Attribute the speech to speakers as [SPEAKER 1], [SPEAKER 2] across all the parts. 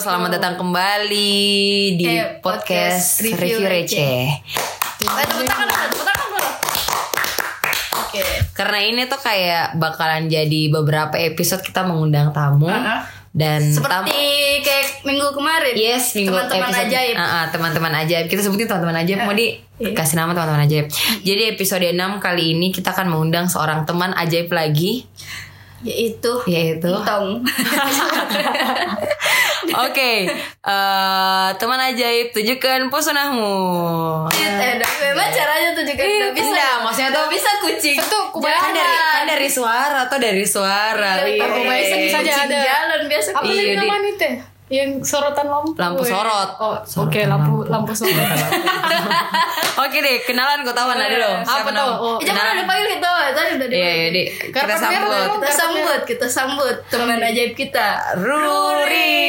[SPEAKER 1] selamat datang kembali di
[SPEAKER 2] Eh,
[SPEAKER 1] podcast,
[SPEAKER 2] podcast
[SPEAKER 1] review,
[SPEAKER 2] Review
[SPEAKER 1] receh.
[SPEAKER 2] Eh, tepuk tangan dulu, tepuk tangan dulu. Oke.
[SPEAKER 1] Karena ini tuh kayak bakalan jadi beberapa episode kita mengundang tamu
[SPEAKER 2] Uh-huh.
[SPEAKER 1] dan
[SPEAKER 2] Seperti kayak minggu kemarin.
[SPEAKER 1] Yes, minggu
[SPEAKER 2] Teman-teman
[SPEAKER 1] episode-
[SPEAKER 2] ajaib.
[SPEAKER 1] Ah, ah, teman-teman ajaib. Kita sebutin teman-teman ajaib. Mau di
[SPEAKER 2] Iya.
[SPEAKER 1] kasih nama teman-teman ajaib. Jadi episode 6 kali ini kita akan mengundang seorang teman ajaib lagi
[SPEAKER 2] Yaitu.
[SPEAKER 1] yaitu
[SPEAKER 2] Tong.
[SPEAKER 1] Oke, eh, teman ajaib tunjukkan pesonahmu.
[SPEAKER 2] eh, dah, memang caranya tuh juga
[SPEAKER 1] Iya,
[SPEAKER 2] nggak bisa.
[SPEAKER 1] enggak, maksudnya tuh-
[SPEAKER 2] Nggak bisa kucing.
[SPEAKER 3] Itu
[SPEAKER 1] Kan
[SPEAKER 3] kebanyakan
[SPEAKER 1] dari kan
[SPEAKER 2] Jalan.
[SPEAKER 1] dari suara atau dari suara.
[SPEAKER 2] Iya,
[SPEAKER 3] Aku
[SPEAKER 2] iya,
[SPEAKER 3] baik
[SPEAKER 2] iya.
[SPEAKER 3] bisa aja
[SPEAKER 2] Kucing
[SPEAKER 3] ada.
[SPEAKER 2] jalan biasa.
[SPEAKER 3] Apa
[SPEAKER 1] Iya,
[SPEAKER 3] tadi
[SPEAKER 1] Di.
[SPEAKER 3] namanya teh? Yang sorotan lampu.
[SPEAKER 1] Lampu
[SPEAKER 3] eh.
[SPEAKER 1] sorot.
[SPEAKER 3] Oh,
[SPEAKER 1] Sorotan
[SPEAKER 3] oke lampu lampu sorot.
[SPEAKER 1] Oke deh, kenalan kau tahu Nadi dong.
[SPEAKER 3] Siapa
[SPEAKER 1] Siapa
[SPEAKER 3] tuh?
[SPEAKER 1] tahu?
[SPEAKER 3] Oh,
[SPEAKER 2] Eh, jangan udah dipanggil gitu. Tadi udah
[SPEAKER 1] nah. Iya,
[SPEAKER 2] dipanggil.
[SPEAKER 1] iya, Di. Kita
[SPEAKER 3] Karpet merah
[SPEAKER 1] sambut.
[SPEAKER 3] dong.
[SPEAKER 2] Kita sambut, kita sambut teman ajaib kita.
[SPEAKER 1] Ruri.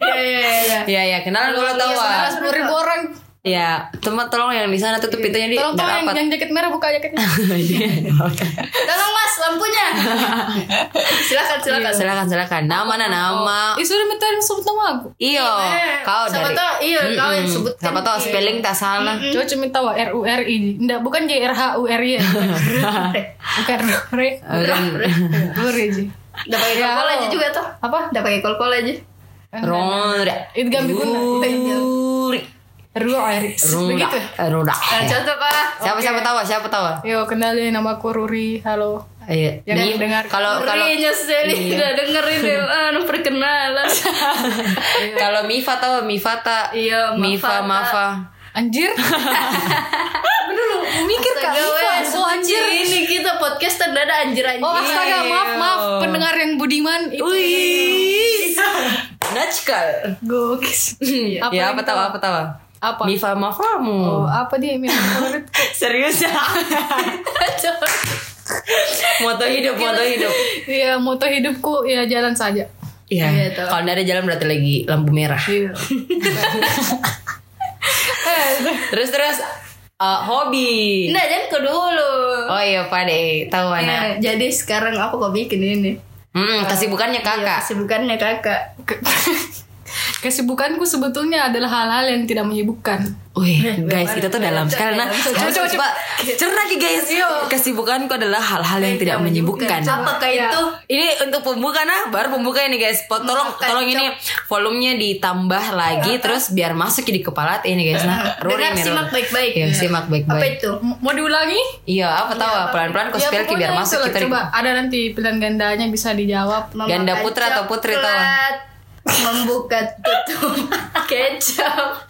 [SPEAKER 2] Iya, iya, iya.
[SPEAKER 1] Ya ya, kenalan kalau tahu.
[SPEAKER 3] Saudara
[SPEAKER 1] ah.
[SPEAKER 3] sepuluh ribu orang.
[SPEAKER 1] Ya, teman tolong yang di sana tutup pintunya di
[SPEAKER 3] Tolong
[SPEAKER 1] nggak rapat.
[SPEAKER 3] tolong yang,
[SPEAKER 1] Iya,
[SPEAKER 3] yang jaket merah buka jaketnya.
[SPEAKER 2] Tolong Mas lampunya. silakan, silakan.
[SPEAKER 1] silakan silakan. Nama nah, nama.
[SPEAKER 3] Ih sudah minta yang sebut nama aku.
[SPEAKER 1] Iyo,
[SPEAKER 2] Eh,
[SPEAKER 1] kau
[SPEAKER 2] siapa
[SPEAKER 1] dari.
[SPEAKER 2] tahu, iya, kau yang
[SPEAKER 1] Mm-mm.
[SPEAKER 2] sebutkan.
[SPEAKER 1] Siapa tahu
[SPEAKER 2] Iya.
[SPEAKER 1] spelling tak salah.
[SPEAKER 3] Coba cuma minta wa R U R I. Enggak, bukan J R H U R Y.
[SPEAKER 1] Iya.
[SPEAKER 3] Bukan Re.
[SPEAKER 1] Bukan.
[SPEAKER 3] Re J.
[SPEAKER 2] Udah pakai kol-kol
[SPEAKER 1] Iya.
[SPEAKER 2] aja juga tuh.
[SPEAKER 3] Apa?
[SPEAKER 2] Udah pakai kol-kol aja.
[SPEAKER 3] Eh,
[SPEAKER 1] Rura.
[SPEAKER 3] Itu gambi guna.
[SPEAKER 1] Ruri.
[SPEAKER 3] Ru R I.
[SPEAKER 1] Rura.
[SPEAKER 3] Begitu. ya?
[SPEAKER 1] Rura.
[SPEAKER 2] Nah, cocok ah.
[SPEAKER 1] Ya. Siapa siapa tahu? Siapa tahu?
[SPEAKER 3] Yo kenalin nama aku Ruri. Halo.
[SPEAKER 1] Iya.
[SPEAKER 3] Yang
[SPEAKER 1] Nih,
[SPEAKER 3] dengar.
[SPEAKER 1] Kalau kalau
[SPEAKER 2] Uri nyeseli udah dengerin ya, anu perkenalan.
[SPEAKER 1] kalau Mifa tahu Mifa tak?
[SPEAKER 2] Iya,
[SPEAKER 1] Mifa
[SPEAKER 2] Mafa tak.
[SPEAKER 1] Mafa.
[SPEAKER 3] Anjir. Bener lu mikir Kak
[SPEAKER 2] Astaga,
[SPEAKER 3] Mifa.
[SPEAKER 2] wes,
[SPEAKER 3] So anjir.
[SPEAKER 2] Ini kita podcast ada anjir anjir.
[SPEAKER 3] Oh astaga maaf maaf pendengar yang budiman itu.
[SPEAKER 1] Iya. Wih. Natchkal.
[SPEAKER 3] Gokis. Iya. Apa
[SPEAKER 1] ya
[SPEAKER 3] yang
[SPEAKER 1] apa tahu apa tahu?
[SPEAKER 3] Apa?
[SPEAKER 1] Mifa Mafamu.
[SPEAKER 3] Oh, apa dia yang favorit?
[SPEAKER 1] Serius ya? moto hidup, moto hidup.
[SPEAKER 3] Iya, moto hidupku ya jalan saja.
[SPEAKER 2] Iya,
[SPEAKER 1] Iya.
[SPEAKER 2] tahu.
[SPEAKER 1] Kalau nggak ada jalan berarti lagi lampu merah.
[SPEAKER 3] Iya.
[SPEAKER 1] Terus terus eh, hobi.
[SPEAKER 2] Nah, jangan ke dulu.
[SPEAKER 1] Oh iya Pak deh, tahu mana?
[SPEAKER 2] Iya, jadi sekarang aku kok bikin ini.
[SPEAKER 1] Hmm,
[SPEAKER 2] Iya.
[SPEAKER 1] kesibukannya kakak.
[SPEAKER 2] Kesibukannya kakak.
[SPEAKER 3] Kesibukanku sebetulnya adalah hal-hal yang tidak menyibukkan.
[SPEAKER 1] Wih, guys, kita tuh dalam sekali nah.
[SPEAKER 2] Iya. Coba, Iya.
[SPEAKER 1] Coba coba cerna ki guys. Kesibukanku adalah hal-hal yang tidak menyibukkan.
[SPEAKER 2] Apakah itu?
[SPEAKER 1] Ini untuk pembuka nah, baru pembuka ini guys. Po- Tolong tolong ini volumenya ditambah lagi terus biar masuk di kepala ini guys nah. Rory
[SPEAKER 2] Dengar
[SPEAKER 1] nih,
[SPEAKER 2] Iya. simak
[SPEAKER 1] Rory.
[SPEAKER 2] baik-baik.
[SPEAKER 1] Iya, simak
[SPEAKER 2] Apa
[SPEAKER 1] baik-baik.
[SPEAKER 2] itu? Iya,
[SPEAKER 3] M- Mau diulangi?
[SPEAKER 1] Iya, apa tahu ah, pelan-pelan kau
[SPEAKER 3] Ya,
[SPEAKER 1] spell ki biar
[SPEAKER 3] pokoknya
[SPEAKER 1] masuk
[SPEAKER 3] itu
[SPEAKER 1] kita.
[SPEAKER 3] lah. Coba ada nanti pilihan gandanya bisa dijawab.
[SPEAKER 2] Memakan
[SPEAKER 1] Ganda putra atau putri,
[SPEAKER 2] coklat,
[SPEAKER 1] Tawan?
[SPEAKER 2] Membuka tutup kecap.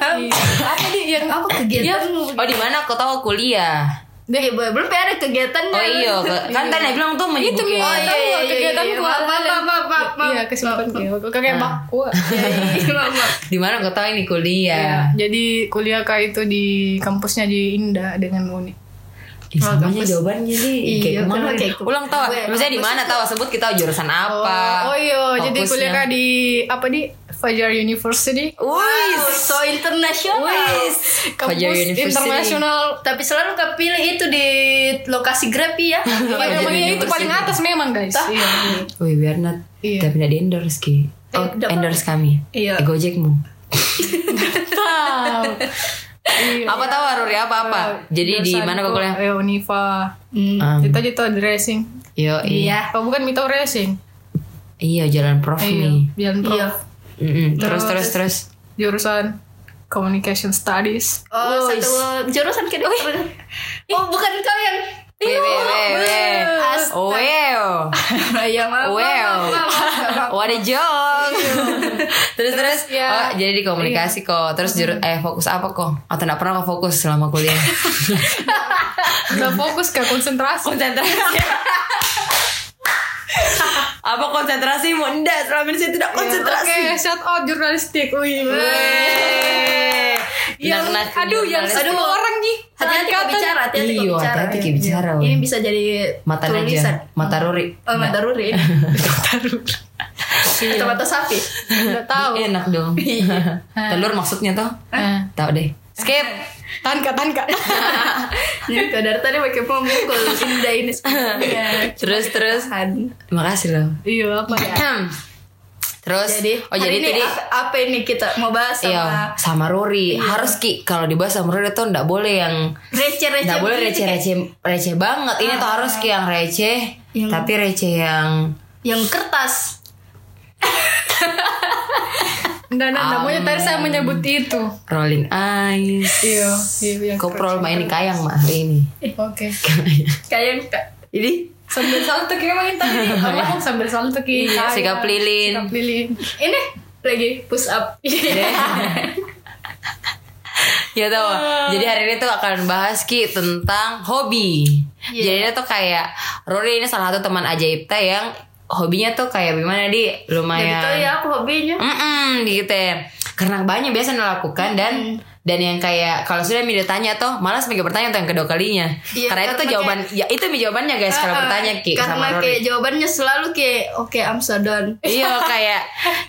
[SPEAKER 3] apa dia yang
[SPEAKER 2] Apa kegiatanmu?
[SPEAKER 1] Oh, di mana kau tahu kuliah?
[SPEAKER 2] Deh, boy, belum ada kegiatannya.
[SPEAKER 1] Oh iya, ke- kan tadi bilang tuh menyibukkan.
[SPEAKER 3] Itu
[SPEAKER 2] Oh iya, iya, iya,
[SPEAKER 3] kegiatan
[SPEAKER 2] iya.
[SPEAKER 3] gua.
[SPEAKER 2] Maaf, maaf, maaf, maaf, maaf.
[SPEAKER 3] Iya, kesibukan gua. Oke, Oke, Mbak. Gua.
[SPEAKER 2] Iya, mama.
[SPEAKER 1] Di mana kau tahu ini kuliah?
[SPEAKER 3] Iya, Jadi kuliah kak itu di kampusnya di Indah dengan Uni.
[SPEAKER 1] Ya, samanya jawabannya sih
[SPEAKER 2] Iya,
[SPEAKER 1] kayak kemana nih?
[SPEAKER 2] kenapa
[SPEAKER 3] gitu.
[SPEAKER 2] kayak kemana?
[SPEAKER 1] Ulang tahu,
[SPEAKER 2] Gue,
[SPEAKER 1] misalnya di
[SPEAKER 2] kampus
[SPEAKER 1] mana tahu sebut kita jurusan apa?
[SPEAKER 3] Oh iya, jadi
[SPEAKER 1] fokusnya.
[SPEAKER 3] kuliah kak di apa di Fajar University.
[SPEAKER 1] Wih,
[SPEAKER 2] Wow, Oh, so internasional.
[SPEAKER 1] wih, Fajar
[SPEAKER 3] Kampus
[SPEAKER 1] University.
[SPEAKER 3] internasional.
[SPEAKER 2] Tapi selalu kepilih itu di lokasi Grapi
[SPEAKER 1] Iya,
[SPEAKER 2] ya.
[SPEAKER 3] Yang
[SPEAKER 1] Fajar
[SPEAKER 3] namanya itu
[SPEAKER 1] University.
[SPEAKER 3] paling atas memang guys. Iya.
[SPEAKER 1] Wih, we are not
[SPEAKER 3] Iya.
[SPEAKER 1] tapi tidak di endorse ki.
[SPEAKER 2] Eh,
[SPEAKER 1] Oh,
[SPEAKER 2] dapat.
[SPEAKER 1] endorse kami. Eh,
[SPEAKER 2] Iya.
[SPEAKER 1] Gojekmu.
[SPEAKER 3] Tahu. Iya.
[SPEAKER 1] Apa tahu Ruri apa apa? Jadi di
[SPEAKER 3] Jurusan
[SPEAKER 1] mana kau
[SPEAKER 3] gua,
[SPEAKER 1] kuliah?
[SPEAKER 3] eh, Unifa.
[SPEAKER 2] Hmm.
[SPEAKER 1] Um,
[SPEAKER 3] Kita itu di racing.
[SPEAKER 1] Yo, iya.
[SPEAKER 2] Iya.
[SPEAKER 3] Oh bukan Mito Racing.
[SPEAKER 1] Iya, jalan prof nih.
[SPEAKER 3] Jalan Pro.
[SPEAKER 2] Iya.
[SPEAKER 1] Mm-mm. Terus terus terus.
[SPEAKER 3] Jurusan Communication Studies.
[SPEAKER 2] Oh,
[SPEAKER 1] Wih.
[SPEAKER 2] satu jurusan Iya. kedua. Oh, bukan kau yang
[SPEAKER 1] Weh, weh, weh, weh.
[SPEAKER 2] Astaga.
[SPEAKER 1] Oh, well.
[SPEAKER 2] Ya, maaf, maaf,
[SPEAKER 1] Well.
[SPEAKER 2] maaf, maaf, maaf, maaf.
[SPEAKER 1] What a joke. terus terus
[SPEAKER 3] ya.
[SPEAKER 1] oh, jadi di komunikasi kok. Terus juru- eh fokus apa kok? Atau enggak pernah kok fokus selama kuliah?
[SPEAKER 3] Udah fokus ke konsentrasi.
[SPEAKER 1] konsentrasi. apa konsentrasi mau enggak selama ini saya tidak konsentrasi.
[SPEAKER 3] Iya, Oke, shout out jurnalistik. Wih.
[SPEAKER 1] Weh.
[SPEAKER 3] Yang
[SPEAKER 1] Benar-benar
[SPEAKER 3] aduh yang
[SPEAKER 1] jurnalistik.
[SPEAKER 3] satu orang nih.
[SPEAKER 2] Hati-hati kau
[SPEAKER 3] Angkatan.
[SPEAKER 2] bicara, hati-hati kau
[SPEAKER 1] Iya,
[SPEAKER 2] bicara.
[SPEAKER 1] hati-hati kau bicara,
[SPEAKER 2] Ini
[SPEAKER 1] weh.
[SPEAKER 2] bisa jadi
[SPEAKER 1] mata
[SPEAKER 2] tulisan.
[SPEAKER 1] aja mata Iya. ruri
[SPEAKER 2] Oh, mata ruri. Atau mata sapi.
[SPEAKER 3] Enggak tahu.
[SPEAKER 1] enak dong telur maksudnya tuh
[SPEAKER 3] Eh.
[SPEAKER 1] tahu deh skip
[SPEAKER 3] Tanka, tanka.
[SPEAKER 2] Jadi tuh dari tadi pakai pemukul indah ini sebenarnya.
[SPEAKER 1] Iya. Terus, terus.
[SPEAKER 2] Tahan.
[SPEAKER 1] Makasih loh.
[SPEAKER 3] Iya apa ya?
[SPEAKER 1] terus
[SPEAKER 2] Jadi,
[SPEAKER 1] oh jadi
[SPEAKER 2] hari ini
[SPEAKER 1] tadi
[SPEAKER 2] apa, apa ini kita mau bahas
[SPEAKER 1] iya sama
[SPEAKER 2] sama
[SPEAKER 1] Rory harus ki kalau dibahas sama Rory tuh nggak boleh yang
[SPEAKER 2] receh-receh. ya?
[SPEAKER 1] nggak boleh
[SPEAKER 2] begini, kayak
[SPEAKER 1] receh-receh receh banget ini tuh harus ki yang receh
[SPEAKER 2] Yang-
[SPEAKER 1] tapi receh yang
[SPEAKER 2] Yang kertas.
[SPEAKER 3] Nggak, nggak, nggak. Maunya tadi saya menyebut itu.
[SPEAKER 1] rolling eyes
[SPEAKER 3] Iya, iya, yang
[SPEAKER 1] koprol main kayang mah hari ini
[SPEAKER 3] Oke.
[SPEAKER 2] Kayak yang
[SPEAKER 1] jadi
[SPEAKER 3] Sambil salto kita main tadi. Aku sambil salto
[SPEAKER 1] Iya.
[SPEAKER 3] kita.
[SPEAKER 1] sikap lilin.
[SPEAKER 3] Sikap lilin.
[SPEAKER 2] ini lagi push up.
[SPEAKER 1] ya tau
[SPEAKER 2] Ah.
[SPEAKER 1] jadi hari ini tuh akan bahas ki tentang hobi
[SPEAKER 2] Iya.
[SPEAKER 1] jadi dia tuh kayak Rory ini salah satu teman ajaib teh yang hobinya tuh kayak gimana di
[SPEAKER 2] Jadi
[SPEAKER 1] lumayan
[SPEAKER 2] tuh ya aku hobinya.
[SPEAKER 1] Mm-mm, gitu ya. Karena banyak biasa dilakukan dan dan yang kayak kalau sudah Mi ditanya tuh malas mikir bertanya tuh yang kedua kalinya.
[SPEAKER 2] Iya,
[SPEAKER 1] karena itu tuh
[SPEAKER 2] karena
[SPEAKER 1] jawaban ya itu Mi jawabannya guys kalau
[SPEAKER 2] Ah,
[SPEAKER 1] bertanya Ki sama
[SPEAKER 2] Karena kayak
[SPEAKER 1] Rory.
[SPEAKER 2] jawabannya selalu kayak oke I'm so done.
[SPEAKER 1] Iya kayak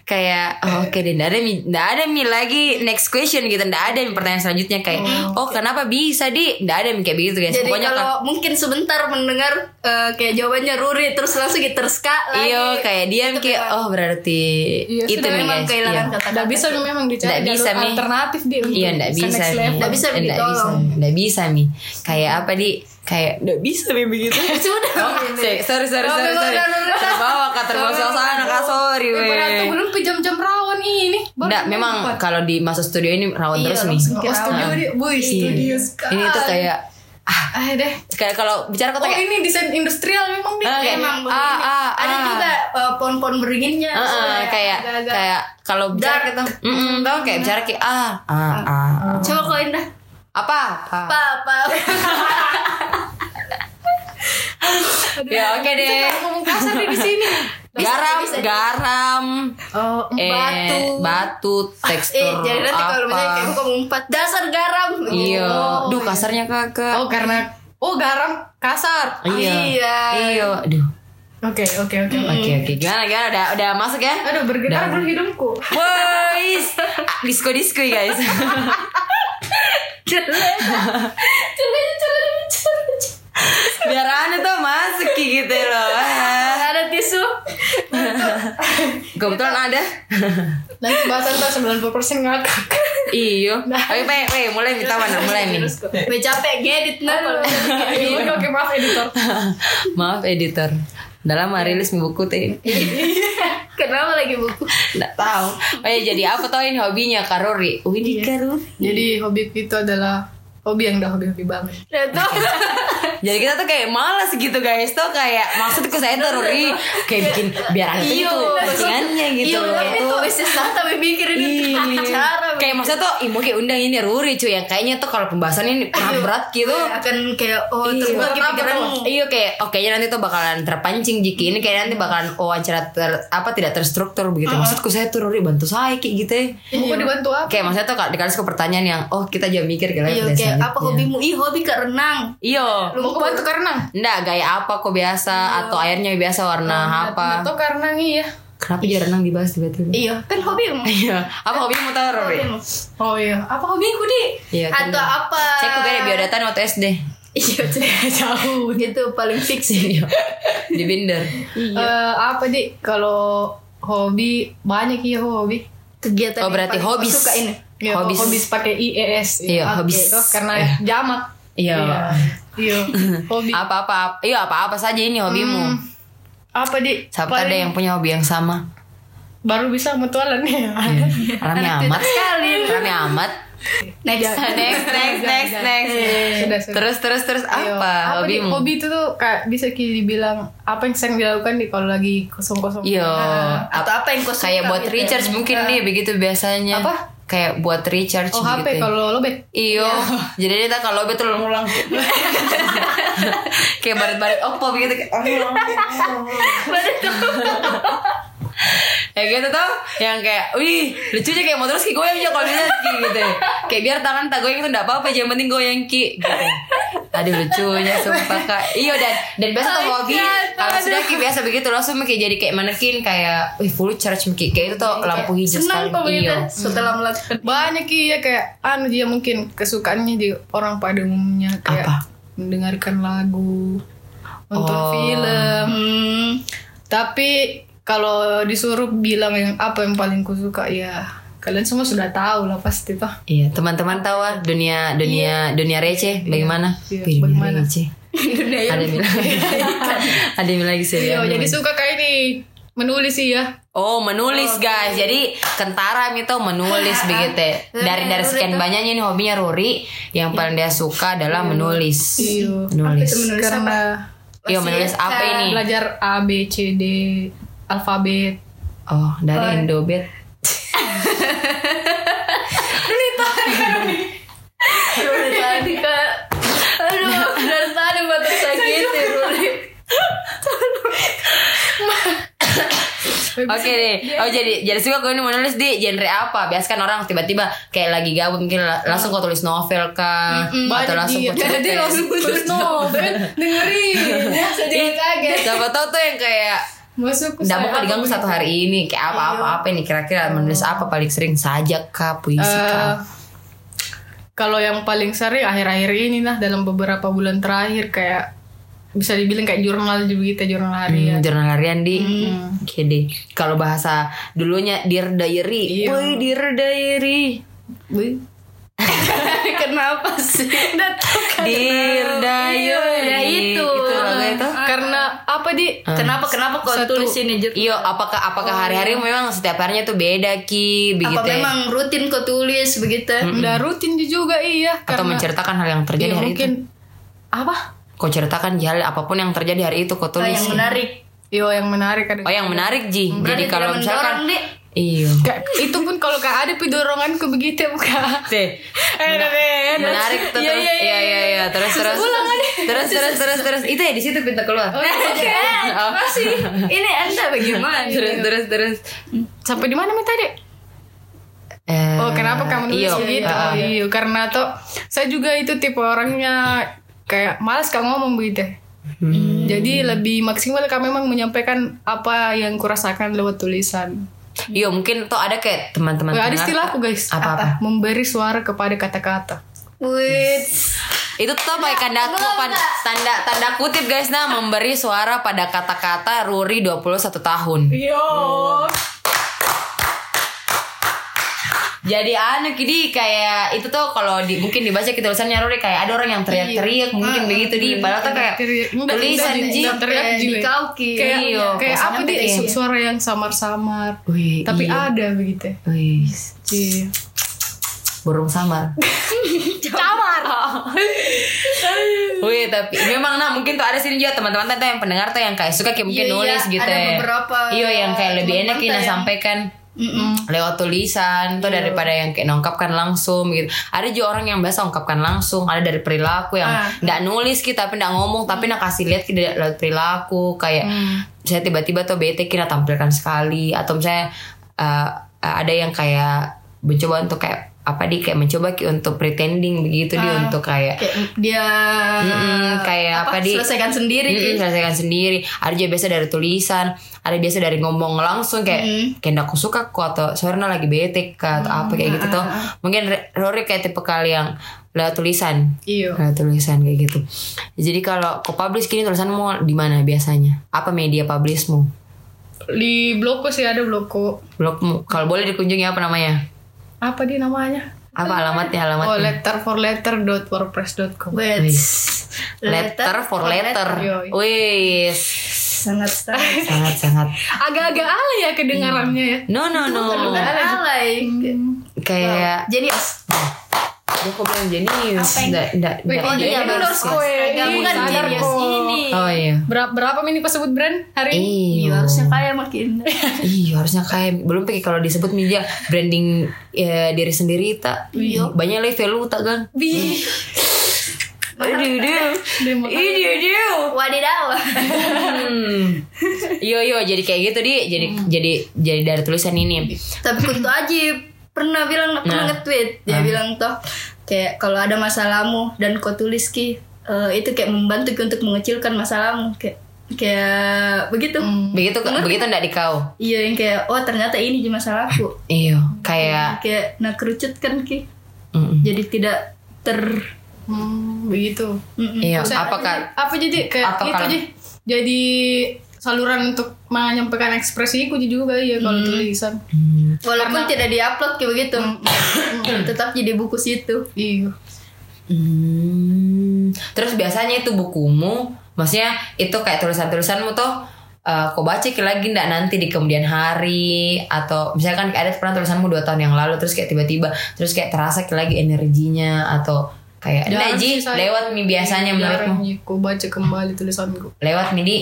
[SPEAKER 1] kayak oh, oke deh ndak ada mi ndak ada mi lagi next question gitu ndak ada mi pertanyaan selanjutnya kayak oh kenapa bisa di ndak ada mi kayak begitu guys
[SPEAKER 2] Jadi
[SPEAKER 1] pokoknya kan-
[SPEAKER 2] kalau mungkin sebentar mendengar eh, kayak jawabannya Ruri terus langsung diterska
[SPEAKER 1] kalau
[SPEAKER 2] lagi.
[SPEAKER 1] iya kayak diam
[SPEAKER 2] Itu
[SPEAKER 1] kayak
[SPEAKER 2] memang-
[SPEAKER 1] oh berarti
[SPEAKER 3] Iya,
[SPEAKER 1] itu
[SPEAKER 3] sudah
[SPEAKER 1] mi
[SPEAKER 2] memang
[SPEAKER 1] guys.
[SPEAKER 2] kehilangan
[SPEAKER 1] Iya.
[SPEAKER 2] kata-kata.
[SPEAKER 3] Nggak bisa memang dicari
[SPEAKER 1] Nggak bisa,
[SPEAKER 3] jalur
[SPEAKER 1] Mi.
[SPEAKER 3] alternatif dia untuk
[SPEAKER 1] Iya nggak
[SPEAKER 3] bisa
[SPEAKER 1] bisa
[SPEAKER 3] next
[SPEAKER 1] Mi.
[SPEAKER 3] level.
[SPEAKER 2] Nggak bisa
[SPEAKER 1] Eh, nggak
[SPEAKER 2] ditolong.
[SPEAKER 1] bisa, Nggak bisa Mi Kayak apa di Kayak nggak bisa Mi begitu
[SPEAKER 2] Sudah.
[SPEAKER 1] Oh, sorry, sorry, sorry,
[SPEAKER 2] Oh,
[SPEAKER 1] sorry,
[SPEAKER 2] memang
[SPEAKER 1] sorry.
[SPEAKER 2] udah lulus.
[SPEAKER 1] Terbawa ke terbawa suasana, kak, sorry, we.
[SPEAKER 3] Daripada tuh belum pinjam jam rawan ini. Baru
[SPEAKER 1] Nggak, memang
[SPEAKER 3] dapat.
[SPEAKER 1] kalau di masuk studio ini rawan
[SPEAKER 2] Iya,
[SPEAKER 1] terus, Mi.
[SPEAKER 2] langsung
[SPEAKER 3] Oh, studio
[SPEAKER 1] Ah.
[SPEAKER 3] dia, boy, studio
[SPEAKER 1] Iya.
[SPEAKER 3] sekali.
[SPEAKER 1] Ini tuh kayak,
[SPEAKER 3] Ah deh.
[SPEAKER 1] kayak kalau bicara kota
[SPEAKER 3] Oh
[SPEAKER 1] kayak,
[SPEAKER 3] ini desain industrial memang dia.
[SPEAKER 1] Ah, kayak-
[SPEAKER 2] Emang
[SPEAKER 1] Ah,
[SPEAKER 2] begini.
[SPEAKER 1] ah,
[SPEAKER 2] Ada
[SPEAKER 1] ah.
[SPEAKER 2] juga eh, pohon-pohon beringinnya.
[SPEAKER 1] Ah, ah,
[SPEAKER 2] soalnya
[SPEAKER 1] kayak,
[SPEAKER 2] ya, agak-agak.
[SPEAKER 1] kayak kalau
[SPEAKER 2] Dark.
[SPEAKER 1] bicara
[SPEAKER 2] gitu. Iya.
[SPEAKER 1] kita, mm -mm, tau kayak bicara kayak, ah, ah, ah, ah.
[SPEAKER 2] Coba kau indah.
[SPEAKER 1] apa, Ah." apa.
[SPEAKER 2] Apa apa.
[SPEAKER 1] Ya oke
[SPEAKER 3] Bisa
[SPEAKER 1] deh.
[SPEAKER 3] nggak ngomong kasar dia di sini.
[SPEAKER 1] Garam,
[SPEAKER 2] bisa.
[SPEAKER 1] garam,
[SPEAKER 3] Oh,
[SPEAKER 1] eh,
[SPEAKER 2] Batu.
[SPEAKER 1] batu, tekstur,
[SPEAKER 2] eh jadi nanti kalau misalnya kayak
[SPEAKER 1] apa.
[SPEAKER 2] aku ngumpat dasar garam.
[SPEAKER 1] Iya,
[SPEAKER 3] Oh,
[SPEAKER 1] duh
[SPEAKER 3] iya.
[SPEAKER 1] kasarnya kakak.
[SPEAKER 3] oh karena oh garam kasar.
[SPEAKER 1] Iya,
[SPEAKER 2] iya.
[SPEAKER 1] iya, aduh.
[SPEAKER 3] Oke, oke, oke.
[SPEAKER 1] Oke oke gimana gimana udah udah masuk ya?
[SPEAKER 3] Aduh bergetar
[SPEAKER 1] Udah.
[SPEAKER 3] dulu hidungku.
[SPEAKER 1] Boys, disco disco Ah, guys.
[SPEAKER 2] Celana celana celana.
[SPEAKER 1] Biar aneh tuh masuk Ki, gitu loh. Ah.
[SPEAKER 2] Ada tisu.
[SPEAKER 1] Kebetulan ada.
[SPEAKER 3] Nanti bahasa ntar 90% ngakak.
[SPEAKER 1] Iyo. Oke, pe, pe, mulai minta mana? Mulai nih.
[SPEAKER 2] Gue capek ngedit nah. kalau-
[SPEAKER 3] Iya, Oke, oke, maaf editor.
[SPEAKER 1] Maaf editor. Dalam rilis buku teh.
[SPEAKER 2] Kenapa lagi buku?
[SPEAKER 1] Enggak tahu. Oh ya, jadi apa tau ini hobinya Karori? Oh ini Karori.
[SPEAKER 3] Jadi hobi itu adalah hobi yang udah hobi-hobi banget.
[SPEAKER 2] Nah, tuh.
[SPEAKER 1] Jadi kita tuh kayak malas gitu guys tuh kayak maksudku saya tuh Rori kayak bikin biar ada Nah, itu postingannya gitu
[SPEAKER 2] Iya,
[SPEAKER 1] loh.
[SPEAKER 2] tapi tuh bisnis lah tapi mikirin itu
[SPEAKER 1] Ih.
[SPEAKER 2] cara.
[SPEAKER 1] Kayak maksudnya tuh Imo kayak undang ini Ruri cuy Yang kayaknya tuh kalau pembahasannya ini berat-berat gitu
[SPEAKER 2] akan kayak oh
[SPEAKER 1] Iya.
[SPEAKER 2] terbuka
[SPEAKER 3] Kenapa
[SPEAKER 2] pikiran
[SPEAKER 3] tuh?
[SPEAKER 1] Iya kayak oke nanti tuh bakalan terpancing Jiki ini kayak nanti bakalan wawancara ter, apa tidak terstruktur begitu maksudku saya tuh Ruri bantu saya kayak gitu ya.
[SPEAKER 3] Ibu dibantu apa?
[SPEAKER 1] kayak maksudnya tuh kalau dikasih ke pertanyaan yang oh kita jangan mikir kayak
[SPEAKER 2] Iya, kayak apa
[SPEAKER 1] gitu.
[SPEAKER 2] hobimu? Ih, hobi ke renang.
[SPEAKER 1] iyo
[SPEAKER 3] Mau bantu karena
[SPEAKER 1] Iya. Nggak, gaya apa kok biasa atau airnya biasa warna apa
[SPEAKER 3] Atau karena nih ya.
[SPEAKER 1] kenapa jarang renang dibahas tiba-tiba
[SPEAKER 2] Iya, kan hobimu.
[SPEAKER 1] iya apa hobimu tahu Ruri
[SPEAKER 2] Hobimu.
[SPEAKER 3] Oh iya, apa hobiku di?
[SPEAKER 1] iya kan
[SPEAKER 2] Atau apa?
[SPEAKER 1] cek tuh kayak biodata waktu SD
[SPEAKER 2] Iya, jauh. Itu paling fix
[SPEAKER 1] Iya. di binder Iya.
[SPEAKER 3] Eh, apa di? Kalau hobi banyak iya hobi.
[SPEAKER 1] Oh,
[SPEAKER 2] kegiatan. yang
[SPEAKER 1] berarti
[SPEAKER 2] paling aku
[SPEAKER 1] hobbies.
[SPEAKER 2] Suka ini.
[SPEAKER 3] Ya,
[SPEAKER 1] Hobbies.
[SPEAKER 3] hobis pakai IES.
[SPEAKER 1] Iya,
[SPEAKER 3] Oke,
[SPEAKER 1] hobbies.
[SPEAKER 3] toh, karena
[SPEAKER 1] Iya.
[SPEAKER 3] jamak.
[SPEAKER 1] Iya.
[SPEAKER 3] Iya. Hobi. Hmm.
[SPEAKER 1] apa apa iya apa apa saja ini hobimu
[SPEAKER 3] Apa di?
[SPEAKER 1] Sampai
[SPEAKER 3] Paling
[SPEAKER 1] ada yang punya hobi yang sama
[SPEAKER 3] baru bisa mutualan ya.
[SPEAKER 1] Iya. rame amat Iya. sekali rame amat
[SPEAKER 2] Next.
[SPEAKER 1] next next next next
[SPEAKER 2] Iya,
[SPEAKER 3] Sudah, sudah.
[SPEAKER 1] terus terus terus
[SPEAKER 3] Iya.
[SPEAKER 1] apa
[SPEAKER 3] Di?
[SPEAKER 1] hobimu
[SPEAKER 3] Hobi itu tuh kayak bisa ki- dibilang apa yang sering dilakukan di kalau lagi kosong-kosong.
[SPEAKER 1] Yo,
[SPEAKER 2] Nah, Atau apa yang kau suka
[SPEAKER 1] Iya. kayak buat
[SPEAKER 2] gitu ya?
[SPEAKER 1] recharge mungkin nih begitu biasanya.
[SPEAKER 3] Apa?
[SPEAKER 1] Kayak buat recharge gitu ya.
[SPEAKER 3] Oh
[SPEAKER 1] begitu.
[SPEAKER 3] HP kalau lobek.
[SPEAKER 1] Iyo, Iya. jadi dia tak kalau betul ngulang. kayak baret-baret opo begitu kayak oh, ngulang. ya gitu tau yang kayak wih lucunya kayak motor ski goyang aja kalau bisa ski gitu kayak biar tangan tak goyang itu nggak apa-apa yang penting goyang ki gitu. aduh lucunya sumpah kak iyo dan dan Iya, biasa tuh hobi kalau sudah kayak biasa begitu langsung kayak jadi kayak manekin kayak wih full charge kayak Iya, kayak itu tuh lampu hijau
[SPEAKER 2] Senang
[SPEAKER 1] sekali
[SPEAKER 2] pemerintah
[SPEAKER 1] iya
[SPEAKER 2] setelah melakukan
[SPEAKER 3] banyak iya kayak anu dia mungkin kesukaannya di orang pada umumnya kayak
[SPEAKER 1] Apa?
[SPEAKER 3] mendengarkan lagu nonton
[SPEAKER 1] Oh.
[SPEAKER 3] film tapi kalau disuruh bilang yang apa yang paling kusuka ya kalian semua sudah tahu lah pasti toh
[SPEAKER 1] iya teman-teman tahu ah dunia dunia dunia receh bagaimana
[SPEAKER 3] Iya,
[SPEAKER 1] Wih, dunia
[SPEAKER 3] bagaimana?
[SPEAKER 1] receh
[SPEAKER 2] dunia yang
[SPEAKER 1] ada yang bilang ada yang bilang gitu
[SPEAKER 3] iya
[SPEAKER 1] ya
[SPEAKER 3] jadi suka kayak ini menulis sih ya
[SPEAKER 1] Oh menulis guys, jadi kentara itu menulis begitu. ya. Dari dari sekian banyaknya nih hobinya Ruri, yang paling dia suka adalah menulis.
[SPEAKER 3] Iya.
[SPEAKER 1] Menulis.
[SPEAKER 2] menulis apa?
[SPEAKER 3] karena
[SPEAKER 1] Iya menulis apa ini?
[SPEAKER 3] belajar A B C D alfabet
[SPEAKER 1] Oh dari Indobet.
[SPEAKER 2] Ruri tadi kak Aduh dari tadi gitu. mata
[SPEAKER 1] Iya.
[SPEAKER 2] tersakiti Ruri
[SPEAKER 1] Oke deh. Oh jadi jadi suka kau ini menulis di genre apa? Biasa kan orang tiba-tiba kayak lagi gabut mungkin la- langsung kau tulis novel kah atau langsung kau cerita.
[SPEAKER 3] Hmm. jadi langsung tulis
[SPEAKER 1] Oh,
[SPEAKER 3] novel dengerin jadi kaget
[SPEAKER 1] Siapa tahu tuh yang kayak
[SPEAKER 3] masuk
[SPEAKER 1] Nggak mau kau diganggu satu
[SPEAKER 3] gitu."
[SPEAKER 1] hari ini Kayak
[SPEAKER 3] Iya.
[SPEAKER 1] apa-apa apa ini Kira-kira menulis apa paling sering Sajak kah Puisi
[SPEAKER 3] Eh,
[SPEAKER 1] kah
[SPEAKER 3] kalau yang paling sering akhir-akhir ini nah dalam beberapa bulan terakhir kayak bisa dibilang kayak jurnal juga gitu jurnal harian
[SPEAKER 1] Hmm, jurnal harian di
[SPEAKER 3] Hmm.
[SPEAKER 1] Oke deh. Kalau bahasa dulunya dear diary.
[SPEAKER 3] Iya.
[SPEAKER 1] Woi, dear diary.
[SPEAKER 2] Kenapa sih
[SPEAKER 1] Dear diary.
[SPEAKER 2] Iya, itu.
[SPEAKER 1] Itu lagu itu.
[SPEAKER 3] karena apa di
[SPEAKER 1] Ah.
[SPEAKER 2] Kenapa kenapa kau tulis ini Jut?
[SPEAKER 1] Iya, apakah apakah hari-hari memang setiap harinya tuh beda ki begitu
[SPEAKER 2] Apa
[SPEAKER 1] ya?
[SPEAKER 2] memang rutin kau tulis begitu Hmm,
[SPEAKER 3] nggak Hmm. rutin juga iya
[SPEAKER 1] Atau
[SPEAKER 3] karena
[SPEAKER 1] menceritakan hal yang terjadi
[SPEAKER 3] ya,
[SPEAKER 1] hari itu.
[SPEAKER 3] mungkin apa
[SPEAKER 1] Kau ceritakan hal apapun yang terjadi hari itu kau
[SPEAKER 2] Oh,
[SPEAKER 1] tulis.
[SPEAKER 2] Yang menarik
[SPEAKER 3] yo yang menarik ada
[SPEAKER 1] Oh, yang menarik Ji. Jadi
[SPEAKER 2] Berarti
[SPEAKER 1] kalau
[SPEAKER 2] tidak mendorong,
[SPEAKER 1] misalkan
[SPEAKER 2] Dik.
[SPEAKER 1] Iya.
[SPEAKER 3] Kayak- itu pun kalau kayak ada pidoronganku begitu buka
[SPEAKER 1] Teh,
[SPEAKER 3] Eh,
[SPEAKER 1] menarik tuh terus iya iya iya terus terus terus terus terus terus itu ya di situ pintu keluar
[SPEAKER 2] iya.
[SPEAKER 1] Oh.
[SPEAKER 2] Eh, Masih Ini anda bagaimana
[SPEAKER 1] terus terus terus
[SPEAKER 3] Sampai di mana Mi, tadi? Oh, kenapa kamu
[SPEAKER 1] iyo,
[SPEAKER 3] nulis begitu?
[SPEAKER 1] uh,
[SPEAKER 3] Iya, karena tuh saya juga itu tipe orangnya kayak malas kalau ngomong begitu.
[SPEAKER 1] Hmm.
[SPEAKER 3] Jadi lebih maksimal kamu memang menyampaikan apa yang kurasakan lewat tulisan.
[SPEAKER 1] iyo Iya, mungkin tuh ada kayak teman-teman
[SPEAKER 3] Wah, ada
[SPEAKER 1] pendengar-
[SPEAKER 3] istilah aku guys.
[SPEAKER 1] apa apa
[SPEAKER 3] Memberi suara kepada kata-kata.
[SPEAKER 2] Wih
[SPEAKER 1] itu tuh pakai tanda pan- tanda tanda kutip guys nah memberi suara pada kata-kata Ruri 21 tahun
[SPEAKER 2] Iya.
[SPEAKER 3] Yo.
[SPEAKER 1] jadi anu kidi kayak itu tuh kalau di mungkin dibaca kita tulisannya Ruri kayak ada orang yang
[SPEAKER 2] Iya.
[SPEAKER 1] teriak-teriak
[SPEAKER 2] Ah,
[SPEAKER 1] mungkin begitu di padahal tuh kayak
[SPEAKER 3] Teriak. Enggak,
[SPEAKER 1] tulisan
[SPEAKER 3] enggak,
[SPEAKER 1] Ji
[SPEAKER 3] enggak teriak
[SPEAKER 2] kayak
[SPEAKER 3] juga.
[SPEAKER 2] dikauki.
[SPEAKER 3] Kayak,
[SPEAKER 1] Iya,
[SPEAKER 3] kayak
[SPEAKER 1] kosannya
[SPEAKER 3] apa dia
[SPEAKER 1] teriak.
[SPEAKER 3] su- suara yang samar-samar.
[SPEAKER 1] Wih,
[SPEAKER 3] Tapi
[SPEAKER 1] iya.
[SPEAKER 3] ada begitu.
[SPEAKER 1] Wih,
[SPEAKER 3] Iya.
[SPEAKER 1] burung samar
[SPEAKER 2] Camar
[SPEAKER 1] Wih tapi memang nah mungkin tuh ada sini juga teman-teman tuh yang pendengar tuh yang kayak suka kayak mungkin
[SPEAKER 2] Iya, iya,
[SPEAKER 1] nulis gitu
[SPEAKER 2] ada
[SPEAKER 1] ya.
[SPEAKER 2] beberapa
[SPEAKER 1] Iya yang kayak lebih enak
[SPEAKER 2] teman-teman
[SPEAKER 1] ini
[SPEAKER 2] tuh yang-
[SPEAKER 1] sampaikan lewat tulisan tuh daripada yang kayak nongkapkan langsung gitu. Ada juga orang yang biasa ungkapkan langsung, ada dari perilaku yang nggak nulis gitu tapi nggak ngomong tapi nak kasih lihat gitu lewat perilaku kayak saya tiba-tiba tuh bete kira tampilkan sekali atau misalnya eh, ada yang kayak mencoba untuk kayak apa di kayak mencoba Ki, untuk pretending begitu dia untuk kayak
[SPEAKER 2] Kayak dia Iya. Hmm,
[SPEAKER 1] Mm-mm, kayak apa, di
[SPEAKER 2] Selesaikan sendiri
[SPEAKER 1] Mm-mm, selesaikan sendiri ada juga biasa dari tulisan ada biasa dari ngomong langsung kayak kayak nggak aku suka kok atau suaranya lagi bete kah, atau apa kayak gitu tuh mungkin Re- Rory kayak tipe kali yang lewat tulisan
[SPEAKER 3] Iya.
[SPEAKER 1] lewat tulisan kayak gitu jadi kalau kau publish kini tulisanmu di mana biasanya apa media publishmu
[SPEAKER 3] Di blogku sih ada blogku.
[SPEAKER 1] blogmu kalau boleh dikunjungi apa namanya
[SPEAKER 3] Apa dia namanya?
[SPEAKER 1] apa alamatnya
[SPEAKER 3] Oh,
[SPEAKER 1] alamatnya
[SPEAKER 3] letter for letter dot wordpress.com.
[SPEAKER 2] Wait
[SPEAKER 1] letter for letter
[SPEAKER 3] Yoi.
[SPEAKER 1] wis
[SPEAKER 2] Sangat style
[SPEAKER 1] sangat sangat
[SPEAKER 3] Agak-agak ala ya kedengarannya ya.
[SPEAKER 1] no no no
[SPEAKER 2] Alay
[SPEAKER 1] kayak
[SPEAKER 2] Jenius
[SPEAKER 1] Dia kok bilang jenius Nggak, nggak,
[SPEAKER 3] Wait,
[SPEAKER 1] nggak.
[SPEAKER 3] oh,
[SPEAKER 2] Iya,
[SPEAKER 3] iya,
[SPEAKER 2] baru
[SPEAKER 3] harus
[SPEAKER 2] sekolah.
[SPEAKER 3] kue.
[SPEAKER 2] Nggak,
[SPEAKER 3] Ih,
[SPEAKER 2] bukan
[SPEAKER 3] sadar
[SPEAKER 2] jenius
[SPEAKER 3] kok.
[SPEAKER 2] ini.
[SPEAKER 1] Oh iya
[SPEAKER 3] Berapa berapa mini kau sebut brand hari ini?
[SPEAKER 1] Iyo,
[SPEAKER 2] Iya harusnya kaya makin
[SPEAKER 1] Iyo, iya, harusnya kayak belum pikir kalau disebut media branding ya, diri sendiri tak.
[SPEAKER 2] Iya.
[SPEAKER 1] Banyak level lu tak kan?
[SPEAKER 3] Bi.
[SPEAKER 2] Iya.
[SPEAKER 1] Aduh, aduh. Iya,
[SPEAKER 3] Demo.
[SPEAKER 1] Ini aduh.
[SPEAKER 2] Wadidaw
[SPEAKER 1] Hmm. Iyo, iyo, jadi kayak gitu di. Jadi,
[SPEAKER 2] Hmm.
[SPEAKER 1] jadi, jadi dari tulisan ini.
[SPEAKER 2] Tapi Kunto Aji pernah bilang pernah nge-tweet dia bilang toh kayak kalau ada masalahmu dan kau tulis ki eh, itu kayak membantu Ki untuk mengecilkan masalahmu kayak kayak begitu
[SPEAKER 1] Begitu begitu ndak di kau?
[SPEAKER 2] iya yang kayak oh ternyata ini di masalah aku
[SPEAKER 1] Iya, kayak
[SPEAKER 2] kayak nah kerucut kan ki
[SPEAKER 1] Mm-mm.
[SPEAKER 2] jadi tidak ter
[SPEAKER 3] Hmm, begitu.
[SPEAKER 2] Mm-mm.
[SPEAKER 1] Iya,
[SPEAKER 3] Saya-
[SPEAKER 1] apakah
[SPEAKER 3] apa jadi kayak
[SPEAKER 1] Apa
[SPEAKER 3] itu
[SPEAKER 1] kalau-
[SPEAKER 3] aja jadi saluran untuk menyampaikan ekspresiku juga ya kalau tulisan.
[SPEAKER 2] walaupun tidak diupload kayak begitu tetap jadi buku situ
[SPEAKER 3] Iya.
[SPEAKER 1] Hmm. Terus biasanya itu bukumu, maksudnya itu kayak tulisan-tulisanmu tuh eh, kau baca ki lagi ndak nanti di kemudian hari atau misalkan kayak ada pernah tulisanmu dua tahun yang lalu terus kayak tiba-tiba terus kayak terasa ki lagi energinya atau kayak
[SPEAKER 3] Jarang
[SPEAKER 1] ndak Ji
[SPEAKER 3] sih saya-
[SPEAKER 1] lewat mi biasanya menurutmu
[SPEAKER 3] Jarang aku baca kembali tulisanku.
[SPEAKER 1] lewat nih di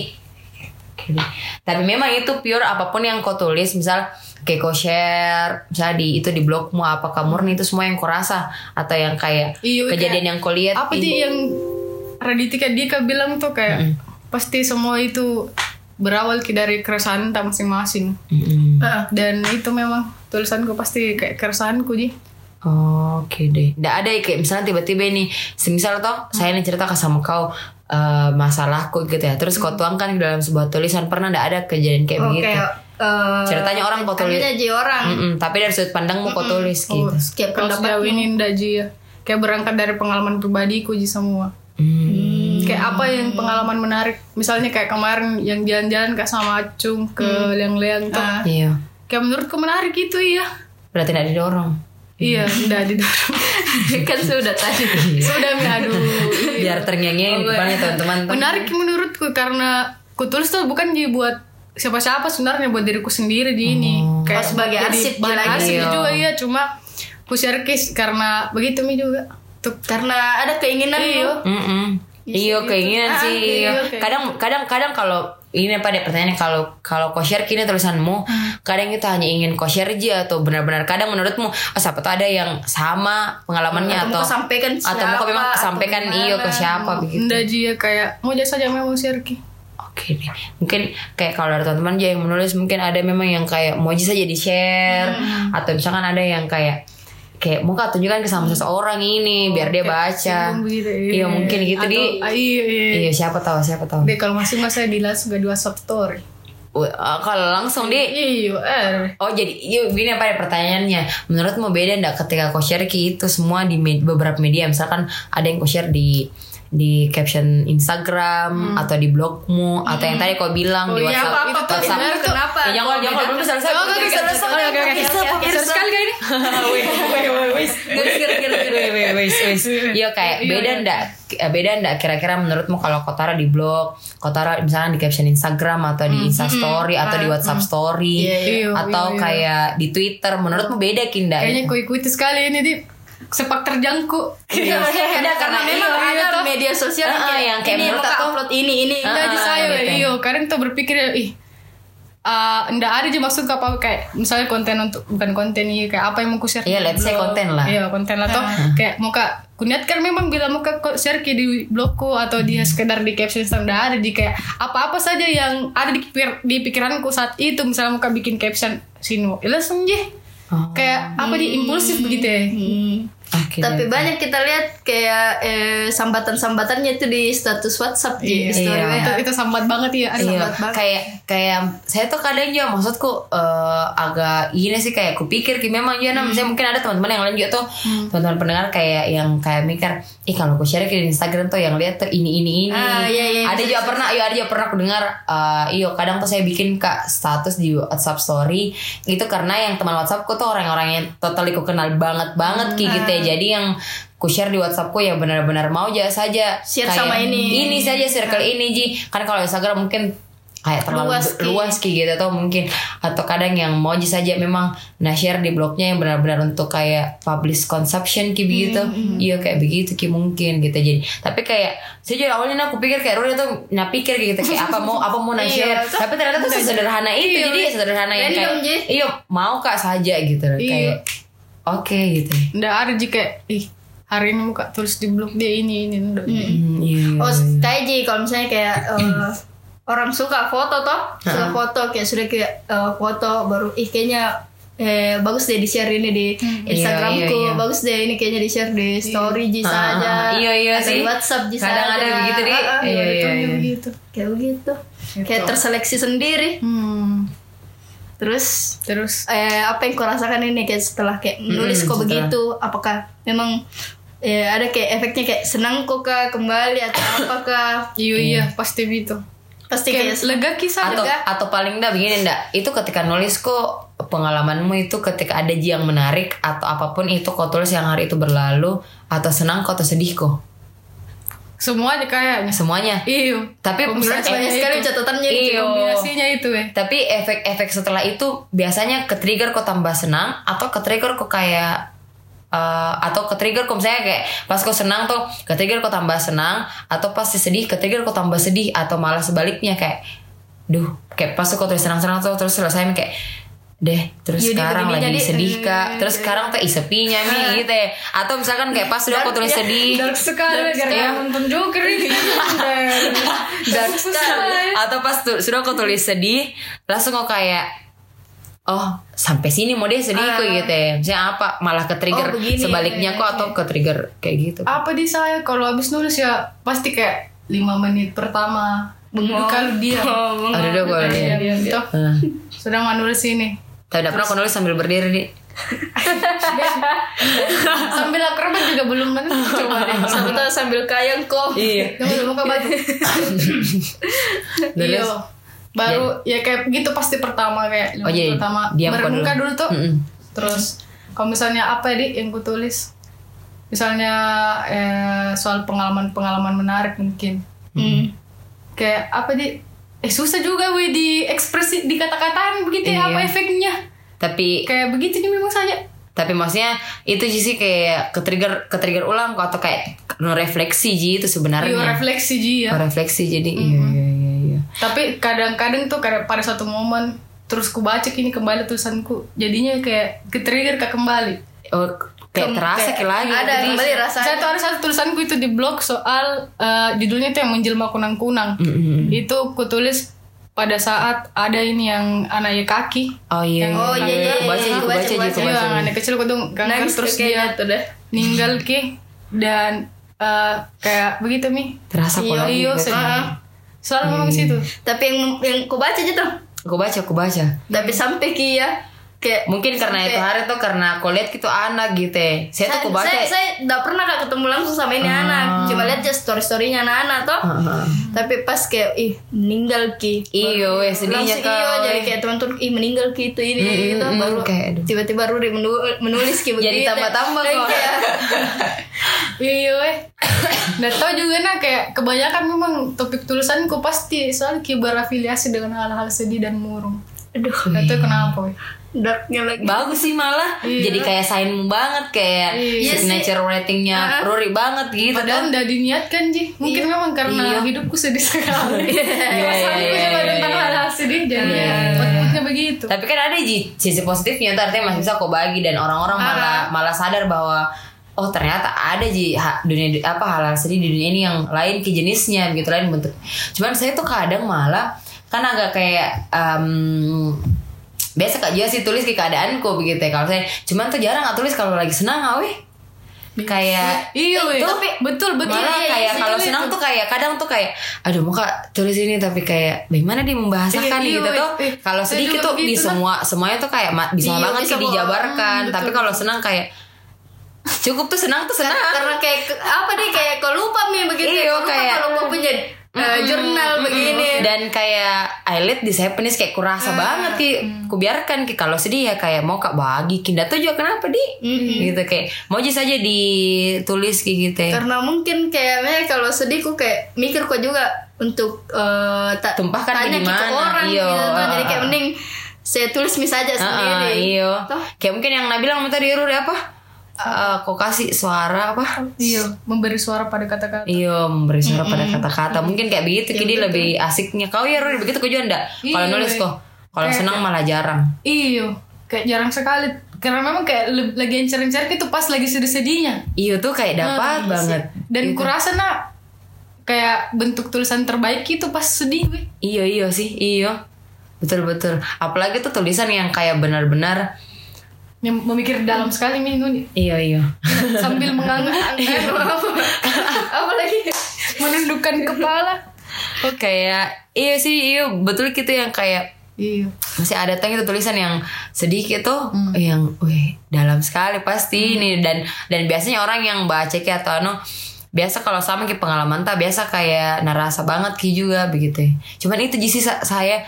[SPEAKER 1] tapi memang itu pure apapun yang kau tulis misal kayak kau share misal di itu di blogmu apa kamu murni itu semua yang kau rasa atau yang kayak
[SPEAKER 3] Iya,
[SPEAKER 1] kejadian yang kau lihat
[SPEAKER 3] Apa sih yang Raditya Dika bilang tuh kayak pasti semua itu berawal ki dari keresahan kita masing-masing.
[SPEAKER 1] Mm-mm.
[SPEAKER 2] Ah.
[SPEAKER 3] Dan itu memang tulisanku pasti kayak keresahanku Ji.
[SPEAKER 1] Oh, Oke deh. Nggak ada ya, kayak misalnya tiba-tiba nih, semisal toh saya nih cerita ke sama kau eh, masalahku gitu ya. Terus kau tuangkan ke dalam sebuah tulisan pernah nggak ada kejadian kayak
[SPEAKER 2] Oh,
[SPEAKER 1] begitu?
[SPEAKER 2] kayak eh,
[SPEAKER 1] Ceritanya orang kau tulis.
[SPEAKER 2] akhirnya jadi orang
[SPEAKER 1] Mm-mm, tapi dari sudut pandangmu kau tulis gitu.
[SPEAKER 2] setiap
[SPEAKER 3] Kalau sejauh
[SPEAKER 2] pendapat
[SPEAKER 3] ini ndak Ji ya. Kayak berangkat dari pengalaman pribadiku Ji semua.
[SPEAKER 1] Hmm.
[SPEAKER 3] Kayak apa yang pengalaman menarik? Misalnya kayak kemarin yang jalan-jalan ke sama Acung ke
[SPEAKER 2] Hmm.
[SPEAKER 3] Leang-Leang tuh.
[SPEAKER 2] Ah.
[SPEAKER 1] Iya.
[SPEAKER 3] Kayak menurutku menarik itu iya.
[SPEAKER 1] Berarti tidak didorong.
[SPEAKER 3] Iya,
[SPEAKER 2] Hmm.
[SPEAKER 3] udah didorong.
[SPEAKER 2] kan sudah tadi
[SPEAKER 3] Sudah Mi, aduh. iya.
[SPEAKER 1] Biar terngiang-ngiang di depannya teman-teman.
[SPEAKER 3] Menarik menurutku karena kutulis tuh bukan dibuat siapa-siapa sebenarnya buat diriku sendiri di ini. Kayak
[SPEAKER 2] Oh, sebagai
[SPEAKER 3] jadi
[SPEAKER 2] arsip
[SPEAKER 3] bahan
[SPEAKER 2] lagi.
[SPEAKER 3] arsip
[SPEAKER 1] Iya.
[SPEAKER 3] juga iya, cuma ku share case karena begitu Mi juga. Tuh.
[SPEAKER 2] karena ada keinginan
[SPEAKER 3] Iya.
[SPEAKER 2] lu.
[SPEAKER 1] Mm-mm. Iya keinginan
[SPEAKER 3] Ah,
[SPEAKER 1] sih. Iya.
[SPEAKER 3] iya, kayak
[SPEAKER 1] Kadang kadang kadang kalau ini apa deh pertanyaannya kalau kalau kau share kini tulisanmu kadang itu hanya ingin kau share aja atau benar-benar kadang menurutmu oh, siapa tuh ada yang sama pengalamannya
[SPEAKER 2] atau
[SPEAKER 1] atau
[SPEAKER 2] mau sampaikan
[SPEAKER 1] atau
[SPEAKER 2] siapa,
[SPEAKER 1] kau memang
[SPEAKER 2] atau
[SPEAKER 1] sampaikan iyo ke siapa
[SPEAKER 2] Gitu.
[SPEAKER 1] begitu.
[SPEAKER 3] Ndak Ji ya kayak mau jasa aja mau share Ki.
[SPEAKER 1] Oke deh. Mungkin kayak kalau dari teman-teman aja yang menulis mungkin ada memang yang kayak mau aja saja di share atau misalkan ada yang kayak kayak mau kau tunjukkan ke sama seseorang ini biar dia baca.
[SPEAKER 3] Singgung begitu,
[SPEAKER 1] Iya mungkin gitu
[SPEAKER 3] Atau-
[SPEAKER 1] di
[SPEAKER 3] ah, iya iya.
[SPEAKER 1] Iya siapa tahu siapa tahu.
[SPEAKER 3] Deh kalau masih masa di las gak dua sektor.
[SPEAKER 1] Wah, ah, kalau langsung di
[SPEAKER 3] Iya, eh.
[SPEAKER 1] Oh jadi yuk, gini apa ya pertanyaannya Menurutmu beda ndak ketika kau share ki itu semua di med- beberapa media Misalkan ada yang kau share di di caption Instagram atau di blogmu atau yang tadi kau bilang di
[SPEAKER 3] Oh, iya,
[SPEAKER 1] WhatsApp
[SPEAKER 3] apa-apa, Hmm. apa,
[SPEAKER 1] WhatsApp.
[SPEAKER 3] benar, kenapa?
[SPEAKER 1] Ya, jangan jangan belum selesai.
[SPEAKER 3] Oh, oke, selesai. Oke, oke, oke. Serius sekali kali ini.
[SPEAKER 1] Iya kayak beda ndak eh, beda ndak kira-kira menurutmu kalau kau taruh di blog, kau taruh misalnya di caption Instagram atau
[SPEAKER 3] Hmm.
[SPEAKER 1] di Insta Story atau di WhatsApp Story
[SPEAKER 3] iya.
[SPEAKER 1] atau
[SPEAKER 3] Iya, iya.
[SPEAKER 1] kayak di Twitter menurutmu beda kinda?
[SPEAKER 3] Kayaknya ku ikuti sekali ini di sepak terjangku.
[SPEAKER 1] Iya. Ndak, karena memang
[SPEAKER 3] iya,
[SPEAKER 2] ada
[SPEAKER 3] toh.
[SPEAKER 2] gitu. media sosial
[SPEAKER 1] Ah, ah, yang kayak
[SPEAKER 2] ini
[SPEAKER 1] menurut
[SPEAKER 2] mau
[SPEAKER 1] aku-
[SPEAKER 2] upload ini ini
[SPEAKER 1] Ah,
[SPEAKER 3] Nggak
[SPEAKER 1] ah,
[SPEAKER 3] di saya,
[SPEAKER 1] gitu.
[SPEAKER 3] iyo. Kadang tuh berpikir ih eh ndak ada aja maksud apa kayak misalnya konten untuk bukan konten iya kayak apa yang mau ku share
[SPEAKER 1] Iya, let's say konten lah.
[SPEAKER 3] iya konten lah toh
[SPEAKER 1] Nah.
[SPEAKER 3] kayak mau kak kuniat kan memang bila mau kak share ke di blogku atau di
[SPEAKER 1] Hmm.
[SPEAKER 3] sekedar di caption Instagram ndak ada di kayak apa apa saja yang ada di, pikir- di pikiranku saat itu misalnya mau kak bikin caption sinu ya langsung jeh
[SPEAKER 1] Oh.
[SPEAKER 3] kayak apa di
[SPEAKER 1] Hmm.
[SPEAKER 3] impulsif begitu ya
[SPEAKER 1] Oke.
[SPEAKER 2] tapi banyak kita lihat kayak eh, sambatan-sambatannya itu di status WhatsApp di story
[SPEAKER 1] Iya.
[SPEAKER 2] WA.
[SPEAKER 3] itu, itu sambat banget ya ada
[SPEAKER 1] Iya,
[SPEAKER 3] sambat banget
[SPEAKER 1] kayak kayak saya tuh kadang juga maksudku eh, agak ini sih kayak kupikir kayak memang ya nah,
[SPEAKER 3] Hmm.
[SPEAKER 1] misalnya mungkin ada teman-teman yang lain juga tuh teman-teman pendengar kayak yang kayak mikir ih kalau aku share ke di Instagram tuh yang lihat tuh ini ini ini
[SPEAKER 2] Ah, iya, iya,
[SPEAKER 1] ada juga pernah iya ada juga pernah aku dengar eh, iyo kadang tuh saya bikin kak status di WhatsApp story itu karena yang teman WhatsAppku tuh orang-orang yang totally ku kenal banget banget kayak gitu ya
[SPEAKER 2] Hmm.
[SPEAKER 1] jadi yang ku share di WhatsAppku yang benar-benar mau aja saja
[SPEAKER 2] Share sama ini. ya.
[SPEAKER 1] ini saja circle ini Ji kan kalau Instagram mungkin kayak terlalu
[SPEAKER 2] Luas,
[SPEAKER 1] luas,
[SPEAKER 2] Ki.
[SPEAKER 1] ki gitu atau mungkin atau kadang yang mau aja saja memang nah share di blognya yang benar-benar untuk kayak publish consumption
[SPEAKER 2] Hmm,
[SPEAKER 1] ki begitu iya kayak begitu ki mungkin gitu jadi tapi kayak saya juga awalnya nah, aku pikir kayak Rory tuh nah pikir kayak gitu kayak apa mau apa mau nah share
[SPEAKER 2] Iya,
[SPEAKER 1] tapi ternyata tuh sederhana itu jadi sederhana yang kayak
[SPEAKER 2] Random, Ji.
[SPEAKER 1] iya mau kak saja gitu loh
[SPEAKER 3] Iya.
[SPEAKER 1] kayak oke gitu
[SPEAKER 3] ndak ada jika kayak ih hari ini mau kak tulis di blog dia ini ini ndak
[SPEAKER 1] Hmm, iya.
[SPEAKER 2] Oh, kayak Ji, kalau misalnya kayak eh, orang suka foto toh, suka foto kayak sudah kayak eh, foto baru ih kayaknya eh, bagus deh di share ini di Instagramku,
[SPEAKER 1] iya, iya.
[SPEAKER 2] bagus deh ini kayaknya di share di story Ji
[SPEAKER 1] Ah,
[SPEAKER 2] saja.
[SPEAKER 1] ah, iya, iya
[SPEAKER 2] atau
[SPEAKER 1] sih.
[SPEAKER 2] Di WhatsApp Ji
[SPEAKER 1] Kadang
[SPEAKER 2] saja.
[SPEAKER 1] ada begitu, Di.
[SPEAKER 2] Ah, ah,
[SPEAKER 1] Iya, Gitu. iya,
[SPEAKER 2] betul,
[SPEAKER 1] iya.
[SPEAKER 2] begitu. Kayak begitu. kayak terseleksi sendiri
[SPEAKER 3] Hmm.
[SPEAKER 2] terus
[SPEAKER 3] Terus
[SPEAKER 2] eh, apa yang kau rasakan ini kayak setelah kayak menulis kok
[SPEAKER 1] Hmm, setelah.
[SPEAKER 2] begitu apakah memang eh, ada kayak efeknya kayak senang kok kah kembali atau apakah
[SPEAKER 3] iya iya pasti gitu.
[SPEAKER 2] pasti kayak,
[SPEAKER 3] Kayak lega kisah
[SPEAKER 1] Iya, atau
[SPEAKER 2] Enggak.
[SPEAKER 1] atau paling enggak begini enggak itu ketika nulis kok pengalamanmu itu ketika ada ji yang menarik atau apapun itu kau tulis yang hari itu berlalu atau senang kau atau sedih kok
[SPEAKER 3] semua aja kayaknya.
[SPEAKER 1] semuanya
[SPEAKER 3] Iya.
[SPEAKER 1] Tapi sebenarnya
[SPEAKER 3] Kombinasi
[SPEAKER 2] banyak sekali
[SPEAKER 3] itu.
[SPEAKER 2] catatannya
[SPEAKER 1] Iya.
[SPEAKER 2] gitu.
[SPEAKER 3] kombinasinya itu ya.
[SPEAKER 1] tapi efek-efek setelah itu biasanya ke trigger kok tambah senang atau ke trigger kok kayak eh, atau ke trigger kok misalnya kayak pas kok senang tuh ke trigger kok tambah senang atau pas sedih ke trigger kok tambah sedih atau malah sebaliknya kayak duh kayak pas kok terus senang-senang tuh terus selesai kayak deh terus
[SPEAKER 2] Jadi
[SPEAKER 1] sekarang
[SPEAKER 2] begini
[SPEAKER 1] lagi
[SPEAKER 2] jadi,
[SPEAKER 1] sedih
[SPEAKER 2] eh,
[SPEAKER 1] kak terus sekarang tuh isepinya mi gitu ya atau misalkan kayak pas udah kok tulis
[SPEAKER 2] Darknya,
[SPEAKER 1] sedih
[SPEAKER 3] Dark sekali
[SPEAKER 1] Iya.
[SPEAKER 3] gara-gara nonton Joker ini.
[SPEAKER 1] dark
[SPEAKER 3] ya.
[SPEAKER 1] sekali. Atau pas tu- sudah aku tulis sedih, langsung kok kayak Oh, sampai sini mau deh sedih
[SPEAKER 3] Ah.
[SPEAKER 1] kok gitu ya. Misalnya apa? Malah ke trigger
[SPEAKER 2] Oh, begini.
[SPEAKER 1] sebaliknya kok atau ke trigger kayak gitu.
[SPEAKER 3] Apa di saya kalau habis nulis ya pasti kayak 5 menit pertama bengong kalau dia.
[SPEAKER 2] Oh,
[SPEAKER 1] Aduh, udah
[SPEAKER 3] Iya.
[SPEAKER 1] gue ini.
[SPEAKER 3] Toh,
[SPEAKER 1] Heeh.
[SPEAKER 3] Sudah mau nulis
[SPEAKER 1] Ah.
[SPEAKER 3] ini.
[SPEAKER 1] Tapi udah pernah aku nulis sambil berdiri di.
[SPEAKER 3] Sambil akrobat juga belum men coba deh.
[SPEAKER 2] sambil sambil kayang
[SPEAKER 3] Oh.
[SPEAKER 2] kok
[SPEAKER 1] Iya.
[SPEAKER 3] Jangan dulu muka baju. Iya.
[SPEAKER 1] Nulis.
[SPEAKER 3] Baru ya kayak gitu pasti pertama kayak
[SPEAKER 1] Oh, jadi
[SPEAKER 3] pertama
[SPEAKER 1] diam kok
[SPEAKER 3] bermuka dulu tuh.
[SPEAKER 1] Mm-mm.
[SPEAKER 3] Terus kalau misalnya apa ya, Di, yang ku tulis? Misalnya eh, soal pengalaman-pengalaman menarik mungkin.
[SPEAKER 2] Hmm.
[SPEAKER 3] Kayak apa di eh susah juga we di ekspresi di kata-kataan begitu
[SPEAKER 1] Iya.
[SPEAKER 3] ya, apa efeknya?
[SPEAKER 1] Tapi
[SPEAKER 3] Kayak begitu nih memang saja.
[SPEAKER 1] tapi maksudnya itu Ji, sih kayak ke trigger ke trigger ulang kok atau kayak refleksi Ji itu sebenarnya.
[SPEAKER 3] Iya refleksi ji ya.
[SPEAKER 1] Refleksi jadi iya iya iya iya.
[SPEAKER 3] Tapi kadang-kadang tuh kayak pada satu momen terus ku baca ini kembali tulisanku jadinya kayak ke trigger ke kembali.
[SPEAKER 1] Oh, kayak terasa kayak lagi
[SPEAKER 2] ada
[SPEAKER 1] gitu, Ji.
[SPEAKER 2] kembali rasanya
[SPEAKER 3] Saya tuh ada satu tulisanku itu di blog soal eh, judulnya tuh yang menjelma kunang-kunang.
[SPEAKER 1] Mm-mm.
[SPEAKER 3] Itu ku tulis pada saat ada ini yang anaknya kaki.
[SPEAKER 1] Oh iya.
[SPEAKER 2] Oh, iya, iya,
[SPEAKER 1] Aku baca juga
[SPEAKER 2] iya, aku baca,
[SPEAKER 1] baca juga
[SPEAKER 2] baca.
[SPEAKER 1] baca.
[SPEAKER 3] Iya, anak kecil ku tuh kanker
[SPEAKER 2] Nangis
[SPEAKER 3] terus
[SPEAKER 2] kayaknya
[SPEAKER 3] dia
[SPEAKER 2] tuh deh.
[SPEAKER 3] ninggal ki dan eh, kayak begitu nih.
[SPEAKER 1] Terasa kok
[SPEAKER 3] Iya,
[SPEAKER 1] lagi
[SPEAKER 3] iya,
[SPEAKER 1] baca.
[SPEAKER 3] sedih. Selalu ngomong
[SPEAKER 2] Iya.
[SPEAKER 3] situ.
[SPEAKER 2] tapi yang yang ku baca aja tuh
[SPEAKER 1] Aku baca, aku baca.
[SPEAKER 2] tapi sampai kia kayak
[SPEAKER 1] Hmm. Mungkin karena itu hari tuh karena aku lihat gitu anak gitu. ya. Saya tuh aku baca. Ah.
[SPEAKER 2] saya, saya nggak pernah kak ketemu langsung sama ini anak cuma lihat aja story storynya anak-anak toh
[SPEAKER 1] Heeh.
[SPEAKER 2] tapi pas kayak ih meninggal ki
[SPEAKER 1] Iyo, weh, Iya, sedihnya
[SPEAKER 2] Langsung
[SPEAKER 1] kau.
[SPEAKER 2] iyo, jadi kayak teman-teman ih meninggal ki itu ini
[SPEAKER 1] Mm, mm,
[SPEAKER 2] gitu
[SPEAKER 1] mm,
[SPEAKER 2] baru
[SPEAKER 1] kayak, aduh.
[SPEAKER 2] tiba-tiba Ruri menu- menulis ki
[SPEAKER 1] Jadi
[SPEAKER 2] begitu.
[SPEAKER 1] tambah-tambah
[SPEAKER 2] Dan
[SPEAKER 1] kok.
[SPEAKER 2] kayak,
[SPEAKER 3] Iya, weh. Nah, tau juga nah kayak kebanyakan memang topik tulisanku pasti soal kibar afiliasi dengan hal-hal sedih dan murung.
[SPEAKER 2] aduh Iya.
[SPEAKER 3] Nah, itu kenapa? weh?
[SPEAKER 2] darknya lagi
[SPEAKER 1] Bagus sih malah.
[SPEAKER 2] Iya.
[SPEAKER 1] Jadi kayak sainmu banget kayak
[SPEAKER 3] Iya
[SPEAKER 1] signature ratingnya Rory banget gitu.
[SPEAKER 3] Padahal udah diniatkan sih. Mungkin memang karena hidupku sedih sekali.
[SPEAKER 1] iya,
[SPEAKER 3] Perasaanku
[SPEAKER 1] iya,
[SPEAKER 3] juga
[SPEAKER 1] iya,
[SPEAKER 3] tentang
[SPEAKER 1] iya.
[SPEAKER 3] hal-hal sedih jadi outputnya begitu.
[SPEAKER 1] Tapi kan ada ji- sisi positifnya tuh artinya masih bisa kau bagi dan orang-orang malah malah sadar bahwa oh ternyata ada ji ha- dunia du- apa hal-hal sedih di dunia ini yang lain ke jenisnya gitu lain bentuk. Cuman saya tuh kadang malah kan agak kayak em, biasa kak Jia sih tulis ke keadaanku begitu ya kalau saya cuman tuh jarang nggak tulis kalau lagi senang awe kayak
[SPEAKER 3] Iya, weh.
[SPEAKER 1] Itu-
[SPEAKER 3] betul, betul.
[SPEAKER 1] malah
[SPEAKER 3] Iya, iya,
[SPEAKER 1] kayak
[SPEAKER 3] iya,
[SPEAKER 1] kalau
[SPEAKER 3] iya,
[SPEAKER 1] senang
[SPEAKER 3] iya.
[SPEAKER 1] tuh kayak kadang tuh kayak aduh muka tulis ini tapi kayak bagaimana dia membahasakan
[SPEAKER 3] Iya, iya,
[SPEAKER 1] gitu
[SPEAKER 3] iya.
[SPEAKER 1] tuh
[SPEAKER 3] Eh,
[SPEAKER 1] kalau
[SPEAKER 3] saya
[SPEAKER 1] sedikit
[SPEAKER 3] juga
[SPEAKER 1] tuh di
[SPEAKER 3] begitu, nah.
[SPEAKER 1] semua semuanya tuh kayak ma- bisa
[SPEAKER 2] Iya,
[SPEAKER 1] banget
[SPEAKER 2] bisa
[SPEAKER 1] sih
[SPEAKER 2] kok.
[SPEAKER 1] dijabarkan
[SPEAKER 3] Hmm,
[SPEAKER 1] tapi
[SPEAKER 3] betul.
[SPEAKER 1] kalau senang kayak cukup tuh senang tuh senang
[SPEAKER 3] eh,
[SPEAKER 2] karena kayak ke- apa deh kayak kau lupa mi begitu
[SPEAKER 1] Iyo,
[SPEAKER 2] kau lupa
[SPEAKER 1] Iya, kayak-
[SPEAKER 2] kalau kau punya eh, jurnal begini
[SPEAKER 1] dan kayak eyelid di saya penis kayak
[SPEAKER 3] Ah,
[SPEAKER 1] kurasa banget ki
[SPEAKER 3] mm.
[SPEAKER 1] kubiarkan ki kalau sedih ya kayak mau kak bagi kinda tuh juga kenapa di gitu kayak mau aja saja ditulis kayak gitu ya.
[SPEAKER 2] karena mungkin kayaknya kalau sedih ku kayak mikir kok juga untuk eh, ta-
[SPEAKER 1] Tumpahkan ke
[SPEAKER 2] tanya
[SPEAKER 1] gimana,
[SPEAKER 2] ke orang
[SPEAKER 1] iyo,
[SPEAKER 2] gitu toh. jadi
[SPEAKER 1] ah,
[SPEAKER 2] kayak
[SPEAKER 1] ah.
[SPEAKER 2] mending saya tulis mis aja
[SPEAKER 1] Ah,
[SPEAKER 2] sendiri
[SPEAKER 1] iyo.
[SPEAKER 2] Toh,
[SPEAKER 1] Kayak mungkin yang Nabila ngomong tadi Ruri apa? Eh, kok kasih suara apa?
[SPEAKER 3] Iya, memberi suara pada kata-kata.
[SPEAKER 1] Iyo memberi suara pada kata-kata. Mungkin kayak begitu jadi lebih asiknya. Kau ya Ruri begitu kau juga enggak? Kalau
[SPEAKER 3] Iya,
[SPEAKER 1] nulis
[SPEAKER 3] iya.
[SPEAKER 1] kok. Kalau senang malah jarang.
[SPEAKER 3] Iya, kayak jarang sekali. Karena memang kayak le- lagi encer-encer itu pas lagi sedih-sedihnya. Ah, gitu
[SPEAKER 1] Iyo Iya tuh kayak
[SPEAKER 3] iya
[SPEAKER 1] dapat Ya, banget. Gitu.
[SPEAKER 3] Dan kurasa nak kayak bentuk tulisan terbaik itu pas sedih weh.
[SPEAKER 1] Iyo iyo Iya, sih, iyo. Betul betul. Apalagi tuh tulisan yang kayak benar-benar Iya,
[SPEAKER 3] Yang memikir dalam sekali minggu nih
[SPEAKER 1] iyo iyo. Iya.
[SPEAKER 3] sambil mengangguk
[SPEAKER 2] apa lagi
[SPEAKER 3] menundukkan kepala
[SPEAKER 1] kok kayak iya sih iya betul gitu yang kayak
[SPEAKER 3] Iya.
[SPEAKER 1] masih ada tuh yang itu tulisan yang sedikit tuh
[SPEAKER 3] Hmm.
[SPEAKER 1] yang wih dalam sekali pasti ini dan dan biasanya orang yang baca kayak atau anu biasa kalau sama kayak pengalaman tak biasa kayak narasa banget ki juga begitu ya. cuman itu jisi sa- saya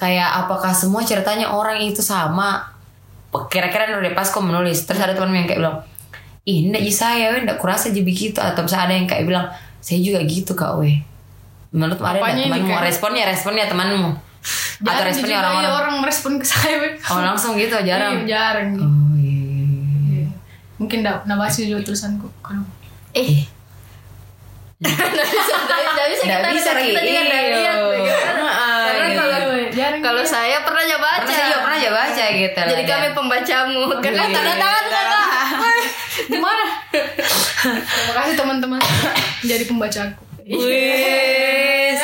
[SPEAKER 1] kayak apakah semua ceritanya orang itu sama kira-kira dari pas kok menulis terus ada teman yang kayak bilang ih ndak jis saya weh ndak kurasa jadi begitu atau misalnya ada yang kayak bilang saya juga gitu kak weh menurut ada
[SPEAKER 3] Apanya ini,
[SPEAKER 1] ndak temanmu
[SPEAKER 3] Kak?
[SPEAKER 1] responnya responnya temanmu atau
[SPEAKER 3] Jarang
[SPEAKER 1] responnya
[SPEAKER 3] jujur,
[SPEAKER 1] orang-orang
[SPEAKER 3] iya, orang merespon ke saya.
[SPEAKER 1] Oh langsung gitu jarang.
[SPEAKER 3] Iya, jarang.
[SPEAKER 1] Oh iya.
[SPEAKER 3] Iya. Mungkin enggak nabas juga tulisanku kalau
[SPEAKER 2] Eh. Nggak bisa,
[SPEAKER 1] Nggak
[SPEAKER 2] nggak
[SPEAKER 1] bisa,
[SPEAKER 2] bisa kita, kita
[SPEAKER 1] Ki.
[SPEAKER 2] juga nggak
[SPEAKER 1] Iya.
[SPEAKER 2] lihat. bagaimana.
[SPEAKER 1] Heeh,
[SPEAKER 2] Karena
[SPEAKER 1] gitu.
[SPEAKER 2] kalau
[SPEAKER 3] jarang.
[SPEAKER 2] kalau saya pernah aja baca.
[SPEAKER 1] Pernah saya juga pernah aja baca gitu. Iya.
[SPEAKER 2] Jadi
[SPEAKER 1] lah,
[SPEAKER 2] kami
[SPEAKER 1] dan-
[SPEAKER 2] pembacamu. Karena tanda tangan kakak.
[SPEAKER 3] gimana? Terima kasih teman-teman jadi pembacaku.
[SPEAKER 1] Wis.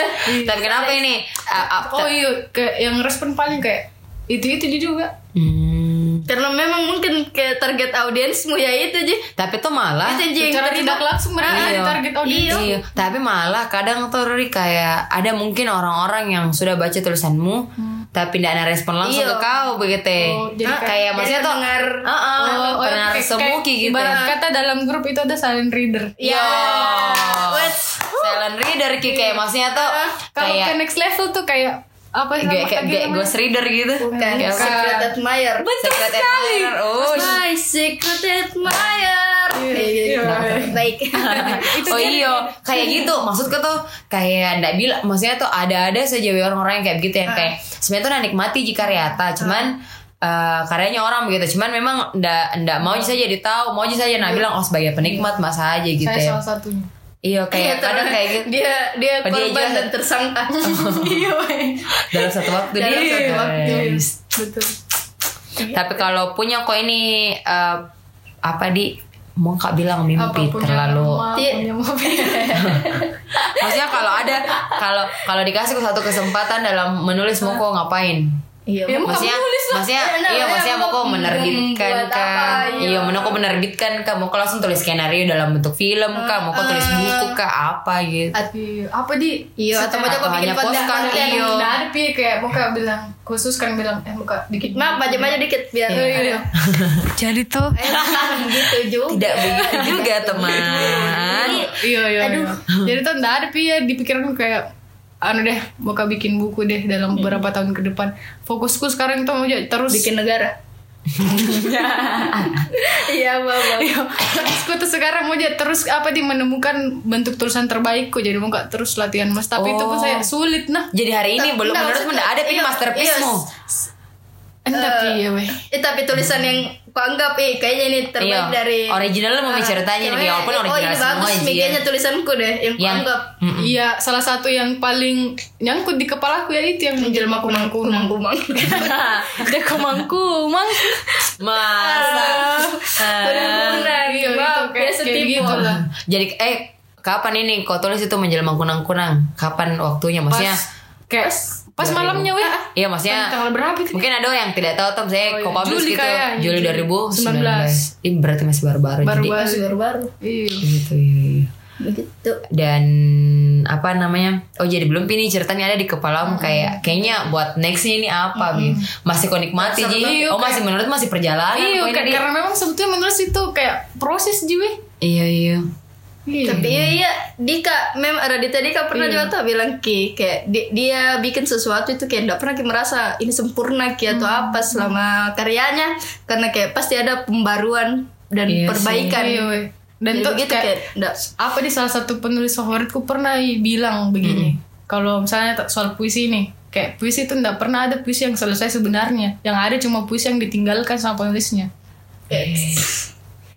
[SPEAKER 1] Tapi kenapa ini? Ah, ah,
[SPEAKER 3] Oh
[SPEAKER 1] ter-
[SPEAKER 3] iya, kayak yang respon paling kayak itu itu juga.
[SPEAKER 1] Hmm.
[SPEAKER 2] Karena memang mungkin ke target audiensmu ya itu aja.
[SPEAKER 1] Tapi tuh malah
[SPEAKER 2] Itu aja yang
[SPEAKER 3] Secara
[SPEAKER 2] terima.
[SPEAKER 3] tidak langsung mereka
[SPEAKER 1] Iya.
[SPEAKER 3] jadi target audiens.
[SPEAKER 1] Iya, tapi malah kadang tuh Riri kayak ada mungkin orang-orang yang sudah baca tulisanmu tapi tidak ada respon langsung ke
[SPEAKER 2] Iya.
[SPEAKER 1] kau begitu.
[SPEAKER 3] Oh, jadi
[SPEAKER 1] Nah,
[SPEAKER 3] kayak-
[SPEAKER 1] kayak
[SPEAKER 2] jadi
[SPEAKER 1] maksudnya tuh
[SPEAKER 2] pendengar.
[SPEAKER 1] Heeh,
[SPEAKER 3] Oh, iya,
[SPEAKER 1] pendengar
[SPEAKER 3] kayak-
[SPEAKER 1] semuki
[SPEAKER 3] kayak
[SPEAKER 1] gitu. Iya.
[SPEAKER 3] Ibarat kata dalam grup itu ada silent reader.
[SPEAKER 1] Yo.
[SPEAKER 2] What's-
[SPEAKER 1] Silent reader Ki kayak maksudnya tuh
[SPEAKER 3] Kalau
[SPEAKER 1] kayak
[SPEAKER 3] ke next level tuh kayak apa sih
[SPEAKER 1] kayak
[SPEAKER 3] nama-
[SPEAKER 1] kayak kayak
[SPEAKER 3] namanya?
[SPEAKER 1] ghost reader gitu.
[SPEAKER 2] kan? Bukan.
[SPEAKER 1] Kayak apa?
[SPEAKER 2] Secret admirer.
[SPEAKER 1] Secret admirer. Oh, sh-
[SPEAKER 2] My secret admirer.
[SPEAKER 3] Iya,
[SPEAKER 2] Kayak gitu.
[SPEAKER 3] iya.
[SPEAKER 2] Baik.
[SPEAKER 1] oh iya, kayak gitu. Maksudku tuh kayak ndak bilang, maksudnya tuh ada-ada saja we orang-orang yang kayak begitu yang kayak sebenarnya tuh ndak nikmati jika karyata, cuman eh, karyanya orang begitu. Cuman memang ndak ndak mau saja ditahu, mau saja nah bilang oh sebagai penikmat masa aja gitu
[SPEAKER 3] Saya
[SPEAKER 1] ya.
[SPEAKER 3] salah satunya.
[SPEAKER 1] Iya kayak kadang kayak gitu.
[SPEAKER 2] Dia dia
[SPEAKER 1] Oh, dia
[SPEAKER 2] korban
[SPEAKER 1] jahat.
[SPEAKER 2] dan tersangka.
[SPEAKER 3] Iya.
[SPEAKER 1] Dalam satu waktu iya.
[SPEAKER 2] Dalam
[SPEAKER 1] dia.
[SPEAKER 2] satu
[SPEAKER 3] waktu. Betul.
[SPEAKER 1] Tapi kalau punya kok ini eh, apa di mau kak bilang mimpi
[SPEAKER 3] Apapun
[SPEAKER 1] terlalu Iya.
[SPEAKER 3] yang mau
[SPEAKER 1] maksudnya kalau ada kalau kalau dikasih ke satu kesempatan dalam menulis mau kok ngapain
[SPEAKER 2] Iya.
[SPEAKER 3] Ya, mau
[SPEAKER 1] maksudnya
[SPEAKER 3] nulis lah.
[SPEAKER 1] maksudnya
[SPEAKER 2] Ya, nah,
[SPEAKER 1] iya
[SPEAKER 2] ya,
[SPEAKER 1] maksudnya mau kok
[SPEAKER 2] mau
[SPEAKER 1] menerbitkan
[SPEAKER 2] membuat
[SPEAKER 1] kan
[SPEAKER 2] apa, iya.
[SPEAKER 1] iya mau kok menerbitkan kan mau kok langsung tulis skenario dalam bentuk film kan mau kok tulis buku kah apa gitu
[SPEAKER 3] Iya, apa di?
[SPEAKER 2] Iya, atau
[SPEAKER 1] Atau
[SPEAKER 2] baca kok bikin kan?
[SPEAKER 1] hanya
[SPEAKER 2] konten.
[SPEAKER 1] postcard,
[SPEAKER 2] konten.
[SPEAKER 1] iya.
[SPEAKER 3] Nah, ada pi kayak muka bilang khusus kan bilang eh muka dikit.
[SPEAKER 2] Maaf, maju-maju dikit biar. iya.
[SPEAKER 3] Jadi tuh
[SPEAKER 2] gitu juga.
[SPEAKER 1] tidak begitu juga teman
[SPEAKER 3] iya iya aduh jadi tuh nggak ada pi ya di pikiran kayak anu deh muka bikin buku deh dalam beberapa tahun ke depan fokusku sekarang tuh mau jadi- terus
[SPEAKER 2] bikin negara. Iya, Bapak.
[SPEAKER 3] Iya. fokusku tuh sekarang mau jadi terus apa di menemukan bentuk tulisan terbaikku jadi muka terus latihan mas tapi itu pun
[SPEAKER 1] Oh.
[SPEAKER 3] saya sulit nah
[SPEAKER 1] jadi hari ini belum
[SPEAKER 2] Nggak,
[SPEAKER 1] menurutmu
[SPEAKER 2] maksudnya,
[SPEAKER 1] nggak ada pilih
[SPEAKER 2] iya,
[SPEAKER 1] masterpiece
[SPEAKER 2] iya,
[SPEAKER 1] mu
[SPEAKER 3] enggak iya weh
[SPEAKER 2] Eh tapi tulisan yang kuanggap eh kayaknya ini terbaik
[SPEAKER 1] Iya.
[SPEAKER 2] dari
[SPEAKER 1] Original lu mau ceritanya nih,
[SPEAKER 2] Cuma,
[SPEAKER 1] walaupun
[SPEAKER 2] Oh
[SPEAKER 1] original
[SPEAKER 2] ini
[SPEAKER 1] semua,
[SPEAKER 2] bagus nih,
[SPEAKER 1] Jian.
[SPEAKER 2] kayaknya tulisanku deh yang
[SPEAKER 1] yang
[SPEAKER 2] kuanggap
[SPEAKER 1] Mm-mm.
[SPEAKER 3] Iya, salah satu yang paling nyangkut di kepalaku ya itu yang menjelma kumang-kumang.
[SPEAKER 2] kumang-kumang.
[SPEAKER 3] Ada kumang-kumang.
[SPEAKER 1] masa
[SPEAKER 2] Benar-benar
[SPEAKER 3] Iya,
[SPEAKER 2] gitu.
[SPEAKER 3] itu kayak,
[SPEAKER 2] Biasa
[SPEAKER 3] kayak
[SPEAKER 2] tipu.
[SPEAKER 3] gitu lah.
[SPEAKER 1] jadi eh kapan ini kau tulis itu menjelma kunang-kunang kapan waktunya maksudnya
[SPEAKER 3] Pas- kayak pas malamnya weh. Ya.
[SPEAKER 1] iya maksudnya
[SPEAKER 3] Tanggal berapa itu?
[SPEAKER 1] mungkin ada yang tidak tahu Tom saya
[SPEAKER 3] Oh, iya.
[SPEAKER 1] kok publish
[SPEAKER 3] Juli
[SPEAKER 1] gitu
[SPEAKER 3] kayaknya,
[SPEAKER 1] Juli
[SPEAKER 3] Juli.
[SPEAKER 1] 2019 ini berarti masih baru-baru
[SPEAKER 3] Baru
[SPEAKER 1] jadi
[SPEAKER 3] banget.
[SPEAKER 2] baru-baru.
[SPEAKER 3] Iya.
[SPEAKER 1] gitu iya, iya.
[SPEAKER 2] Begitu.
[SPEAKER 1] dan apa namanya oh jadi belum ini ceritanya ada di kepalamu
[SPEAKER 3] Hmm.
[SPEAKER 1] kayak kayaknya buat nextnya ini apa gitu masih kau nikmati jadi oh masih menurut masih perjalanan
[SPEAKER 3] Iya,
[SPEAKER 1] kok ini,
[SPEAKER 3] ka-
[SPEAKER 1] Di.
[SPEAKER 3] karena memang sebetulnya menulis itu kayak proses jiwe.
[SPEAKER 1] iya iya
[SPEAKER 2] Tapi iya iya Dika mem Radita Dika pernah juga
[SPEAKER 3] Iya.
[SPEAKER 2] tuh bilang ki kayak di- dia bikin sesuatu itu kayak nggak pernah ki merasa ini sempurna ki atau
[SPEAKER 3] Hmm.
[SPEAKER 2] apa selama karyanya karena kayak pasti ada pembaruan dan
[SPEAKER 1] Iya sih.
[SPEAKER 2] perbaikan.
[SPEAKER 3] Iya, weh. Dan
[SPEAKER 2] Dan
[SPEAKER 3] tuh
[SPEAKER 2] gitu
[SPEAKER 3] kayak,
[SPEAKER 2] kayak nggak
[SPEAKER 3] apa di salah satu penulis favoritku pernah bilang begini. Kalau misalnya t- soal puisi nih, kayak puisi itu nggak pernah ada puisi yang selesai sebenarnya. Yang ada cuma puisi yang ditinggalkan sama penulisnya.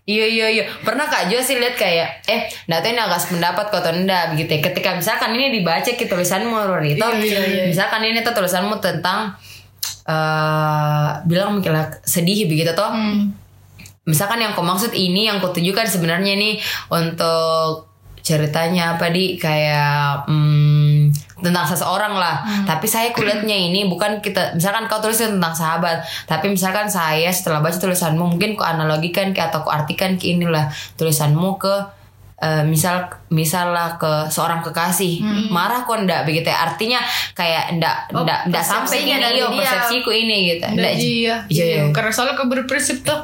[SPEAKER 1] Iya iya iya pernah kak Jo sih lihat kayak eh nggak tahu ini agak sependapat kok atau enggak begitu ya. Ketika misalkan ini dibaca ke tulisanmu Rory toh, misalkan ini tuh tulisanmu tentang eh bilang mungkin lah, sedih begitu toh misalkan yang kau maksud ini yang kau tujukan sebenarnya ini untuk ceritanya apa di kayak hmm, tentang seseorang lah
[SPEAKER 2] Hmm.
[SPEAKER 1] tapi saya kulitnya ini bukan kita misalkan kau tulis tentang sahabat tapi misalkan saya setelah baca tulisanmu mungkin ku analogikan ke atau ku artikan ke inilah tulisanmu ke eh, misal misallah ke seorang kekasih
[SPEAKER 2] Hmm.
[SPEAKER 1] marah kok ndak begitu ya. artinya kayak ndak
[SPEAKER 3] Oh,
[SPEAKER 1] ndak ndak sampai
[SPEAKER 2] persepsinya
[SPEAKER 1] ini
[SPEAKER 2] dari
[SPEAKER 1] yo
[SPEAKER 2] dia.
[SPEAKER 1] persepsiku ini gitu ndak
[SPEAKER 3] Nggak, iya,
[SPEAKER 1] iya, iya.
[SPEAKER 3] Karena soalnya aku berprinsip tuh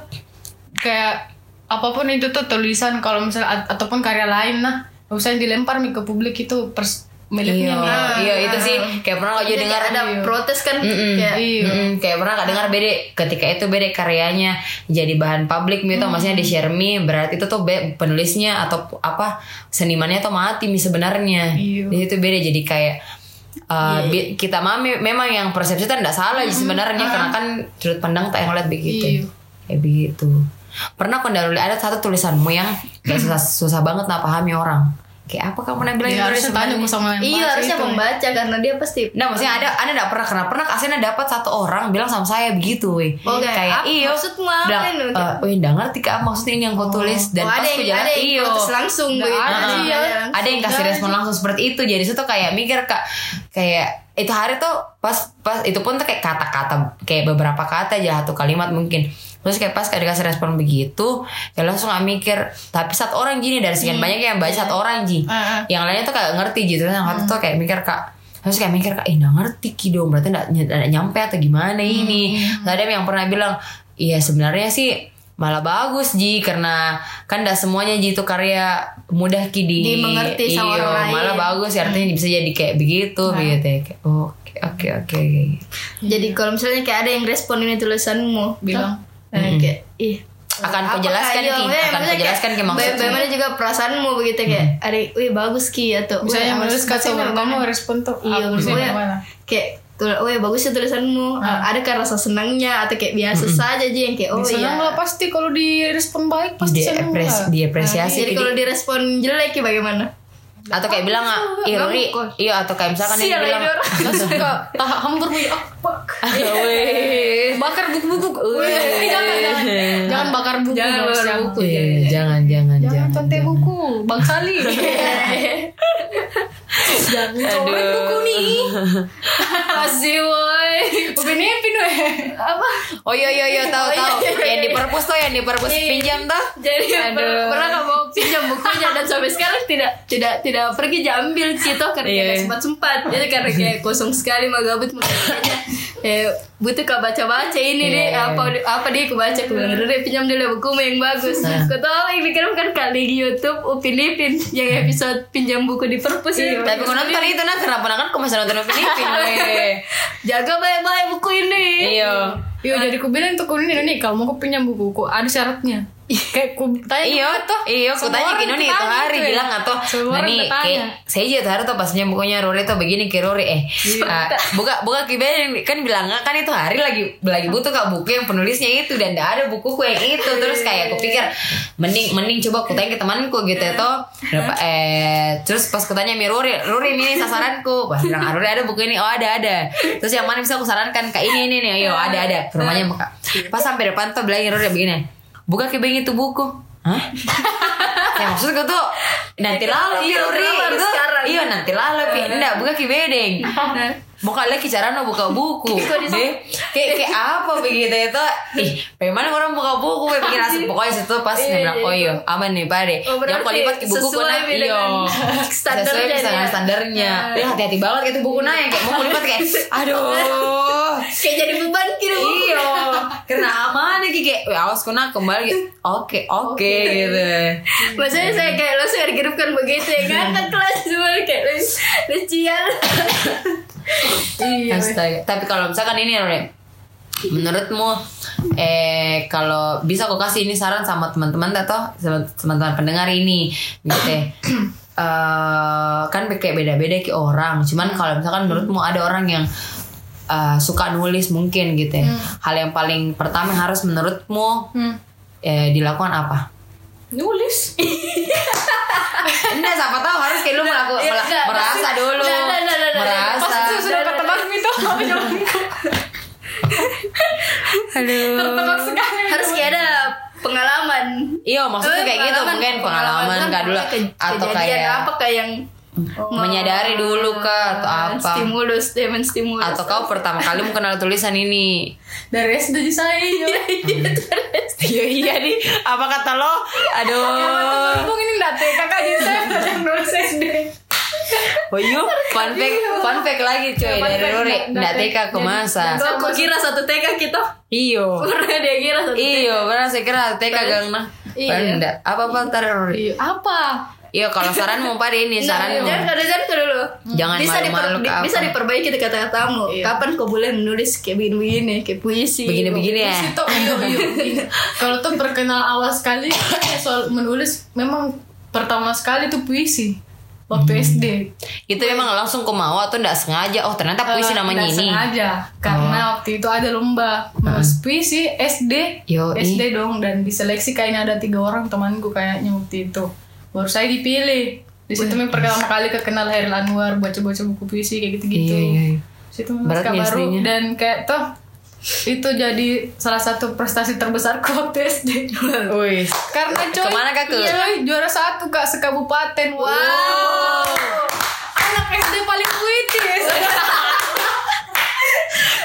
[SPEAKER 3] kayak apapun itu tuh tulisan kalau misalnya at- ataupun karya lain nah nggak usah dilempar Mi, ke publik itu pers
[SPEAKER 1] iya
[SPEAKER 3] miliknya Mi.
[SPEAKER 1] iya itu sih kayak pernah gak jadi
[SPEAKER 2] Jadi
[SPEAKER 1] dengar
[SPEAKER 2] ada protes kan kayak
[SPEAKER 3] ah, Iya.
[SPEAKER 1] Mm-mm, kayak pernah gak dengar bede ketika itu bede karyanya jadi bahan publik mi tau maksudnya di share mi berarti itu tuh be- penulisnya atau apa senimannya tuh mati mi sebenarnya
[SPEAKER 3] Iya.
[SPEAKER 1] di situ beda jadi kayak uh, bi- kita mami memang yang persepsi itu tidak salah sebenarnya karena kan sudut pandang tak yang lihat begitu
[SPEAKER 3] Iya.
[SPEAKER 1] kayak begitu pernah kau ndak- ada satu tulisanmu yang kayak susah susah banget nah pahami orang kayak apa kamu nak bilang
[SPEAKER 3] Ya,
[SPEAKER 1] itu
[SPEAKER 3] harusnya tanya
[SPEAKER 1] sebenarnya?
[SPEAKER 3] aku sama yang
[SPEAKER 2] Iya
[SPEAKER 3] baca
[SPEAKER 2] harusnya
[SPEAKER 3] itu, Mi.
[SPEAKER 2] membaca karena dia pasti
[SPEAKER 1] Nah maksudnya ada ada nggak pernah karena pernah kasihnya dapat satu orang bilang sama saya begitu weh.
[SPEAKER 2] Oke,
[SPEAKER 1] Kayak
[SPEAKER 2] apa-
[SPEAKER 1] iyo.
[SPEAKER 2] maksudmu apa
[SPEAKER 1] bilang,
[SPEAKER 2] ini?
[SPEAKER 1] "Eh, weh nggak ngerti kak maksudnya ini yang kau tulis dan
[SPEAKER 2] oh,
[SPEAKER 1] pas
[SPEAKER 2] ada
[SPEAKER 1] ku
[SPEAKER 2] yang
[SPEAKER 1] jalan
[SPEAKER 2] ada yang
[SPEAKER 1] iyo.
[SPEAKER 2] protes langsung gitu. Iya,
[SPEAKER 3] Nggak
[SPEAKER 2] begitu.
[SPEAKER 3] ada sih, ya.
[SPEAKER 2] Ada.
[SPEAKER 1] Ada Iya. yang kasih respon langsung seperti itu jadi itu tuh kayak mikir kak kayak itu hari tuh pas pas itu pun tuh kayak kata-kata kayak beberapa kata aja satu kalimat mungkin terus kayak pas kayak dikasih respon begitu ya langsung nggak mikir tapi satu orang gini dari sekian banyak yang baca satu orang ji
[SPEAKER 3] Iya. Ah, Hmm. ah.
[SPEAKER 1] yang lainnya tuh kayak ngerti gitu yang satu tuh kayak mikir kak terus kayak mikir kak eh nggak ngerti ki dong berarti nggak ny- nggak nyampe atau gimana ini
[SPEAKER 3] Hmm.
[SPEAKER 1] Terus ada yang pernah bilang iya sebenarnya sih malah bagus ji karena kan nggak semuanya ji itu karya mudah ki di
[SPEAKER 2] Dimengerti sama
[SPEAKER 1] Iyo,
[SPEAKER 2] orang lain.
[SPEAKER 1] Iya,
[SPEAKER 2] Nah.
[SPEAKER 1] malah bagus ya, artinya bisa jadi kayak begitu begitu ya. Kayak, oke oke oke gitu.
[SPEAKER 2] Jadi kalau misalnya kayak ada yang respon ini tulisanmu,
[SPEAKER 3] Bilang.
[SPEAKER 2] nah, kayak ih
[SPEAKER 1] akan
[SPEAKER 2] apa
[SPEAKER 1] aku jelaskan
[SPEAKER 2] kayak,
[SPEAKER 1] ki
[SPEAKER 2] iya,
[SPEAKER 1] akan
[SPEAKER 2] maksudnya
[SPEAKER 1] aku jelaskan ki
[SPEAKER 2] kayak,
[SPEAKER 1] maksudnya
[SPEAKER 2] Bagaimana juga perasaanmu begitu kayak ada, wih bagus ki atau "Wih,
[SPEAKER 3] misalnya
[SPEAKER 2] harus
[SPEAKER 3] menulis kata
[SPEAKER 2] bacanya
[SPEAKER 3] baru kamu
[SPEAKER 2] mana?"
[SPEAKER 3] respon tuh
[SPEAKER 2] iya
[SPEAKER 3] apa sih,
[SPEAKER 2] maksudnya
[SPEAKER 3] gimana?
[SPEAKER 2] kayak tul- wih bagus ya tulisanmu
[SPEAKER 1] Ah.
[SPEAKER 2] ada kan rasa senangnya atau kayak biasa saja aja yang kayak oh iya
[SPEAKER 3] senang lah pasti kalau direspon baik pasti
[SPEAKER 1] Dia
[SPEAKER 3] senang
[SPEAKER 1] apres-
[SPEAKER 3] lah
[SPEAKER 1] diapresiasi
[SPEAKER 2] Nah, jadi
[SPEAKER 1] Ki,
[SPEAKER 2] kalau direspon jelek ya bagaimana
[SPEAKER 1] atau kayak bilang iya
[SPEAKER 2] Nggak
[SPEAKER 1] Ri,
[SPEAKER 2] mukul.
[SPEAKER 1] iya atau kayak misalkan dia
[SPEAKER 2] Sial,
[SPEAKER 1] bilang "Iya,
[SPEAKER 2] ini orang.
[SPEAKER 3] langsung ke tahap hambur Bu. Ah, bak.
[SPEAKER 1] Wih.
[SPEAKER 3] bakar buku-buku Eh, jangan jangan jangan bakar buku
[SPEAKER 2] Jangan
[SPEAKER 3] dong,
[SPEAKER 2] bakar
[SPEAKER 3] siang.
[SPEAKER 2] buku,
[SPEAKER 1] Iya, jangan jangan
[SPEAKER 3] jangan
[SPEAKER 1] jangan.
[SPEAKER 3] contek buku bang Sali jangan coret buku nih
[SPEAKER 2] Asih woi
[SPEAKER 3] Bukan nepin weh
[SPEAKER 2] Apa
[SPEAKER 1] Oh iya iya iya tahu
[SPEAKER 2] Oh, iya,
[SPEAKER 1] tahu.
[SPEAKER 2] iya, iya.
[SPEAKER 1] Yang di perpus tuh yang di perpus pinjam tuh.
[SPEAKER 2] Jadi per-
[SPEAKER 3] Aduh.
[SPEAKER 2] pernah nggak mau pinjam bukunya Dan sampai sekarang tidak tidak tidak pergi dia ambil gitu Karena
[SPEAKER 1] Iya.
[SPEAKER 2] tidak sempat-sempat Jadi karena kayak kosong sekali mau gabut mau kayaknya, eh, Butuh kak baca-baca ini
[SPEAKER 1] Iya,
[SPEAKER 2] deh
[SPEAKER 1] iya,
[SPEAKER 2] Apa apa dia kebaca Aku bilang "Dede, pinjam dulu bukumu yang bagus Kau tahu yang dikirimkan kali di Youtube Upin Ipin Yang episode pinjam buku di perpus itu.
[SPEAKER 1] Tapi aku nonton itu nah kenapa nah kan aku masih nonton Filipin weh.
[SPEAKER 2] Jaga baik-baik buku ini
[SPEAKER 1] Iya.
[SPEAKER 3] Yo jadi ku bilang tuh kunin ini kalau mau ku pinjam buku ku ada syaratnya. Kayak ku tanya
[SPEAKER 1] Iya, iya, aku
[SPEAKER 3] Semua
[SPEAKER 1] tanya
[SPEAKER 3] orang
[SPEAKER 1] Kino nih itu
[SPEAKER 3] ketanya
[SPEAKER 1] hari
[SPEAKER 3] tuh ya.
[SPEAKER 1] bilang atau
[SPEAKER 3] Semua
[SPEAKER 1] nah
[SPEAKER 3] orang
[SPEAKER 1] nih
[SPEAKER 3] ketanya.
[SPEAKER 1] kayak saya aja tuh hari tuh pasnya bukunya Rory tuh begini ke Rory eh ah, buka buka kiben kan bilang kan itu hari lagi lagi butuh kak buku yang penulisnya itu dan gak ada bukuku yang itu terus kayak aku pikir mending mending coba aku tanya ke temanku gitu ya toh Berapa- eh terus pas aku tanya Mi Rory Rory ini sasaranku wah bilang "Ah, Rory ada buku ini oh ada ada terus yang mana bisa aku sarankan kak ini ini nih ayo ada ada ke rumahnya Kak. pas sampai depan tuh bilang Rory begini buka kebeng itu buku Hah? ya maksudku tuh nanti lalu
[SPEAKER 2] Iya,
[SPEAKER 1] Yuri
[SPEAKER 2] kenapa harus
[SPEAKER 1] itu
[SPEAKER 2] sekarang?
[SPEAKER 1] iya nanti lalu pi enggak buka kibedeng
[SPEAKER 2] Nah.
[SPEAKER 1] buka lagi cara no buka buku deh kayak kayak apa begitu itu ih bagaimana orang buka buku gue pikir asik pokoknya situ pas
[SPEAKER 2] Iya,
[SPEAKER 1] nih bilang
[SPEAKER 2] iya,
[SPEAKER 1] oh iya aman nih pare
[SPEAKER 2] Oh,
[SPEAKER 1] jangan
[SPEAKER 2] berarti
[SPEAKER 1] kau lipat ke buku kau
[SPEAKER 2] sesuai
[SPEAKER 1] nah iyo
[SPEAKER 2] dengan standarnya
[SPEAKER 1] sesuai dengan
[SPEAKER 2] dia. Iya.
[SPEAKER 1] standarnya Dia hati-hati banget gitu buku nah yang kayak mau lipat kayak aduh
[SPEAKER 2] Kayak jadi beban kira
[SPEAKER 1] Iya. Kena aman lagi kayak "Weh, awas kena kembali gitu. Oke, oke gitu.
[SPEAKER 2] Maksudnya saya kayak langsung dikirimkan begitu ya kan ke kelas semua kayak lucian.
[SPEAKER 3] Iya.
[SPEAKER 1] Astaga. Tapi kalau misalkan ini Rem, menurutmu eh kalau bisa aku kasih ini saran sama teman-teman atau sama teman-teman pendengar ini gitu ya. Eh, kan kayak beda-beda ke orang. Cuman kalau misalkan menurutmu ada orang yang eh, suka nulis mungkin gitu ya.
[SPEAKER 2] Hmm.
[SPEAKER 1] Hal yang paling pertama yang harus menurutmu
[SPEAKER 3] Hmm.
[SPEAKER 1] eh, dilakukan apa?
[SPEAKER 3] Nulis.
[SPEAKER 1] Enggak, siapa tahu harus kayak lu melaku,
[SPEAKER 2] iya,
[SPEAKER 1] mela-
[SPEAKER 2] enggak, Nah,
[SPEAKER 1] merasa
[SPEAKER 2] pasti-
[SPEAKER 1] dulu.
[SPEAKER 2] enggak, enggak, enggak, enggak, enggak,
[SPEAKER 1] merasa.
[SPEAKER 3] Pasti sudah ketebak itu jawabanku. Tertebak sekali.
[SPEAKER 2] Harus kayak ada pengalaman.
[SPEAKER 1] Iya, maksudnya
[SPEAKER 2] Eh,
[SPEAKER 1] kayak gitu
[SPEAKER 2] pengalaman,
[SPEAKER 1] mungkin pengalaman enggak dulu
[SPEAKER 2] kan,
[SPEAKER 1] atau
[SPEAKER 2] kejadian
[SPEAKER 1] kayak
[SPEAKER 2] apa kayak yang
[SPEAKER 1] menyadari dulu kak atau apa
[SPEAKER 2] Stimulus, statement stimulus.
[SPEAKER 1] atau kau pertama kali mengenal tulisan ini
[SPEAKER 3] dari SD saya
[SPEAKER 1] iya iya nih apa kata lo aduh
[SPEAKER 3] Untung ini nggak TK kakak jadi saya belajar nulis SD.
[SPEAKER 1] Oh iya, fun fact, fun fact lagi coy
[SPEAKER 3] fun
[SPEAKER 1] dari
[SPEAKER 3] fact,
[SPEAKER 1] Ruri
[SPEAKER 3] nggak-
[SPEAKER 1] Nggak
[SPEAKER 3] nggak
[SPEAKER 1] TK ke
[SPEAKER 3] jadi-
[SPEAKER 1] masa
[SPEAKER 3] nggak-
[SPEAKER 2] Aku kira satu TK kita.
[SPEAKER 1] Iyo
[SPEAKER 2] Pernah dia kira satu TK.
[SPEAKER 1] Iyo, pernah saya kira TK gang nah
[SPEAKER 3] Iya.
[SPEAKER 1] Iya Apa-apa ntar Ruri
[SPEAKER 3] Iya, apa?
[SPEAKER 1] Iya kalau saran mau pada ini iya, saran
[SPEAKER 2] Jangan
[SPEAKER 1] mau
[SPEAKER 2] ada jangan ke dulu.
[SPEAKER 1] Jangan
[SPEAKER 2] bisa
[SPEAKER 1] malu-malu
[SPEAKER 2] diper-
[SPEAKER 1] ke
[SPEAKER 2] di-
[SPEAKER 1] apa.
[SPEAKER 2] bisa diperbaiki di kata-katamu. Kapan kau boleh menulis kayak begini-begini, kayak puisi. iya,
[SPEAKER 1] Begini-begini ya
[SPEAKER 3] Situ iyo iyo. iyo. Kalau tuh perkenal awal sekali soal menulis memang pertama sekali tuh puisi waktu SD.
[SPEAKER 1] Itu memang langsung ke mau atau nggak sengaja Oh ternyata puisi
[SPEAKER 3] Eh,
[SPEAKER 1] namanya
[SPEAKER 3] nggak
[SPEAKER 1] ini Oh.
[SPEAKER 3] Sengaja karena waktu itu ada lomba menulis puisi SD.
[SPEAKER 1] Yoi.
[SPEAKER 3] SD dong dan diseleksi kayaknya ada tiga orang temanku kayaknya waktu itu. Baru saya dipilih. Di situ memang pertama kali kekenal Hairil Anwar baca-baca buku puisi kayak gitu-gitu.
[SPEAKER 1] Iya, iya, iya.
[SPEAKER 3] situ
[SPEAKER 1] Berat
[SPEAKER 3] naskah
[SPEAKER 1] nih
[SPEAKER 3] baru
[SPEAKER 1] SD-nya.
[SPEAKER 3] dan kayak toh itu jadi salah satu prestasi terbesarku waktu SD
[SPEAKER 1] Wih
[SPEAKER 3] karena coy
[SPEAKER 1] Kemana, Kak, ke?
[SPEAKER 3] iya coy, juara satu kak sekabupaten wow anak SD paling puitis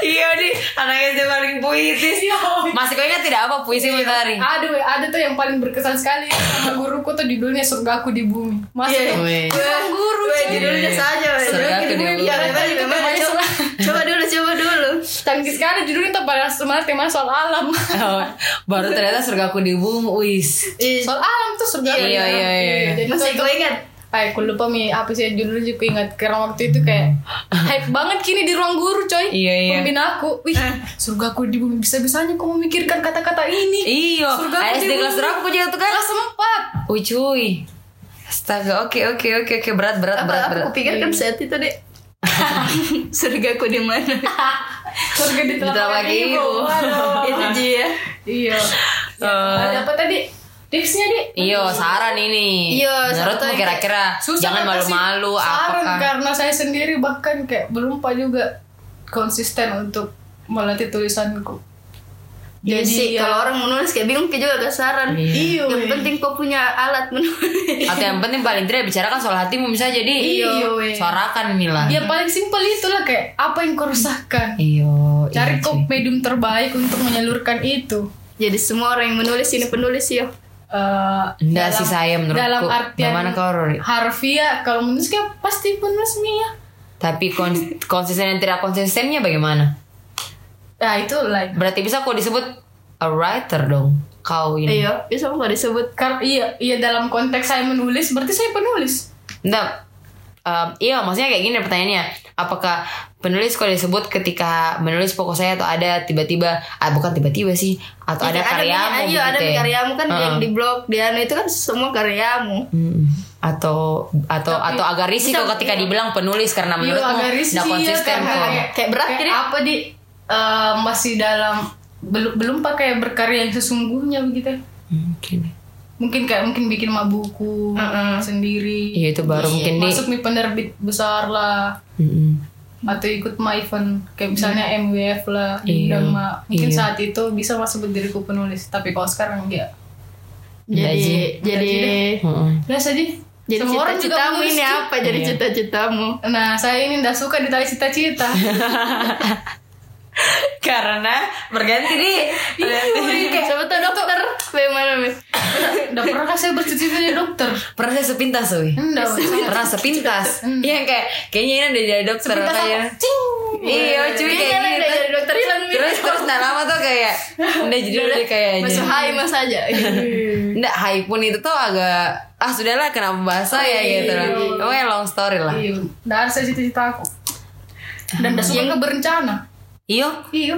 [SPEAKER 1] Iya nih anak SD paling puitis
[SPEAKER 3] Iya.
[SPEAKER 1] Masih kau ingat tidak apa puisi Mutari?
[SPEAKER 3] aduh ada tuh yang paling berkesan sekali sama guruku tuh judulnya surgaku di bumi masa
[SPEAKER 2] Iya.
[SPEAKER 1] Wih
[SPEAKER 2] guru judulnya saja. weh.
[SPEAKER 1] Surga
[SPEAKER 2] Judulnya
[SPEAKER 1] kedua.
[SPEAKER 2] begini, jangan tadi memang
[SPEAKER 3] Kita
[SPEAKER 2] coba, coba dulu, coba dulu.
[SPEAKER 3] tangkis sekali judulnya tuh pada sebenarnya tema soal alam
[SPEAKER 1] Oh, Baru ternyata surgaku di bumi Wis
[SPEAKER 2] Ih,
[SPEAKER 3] soal alam tuh surgaku di
[SPEAKER 1] Iya,
[SPEAKER 3] alam.
[SPEAKER 1] iya, iya.
[SPEAKER 3] jadi tuh
[SPEAKER 2] Masih
[SPEAKER 3] itu
[SPEAKER 2] kau ingat?
[SPEAKER 3] Ay, aku lupa mi apa sih judulnya juga ingat karena waktu itu kayak hype banget kini di ruang guru coy.
[SPEAKER 1] Iya, iya.
[SPEAKER 3] Pembina aku, wih, surga aku di bumi bisa-bisanya aku memikirkan kata-kata ini.
[SPEAKER 1] Iyo,
[SPEAKER 3] Surga aku
[SPEAKER 1] SD
[SPEAKER 3] di
[SPEAKER 1] kelas
[SPEAKER 3] bumi.
[SPEAKER 1] berapa aku juga tuh kan?
[SPEAKER 3] Kelas empat.
[SPEAKER 1] Uy cuy. Astaga, oke oke oke oke berat berat
[SPEAKER 2] Apa
[SPEAKER 1] berat
[SPEAKER 2] apa
[SPEAKER 1] berat. Iya.
[SPEAKER 2] aku pikir kan saat itu deh. Surga aku di mana?
[SPEAKER 3] Surga di telapak
[SPEAKER 1] telapak
[SPEAKER 3] kaki
[SPEAKER 1] ibu.
[SPEAKER 3] ibu. Waduh.
[SPEAKER 2] Itu Ji ya.
[SPEAKER 3] iya.
[SPEAKER 1] Eh. Iya,
[SPEAKER 3] Ada apa tadi? Tipsnya di
[SPEAKER 1] Iyo, saran ini.
[SPEAKER 2] Iyo,
[SPEAKER 1] menurutmu
[SPEAKER 2] saran
[SPEAKER 1] kira-kira jangan
[SPEAKER 3] banget Ah, sih
[SPEAKER 1] malu-malu
[SPEAKER 3] saran kan.
[SPEAKER 1] apakah?
[SPEAKER 3] karena saya sendiri bahkan kayak belum pak juga konsisten untuk melatih tulisanku.
[SPEAKER 2] Jadi sih
[SPEAKER 3] ya,
[SPEAKER 2] kalau orang menulis kayak bingung kayak juga gak saran.
[SPEAKER 3] Iya,
[SPEAKER 2] Yang
[SPEAKER 3] weh.
[SPEAKER 2] penting kau punya alat menulis.
[SPEAKER 1] Atau yang penting paling tidak bicarakan soal hatimu bisa jadi
[SPEAKER 3] Iyo, weh.
[SPEAKER 1] suarakan Mila.
[SPEAKER 3] Ya paling simpel itulah kayak apa yang kau
[SPEAKER 1] Iya
[SPEAKER 3] resahkan.
[SPEAKER 1] Iyo, iya,
[SPEAKER 3] Cari kok
[SPEAKER 1] cuy.
[SPEAKER 3] medium terbaik untuk menyalurkan itu.
[SPEAKER 2] Jadi semua orang yang menulis ini penulis ya.
[SPEAKER 3] Eh,
[SPEAKER 1] Nggak
[SPEAKER 3] dalam-
[SPEAKER 1] sih saya menurutku.
[SPEAKER 3] Dalam artian
[SPEAKER 1] Bagaimana kau, Rory?
[SPEAKER 3] harfiah kalau menulis kan pasti ya. penulis Mia.
[SPEAKER 1] Tapi kon- konsisten dan tidak konsistennya bagaimana?
[SPEAKER 3] Nah itu lain.
[SPEAKER 1] Berarti bisa kok disebut a writer dong. Kau ini.
[SPEAKER 2] Iya, bisa nggak disebut
[SPEAKER 3] Kar iya iya dalam konteks saya menulis berarti saya penulis.
[SPEAKER 1] Nah, um, iya maksudnya kayak gini pertanyaannya. Apakah penulis kalau disebut ketika menulis pokok saya atau ada tiba-tiba, ah, bukan tiba-tiba sih, atau ada,
[SPEAKER 2] Iya,
[SPEAKER 1] karyamu
[SPEAKER 2] Iya, ada
[SPEAKER 1] begitu ya?
[SPEAKER 2] karyamu kan
[SPEAKER 1] Heeh.
[SPEAKER 2] yang di blog dia itu kan semua karyamu.
[SPEAKER 1] Mm-mm. atau atau atau agak risiko ketika dibilang penulis karena
[SPEAKER 3] Iya
[SPEAKER 1] menurutmu
[SPEAKER 3] agak risih
[SPEAKER 1] nggak konsisten Oh,
[SPEAKER 3] karena
[SPEAKER 1] kok.
[SPEAKER 3] kayak-
[SPEAKER 2] Kayak berat
[SPEAKER 3] kayak
[SPEAKER 2] jadi.
[SPEAKER 3] apa di eh, masih dalam belum belum pakai berkarya yang sesungguhnya begitu. ya.
[SPEAKER 1] Mungkin.
[SPEAKER 3] Mungkin kayak mungkin bikin mabuku
[SPEAKER 2] Mm-mm.
[SPEAKER 3] sendiri.
[SPEAKER 1] Iya itu baru mungkin di.
[SPEAKER 3] masuk nih penerbit besar lah
[SPEAKER 1] Mm-mm.
[SPEAKER 3] atau ikut ma event kayak misalnya
[SPEAKER 2] Mm.
[SPEAKER 3] MWF lah diundang
[SPEAKER 1] Iya.
[SPEAKER 3] Ma. mungkin
[SPEAKER 1] Iya.
[SPEAKER 3] saat itu bisa masuk diriku penulis tapi kalau sekarang enggak
[SPEAKER 2] Jadi
[SPEAKER 1] Ji.
[SPEAKER 2] jadi
[SPEAKER 1] Mm-mm.
[SPEAKER 3] biasa aja
[SPEAKER 2] jadi
[SPEAKER 3] Semua orang juga
[SPEAKER 2] cita-citamu
[SPEAKER 3] menulis,
[SPEAKER 2] ini ya?
[SPEAKER 3] Ci.
[SPEAKER 2] apa? Jadi
[SPEAKER 1] Iya.
[SPEAKER 2] cita-citamu.
[SPEAKER 3] nah saya ini enggak suka ditarik cita-cita
[SPEAKER 1] karena berganti nih. Oh,
[SPEAKER 2] Siapa tuh dokter? Bagaimana? Mis?
[SPEAKER 3] enggak pernah kan saya bercita-cita jadi dokter
[SPEAKER 1] Pernah saya sepintas, Wi.
[SPEAKER 2] Hmm. Iya,
[SPEAKER 3] enggak
[SPEAKER 1] Pernah sepintas. Iya kayak kayaknya ini udah jadi dokter
[SPEAKER 3] Sepintas
[SPEAKER 1] kayaknya.
[SPEAKER 3] apa? Cing.
[SPEAKER 1] Iya, cuy
[SPEAKER 2] Kayaknya
[SPEAKER 1] kayak
[SPEAKER 2] lah
[SPEAKER 1] gini.
[SPEAKER 2] udah
[SPEAKER 1] Terus-
[SPEAKER 2] jadi dokter Ilan, Mis.
[SPEAKER 1] terus terus nah lama tuh kayak udah jadi udah kayak aja
[SPEAKER 2] Masuk hai mas aja.
[SPEAKER 1] nggak hype pun itu tuh agak ah sudahlah kenapa bahas saya
[SPEAKER 2] Iya.
[SPEAKER 1] gitu lah pokoknya long story lah Ah.
[SPEAKER 3] iya enggak ada saya cita-cita aku dan enggak suka
[SPEAKER 1] Iya.
[SPEAKER 3] berencana
[SPEAKER 1] iyo
[SPEAKER 3] iya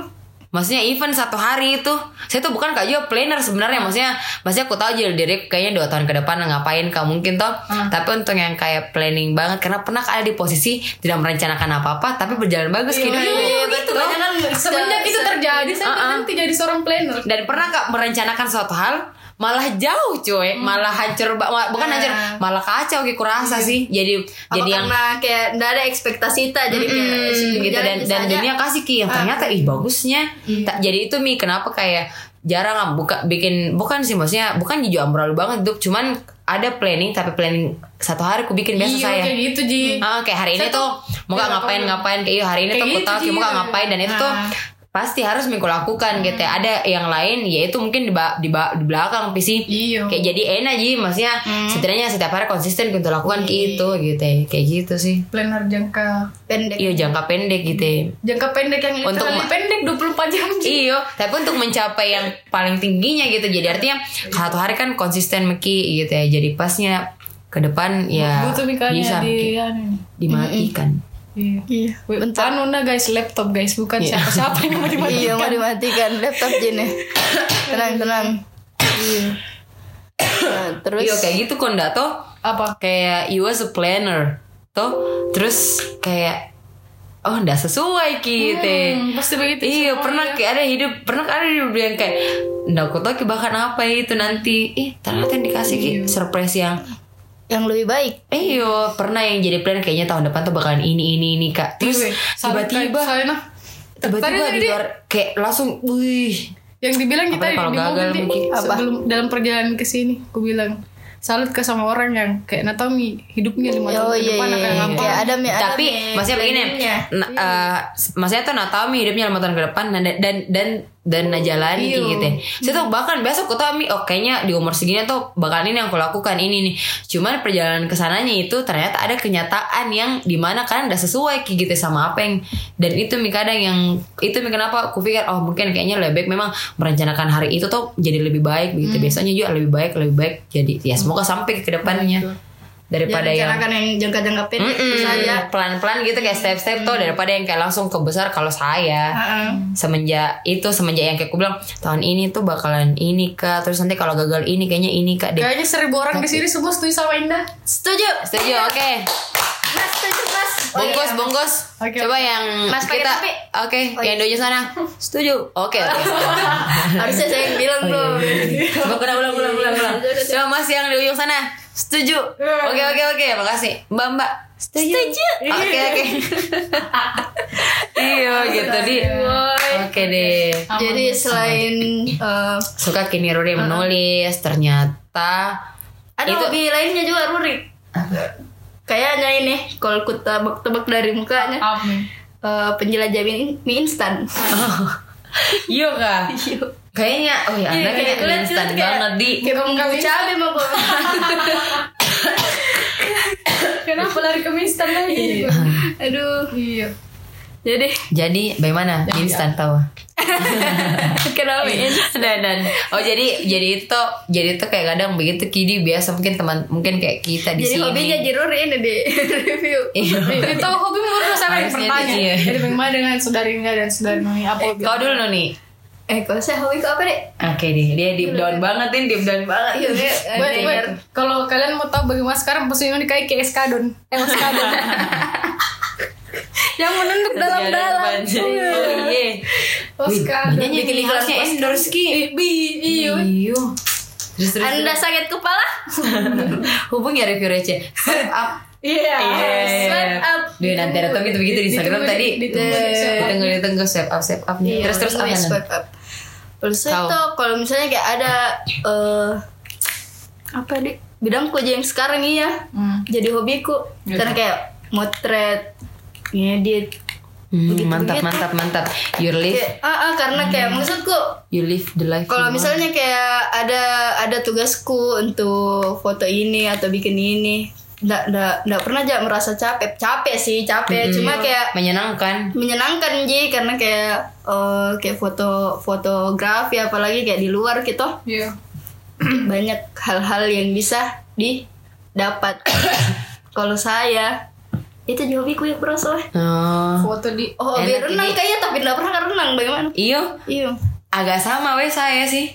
[SPEAKER 1] maksudnya event satu hari itu saya tuh bukan kak juga planner sebenarnya maksudnya maksudnya aku tahu aja diri kayaknya dua tahun ke depan ngapain kak mungkin toh tapi untuk yang kayak planning banget karena pernah ada di posisi tidak merencanakan apa apa tapi berjalan
[SPEAKER 3] Iya,
[SPEAKER 1] bagus gitu
[SPEAKER 2] betul.
[SPEAKER 1] Iya,
[SPEAKER 2] Kan
[SPEAKER 3] semenjak itu terjadi saya
[SPEAKER 1] Uh-uh.
[SPEAKER 3] nanti jadi seorang planner
[SPEAKER 1] dan pernah kak merencanakan suatu hal malah jauh cuy malah hancur ba- ma- bukan hancur malah kacau gitu kurasa sih jadi
[SPEAKER 2] jadi
[SPEAKER 1] jadi yang
[SPEAKER 2] karena kayak nggak ada ekspektasi kita jadi kayak
[SPEAKER 3] Hmm,
[SPEAKER 1] mm, gitu
[SPEAKER 2] jalan
[SPEAKER 1] dan
[SPEAKER 2] bisa
[SPEAKER 1] dan
[SPEAKER 2] aja.
[SPEAKER 3] Ah. Hmm.
[SPEAKER 1] dunia kasih ki yang ternyata ih bagusnya Tak- jadi itu mi kenapa kayak jarang ah, buka bikin bukan sih maksudnya bukan hijau ambrol banget Duk. cuman ada planning tapi planning satu hari aku bikin biasa
[SPEAKER 3] Iya
[SPEAKER 1] saya
[SPEAKER 3] kayak gitu Ji
[SPEAKER 1] Ah, kayak hari ini
[SPEAKER 3] Saya tuh-
[SPEAKER 1] tuh mau nggak
[SPEAKER 3] Iya,
[SPEAKER 1] ngapain
[SPEAKER 3] tahu.
[SPEAKER 1] ngapain kayak "Iya, hari ini
[SPEAKER 3] Kayak
[SPEAKER 1] tuh aku
[SPEAKER 3] gitu
[SPEAKER 1] tahu
[SPEAKER 3] sih,
[SPEAKER 1] kayak mau nggak
[SPEAKER 3] iya.
[SPEAKER 1] ngapain dan itu tuh
[SPEAKER 3] Ah.
[SPEAKER 1] pasti harus minggu lakukan gitu ya. Ada yang lain yaitu mungkin di, ba- di, ba- di belakang PC.
[SPEAKER 3] Iya. Hmm.
[SPEAKER 1] Kayak jadi enak sih maksudnya setidaknya setiap hari konsisten untuk
[SPEAKER 3] Iya.
[SPEAKER 1] lakukan gitu gitu ya. Kayak gitu sih.
[SPEAKER 3] Planner jangka
[SPEAKER 2] pendek
[SPEAKER 1] Iya jangka pendek gitu ya.
[SPEAKER 3] jangka pendek yang
[SPEAKER 1] Untuk
[SPEAKER 3] literally
[SPEAKER 1] ma-
[SPEAKER 3] pendek 24 jam Ji.
[SPEAKER 1] Iya, tapi untuk mencapai yang paling tingginya gitu. Jadi artinya satu hari kan konsisten meki gitu ya. Jadi pasnya ke depan ya
[SPEAKER 3] Butuh mikalnya
[SPEAKER 1] bisa
[SPEAKER 3] di
[SPEAKER 1] Meki.
[SPEAKER 3] anu nih.
[SPEAKER 1] dimatikan.
[SPEAKER 3] Iya.
[SPEAKER 2] iya
[SPEAKER 3] Wait, Anu nah guys laptop guys bukan
[SPEAKER 1] Iya.
[SPEAKER 3] siapa-siapa yang mau dimatikan.
[SPEAKER 2] iya mau dimatikan laptop jene tenang tenang Nah, terus
[SPEAKER 1] Iya kayak gitu kok ndak toh?
[SPEAKER 3] Apa?
[SPEAKER 1] kayak you was a planner tuh terus kayak oh nggak sesuai gitu
[SPEAKER 3] Hmm, pasti begitu.
[SPEAKER 1] iya
[SPEAKER 3] semua,
[SPEAKER 1] pernah
[SPEAKER 3] ya.
[SPEAKER 1] kayak ada hidup pernah ada hidup yang kayak nggak aku tahu bahkan apa itu nanti ih ternyata yang dikasih
[SPEAKER 3] Iya.
[SPEAKER 1] ki surprise yang
[SPEAKER 2] yang lebih baik
[SPEAKER 1] eh yo pernah yang jadi planner kayaknya tahun depan tuh bakalan ini ini ini kak terus
[SPEAKER 3] Iya, weh. Salah
[SPEAKER 1] tiba-tiba
[SPEAKER 3] kayak soalnya, nah,
[SPEAKER 1] tiba-tiba
[SPEAKER 3] Tadi
[SPEAKER 1] di
[SPEAKER 3] tadi-
[SPEAKER 1] luar kayak langsung wih
[SPEAKER 3] yang dibilang kita
[SPEAKER 1] Apalagi kalau
[SPEAKER 3] di mobil
[SPEAKER 1] gagal
[SPEAKER 3] Ji.
[SPEAKER 1] mungkin.
[SPEAKER 2] Apa?
[SPEAKER 3] sebelum dalam perjalanan ke sini aku bilang salut ke sama orang yang kayak Natomi hidupnya lima tahun
[SPEAKER 2] oh
[SPEAKER 3] ke
[SPEAKER 2] iya
[SPEAKER 3] depan
[SPEAKER 2] iya
[SPEAKER 3] akan
[SPEAKER 2] iya.
[SPEAKER 3] apa
[SPEAKER 2] kayak ada mi ada
[SPEAKER 1] tapi
[SPEAKER 2] mi
[SPEAKER 1] maksudnya begini
[SPEAKER 2] planningnya. Iya.
[SPEAKER 1] nah, eh, maksudnya tuh nah tahu mi hidupnya lima tahun ke depan dan dan dan dan nah jalani
[SPEAKER 2] Iya.
[SPEAKER 1] kayak gitu ya. saya
[SPEAKER 2] Hmm.
[SPEAKER 1] tuh bahkan biasa aku tahu mi oh kayaknya di umur segini tuh bakalan ini yang aku lakukan ini nih cuman perjalanan kesananya itu ternyata ada kenyataan yang dimana kan udah sesuai kayak gitu sama apa yang dan itu mi kadang yang itu mi kenapa aku pikir oh mungkin kayaknya lebih baik memang merencanakan hari itu tuh jadi lebih baik
[SPEAKER 2] Hmm.
[SPEAKER 1] begitu biasanya juga lebih baik lebih baik jadi ya semoga sampai ke depannya daripada yang
[SPEAKER 2] Jangan yang jangka jangka pendek
[SPEAKER 1] Mm-mm.
[SPEAKER 2] saja
[SPEAKER 1] pelan-pelan gitu kayak step-step tuh daripada yang kayak langsung ke besar kalau saya
[SPEAKER 2] Heeh.
[SPEAKER 1] semenjak itu semenjak yang kayak aku bilang tahun ini tuh bakalan ini kak terus nanti kalau gagal ini kayaknya ini kak deh.
[SPEAKER 3] kayaknya seribu orang di sini semua setuju sama Indah
[SPEAKER 2] setuju
[SPEAKER 1] Setuju, oke.
[SPEAKER 2] mas setuju mas
[SPEAKER 1] Bungkus, bungkus.
[SPEAKER 3] Oke,
[SPEAKER 1] Coba yang
[SPEAKER 2] Mas pakai
[SPEAKER 1] kita,
[SPEAKER 2] topi.
[SPEAKER 1] oke, yang dojo sana. Setuju, oke. oke.
[SPEAKER 2] harusnya saya
[SPEAKER 1] Oh,
[SPEAKER 2] yang
[SPEAKER 1] iya,
[SPEAKER 2] bilang tuh
[SPEAKER 1] Coba kena ulang, ulang, ulang, ulang. Coba Mas yang di ujung sana. Setuju. Oke, oke, oke. Makasih. Mbak, Mbak. Iya. Setuju. Oke, oke. Iya, gitu di. Oke deh.
[SPEAKER 2] jadi selain eh,
[SPEAKER 1] Suka kini Ruri menulis, ternyata
[SPEAKER 2] ada
[SPEAKER 1] Itu-
[SPEAKER 2] hobi lainnya juga Ruri kayaknya ini kalau ku tebak-tebak dari mukanya
[SPEAKER 3] Ah.
[SPEAKER 2] eh, penjelajah mie, mie instan
[SPEAKER 1] Iya kak. Kayaknya, oh ya, anda
[SPEAKER 2] kayak
[SPEAKER 1] kayak
[SPEAKER 2] kulit
[SPEAKER 1] instan
[SPEAKER 2] kulit kayak-
[SPEAKER 1] banget di.
[SPEAKER 2] kayak bumbu cabe mau
[SPEAKER 3] kenapa lari ke instan lagi
[SPEAKER 2] Iya. aduh Ya
[SPEAKER 3] iya
[SPEAKER 2] jadi
[SPEAKER 1] Jadi bagaimana instan tahu? Iya.
[SPEAKER 2] kenapa mie instan?
[SPEAKER 1] dan dan oh jadi jadi itu jadi itu kayak kadang begitu kidi biasa mungkin teman mungkin kayak kita di
[SPEAKER 2] jadi
[SPEAKER 1] sini.
[SPEAKER 2] hobinya jirur ini di review
[SPEAKER 1] Iya.
[SPEAKER 3] itu hobi menurut saya yang
[SPEAKER 1] Harusnya
[SPEAKER 3] bertanya
[SPEAKER 1] itu, iya.
[SPEAKER 3] jadi bagaimana dengan saudari Indah dan saudari Nomi apa hobi
[SPEAKER 1] Kau dulu nih.
[SPEAKER 2] eh kalau saya hobi ke apa deh
[SPEAKER 1] Oke deh, dia deep down banget nih, deep down banget.
[SPEAKER 2] iya gue
[SPEAKER 3] Buat, buat. Kalau kalian mau tahu bagaimana sekarang posisinya di kayak eskadon, eh eskadon. yang menunduk
[SPEAKER 1] Iya.
[SPEAKER 3] dalam-dalam.
[SPEAKER 1] Oh iya.
[SPEAKER 3] Oskadon.
[SPEAKER 1] Banyak yang
[SPEAKER 2] Bikin
[SPEAKER 1] harusnya endorse ki. Iya. Terus terus.
[SPEAKER 2] anda sakit kepala
[SPEAKER 1] Hubungi ya review receh. Swipe up.
[SPEAKER 3] Iya.
[SPEAKER 1] Swipe up. Duh nanti ada tapi itu begitu di Instagram
[SPEAKER 3] Ditunggu,
[SPEAKER 1] tadi.
[SPEAKER 3] ditunggu, ditunggu.
[SPEAKER 1] Ditunggu ditunggu swipe up swipe up
[SPEAKER 2] Iya,
[SPEAKER 1] nih. Terus terus apa
[SPEAKER 2] Miss
[SPEAKER 1] nih?
[SPEAKER 2] Swipe Up. Terus
[SPEAKER 1] Tahu.
[SPEAKER 2] itu kalau misalnya kayak ada eh apa deh bidangku aja yang sekarang iya
[SPEAKER 3] Hmm.
[SPEAKER 2] jadi hobiku karena kayak motret ngedit
[SPEAKER 1] Hmm, mantap mantap
[SPEAKER 2] ah.
[SPEAKER 1] mantap. You live
[SPEAKER 2] kayak ah, ah, karena kayak maksudku
[SPEAKER 1] you live the life.
[SPEAKER 2] kalau
[SPEAKER 1] you want.
[SPEAKER 2] misalnya kayak ada ada tugasku untuk foto ini atau bikin ini ndak ndak ndak pernah aja merasa capek capek sih capek cuma kayak
[SPEAKER 1] menyenangkan.
[SPEAKER 2] menyenangkan Ji karena kayak eh, kayak foto fotografi apalagi kayak di luar gitu
[SPEAKER 3] Iya.
[SPEAKER 2] banyak hal-hal yang bisa didapat kalau saya itu jawabiku yang berasa weh.
[SPEAKER 1] Oh.
[SPEAKER 3] Foto di
[SPEAKER 2] oh hobi
[SPEAKER 1] Enak,
[SPEAKER 2] renang
[SPEAKER 1] Ji.
[SPEAKER 2] kayaknya tapi nggak pernah kan renang bagaimana
[SPEAKER 1] Iyo,
[SPEAKER 2] iya
[SPEAKER 1] agak sama weh saya sih.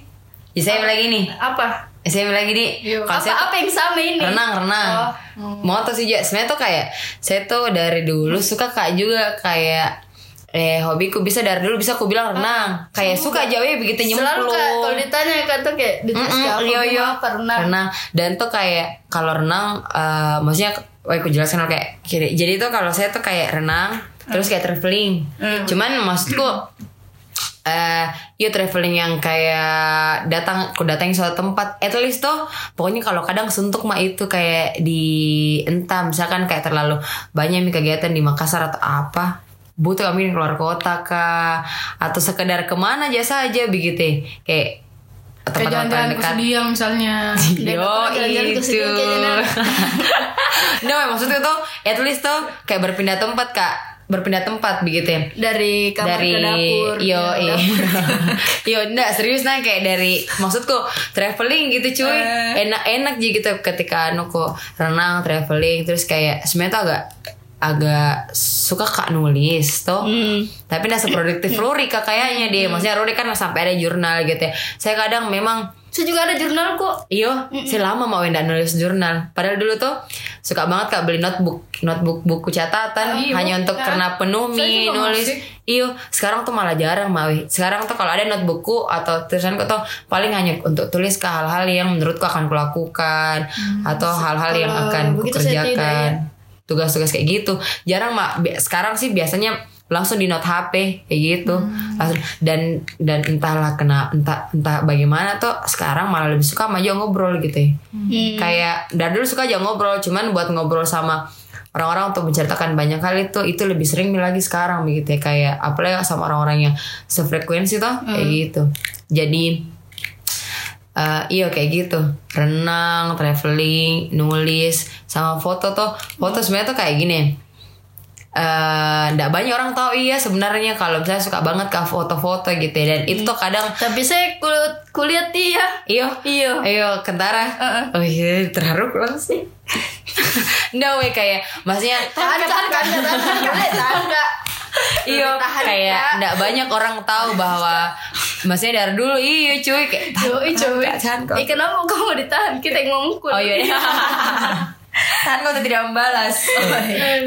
[SPEAKER 1] Ya, saya lagi nih.
[SPEAKER 2] apa
[SPEAKER 1] Saya lagi di
[SPEAKER 3] Iya.
[SPEAKER 1] kalau
[SPEAKER 2] apa
[SPEAKER 1] saya tuh
[SPEAKER 2] apa yang sama ini
[SPEAKER 1] renang renang.
[SPEAKER 2] Oh.
[SPEAKER 1] Mau tuh sih Ja. sebenarnya tuh kayak saya tuh dari dulu suka kak juga kayak eh hobiku bisa dari dulu bisa aku bilang renang. kayak suka aja weh begitu
[SPEAKER 2] Ah,
[SPEAKER 1] nyemplung.
[SPEAKER 2] selalu kak kalau ditanya kak tuh kayak ditanya
[SPEAKER 1] Mm-mm,
[SPEAKER 2] kayak apa
[SPEAKER 1] iya,
[SPEAKER 2] hobi
[SPEAKER 1] iya.
[SPEAKER 2] apa renang
[SPEAKER 1] renang dan tuh kayak kalau renang eh, maksudnya wah aku jelaskan dulu kayak kiri.
[SPEAKER 3] Hmm.
[SPEAKER 1] jadi tuh kalau saya tuh kayak renang terus kayak traveling cuman maksudku eh ya traveling yang kayak datang aku datangin suatu tempat at least tuh pokoknya kalau kadang suntuk mah itu kayak di entah misalkan kayak terlalu banyak nih kegiatan di Makassar atau apa butuh kami keluar kota kah atau sekedar kemana aja saja begitu ya. kayak
[SPEAKER 3] Kayak jalan-jalan ke Sudiang misalnya.
[SPEAKER 1] Yo
[SPEAKER 2] jalan-jalan
[SPEAKER 1] itu.
[SPEAKER 2] ke Sudiang kayaknya, Nak.
[SPEAKER 1] no, gitu. maksudnya tuh at least tuh kayak berpindah tempat kak, berpindah tempat begitu ya.
[SPEAKER 2] dari kamar
[SPEAKER 1] dari
[SPEAKER 2] ke dapur
[SPEAKER 1] yo
[SPEAKER 2] ya,
[SPEAKER 1] iya.
[SPEAKER 2] dapur.
[SPEAKER 1] yo enggak serius nah kayak dari maksudku traveling gitu cuy
[SPEAKER 2] Eh.
[SPEAKER 1] enak enak aja gitu ketika anu kok renang traveling terus kayak sebenarnya tuh agak agak suka kak nulis tuh
[SPEAKER 2] Hmm.
[SPEAKER 1] tapi nggak seproduktif Rory kak kayaknya dia maksudnya Rory kan sampai ada jurnal gitu ya saya kadang memang
[SPEAKER 2] saya juga ada jurnal kok
[SPEAKER 1] Iya, saya lama mau enggak nulis jurnal. Padahal dulu tuh suka banget kak beli notebook, notebook buku catatan
[SPEAKER 3] Iya,
[SPEAKER 1] hanya untuk
[SPEAKER 3] kan?
[SPEAKER 1] karena
[SPEAKER 3] Saya
[SPEAKER 1] penumi
[SPEAKER 3] juga
[SPEAKER 1] nulis.
[SPEAKER 3] masih.
[SPEAKER 1] Iya, sekarang tuh malah jarang mawi. Sekarang tuh kalau ada notebookku atau tulisanku tuh paling hanya untuk tulis ke hal-hal yang menurutku akan kulakukan
[SPEAKER 3] Hmm,
[SPEAKER 1] atau hal-hal yang
[SPEAKER 2] kalau
[SPEAKER 1] akan
[SPEAKER 2] begitu saya tidak, ya.
[SPEAKER 1] kukerjakan. Tugas-tugas kayak gitu. Jarang mak. Bi- Sekarang sih biasanya langsung di note HP kayak gitu
[SPEAKER 2] Hmm.
[SPEAKER 1] langsung dan dan entahlah kena entah entah bagaimana tuh sekarang malah lebih suka sama aja ngobrol gitu ya
[SPEAKER 2] Hmm.
[SPEAKER 1] kayak dari dulu suka aja ngobrol cuman buat ngobrol sama orang-orang untuk menceritakan banyak hal itu itu lebih sering lagi sekarang begitu ya kayak apalagi sama orang-orang yang sefrekuensi tuh kayak gitu jadi eh iya kayak gitu renang traveling nulis sama foto tuh foto sebenarnya tuh kayak gini eh nggak banyak orang tahu iya sebenarnya kalau misalnya suka banget ke foto-foto gitu ya dan itu tuh kadang
[SPEAKER 2] tapi saya kulit kuliah iya
[SPEAKER 1] iyo
[SPEAKER 2] Iya.
[SPEAKER 1] iyo kentara oh iya terharu langsung nggak weh kayak maksudnya
[SPEAKER 2] tahan tahan tahan tahan tahan tahan Kak.
[SPEAKER 1] iyo
[SPEAKER 2] Tahan,
[SPEAKER 1] Iya, kayak
[SPEAKER 2] Kak.
[SPEAKER 1] nggak banyak orang tahu bahwa maksudnya dari dulu iyo cuy kayak
[SPEAKER 3] Yoi cuy.
[SPEAKER 2] Eh kenapa kok mau ditahan? Kita yang ngomong
[SPEAKER 1] Oh iya. Tahan kau Kan tidak membalas.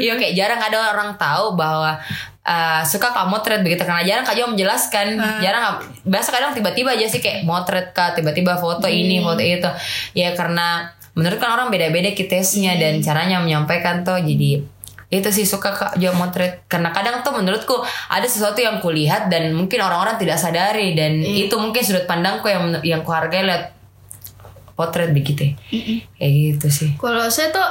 [SPEAKER 1] Iya kayak jarang ada orang tahu bahwa eh, suka kamu motret begitu karena jarang kak Jo menjelaskan jarang biasa kadang tiba-tiba aja sih kayak motret kak tiba-tiba foto ini foto itu ya karena menurut kan orang beda-beda kitesnya dan caranya menyampaikan tuh jadi itu sih suka kak Jo motret karena kadang tuh menurutku ada sesuatu yang kulihat dan mungkin orang-orang tidak sadari dan itu mungkin sudut pandangku yang yang kuhargai lihat potret begitu ya. kayak gitu sih
[SPEAKER 2] Kalau saya tuh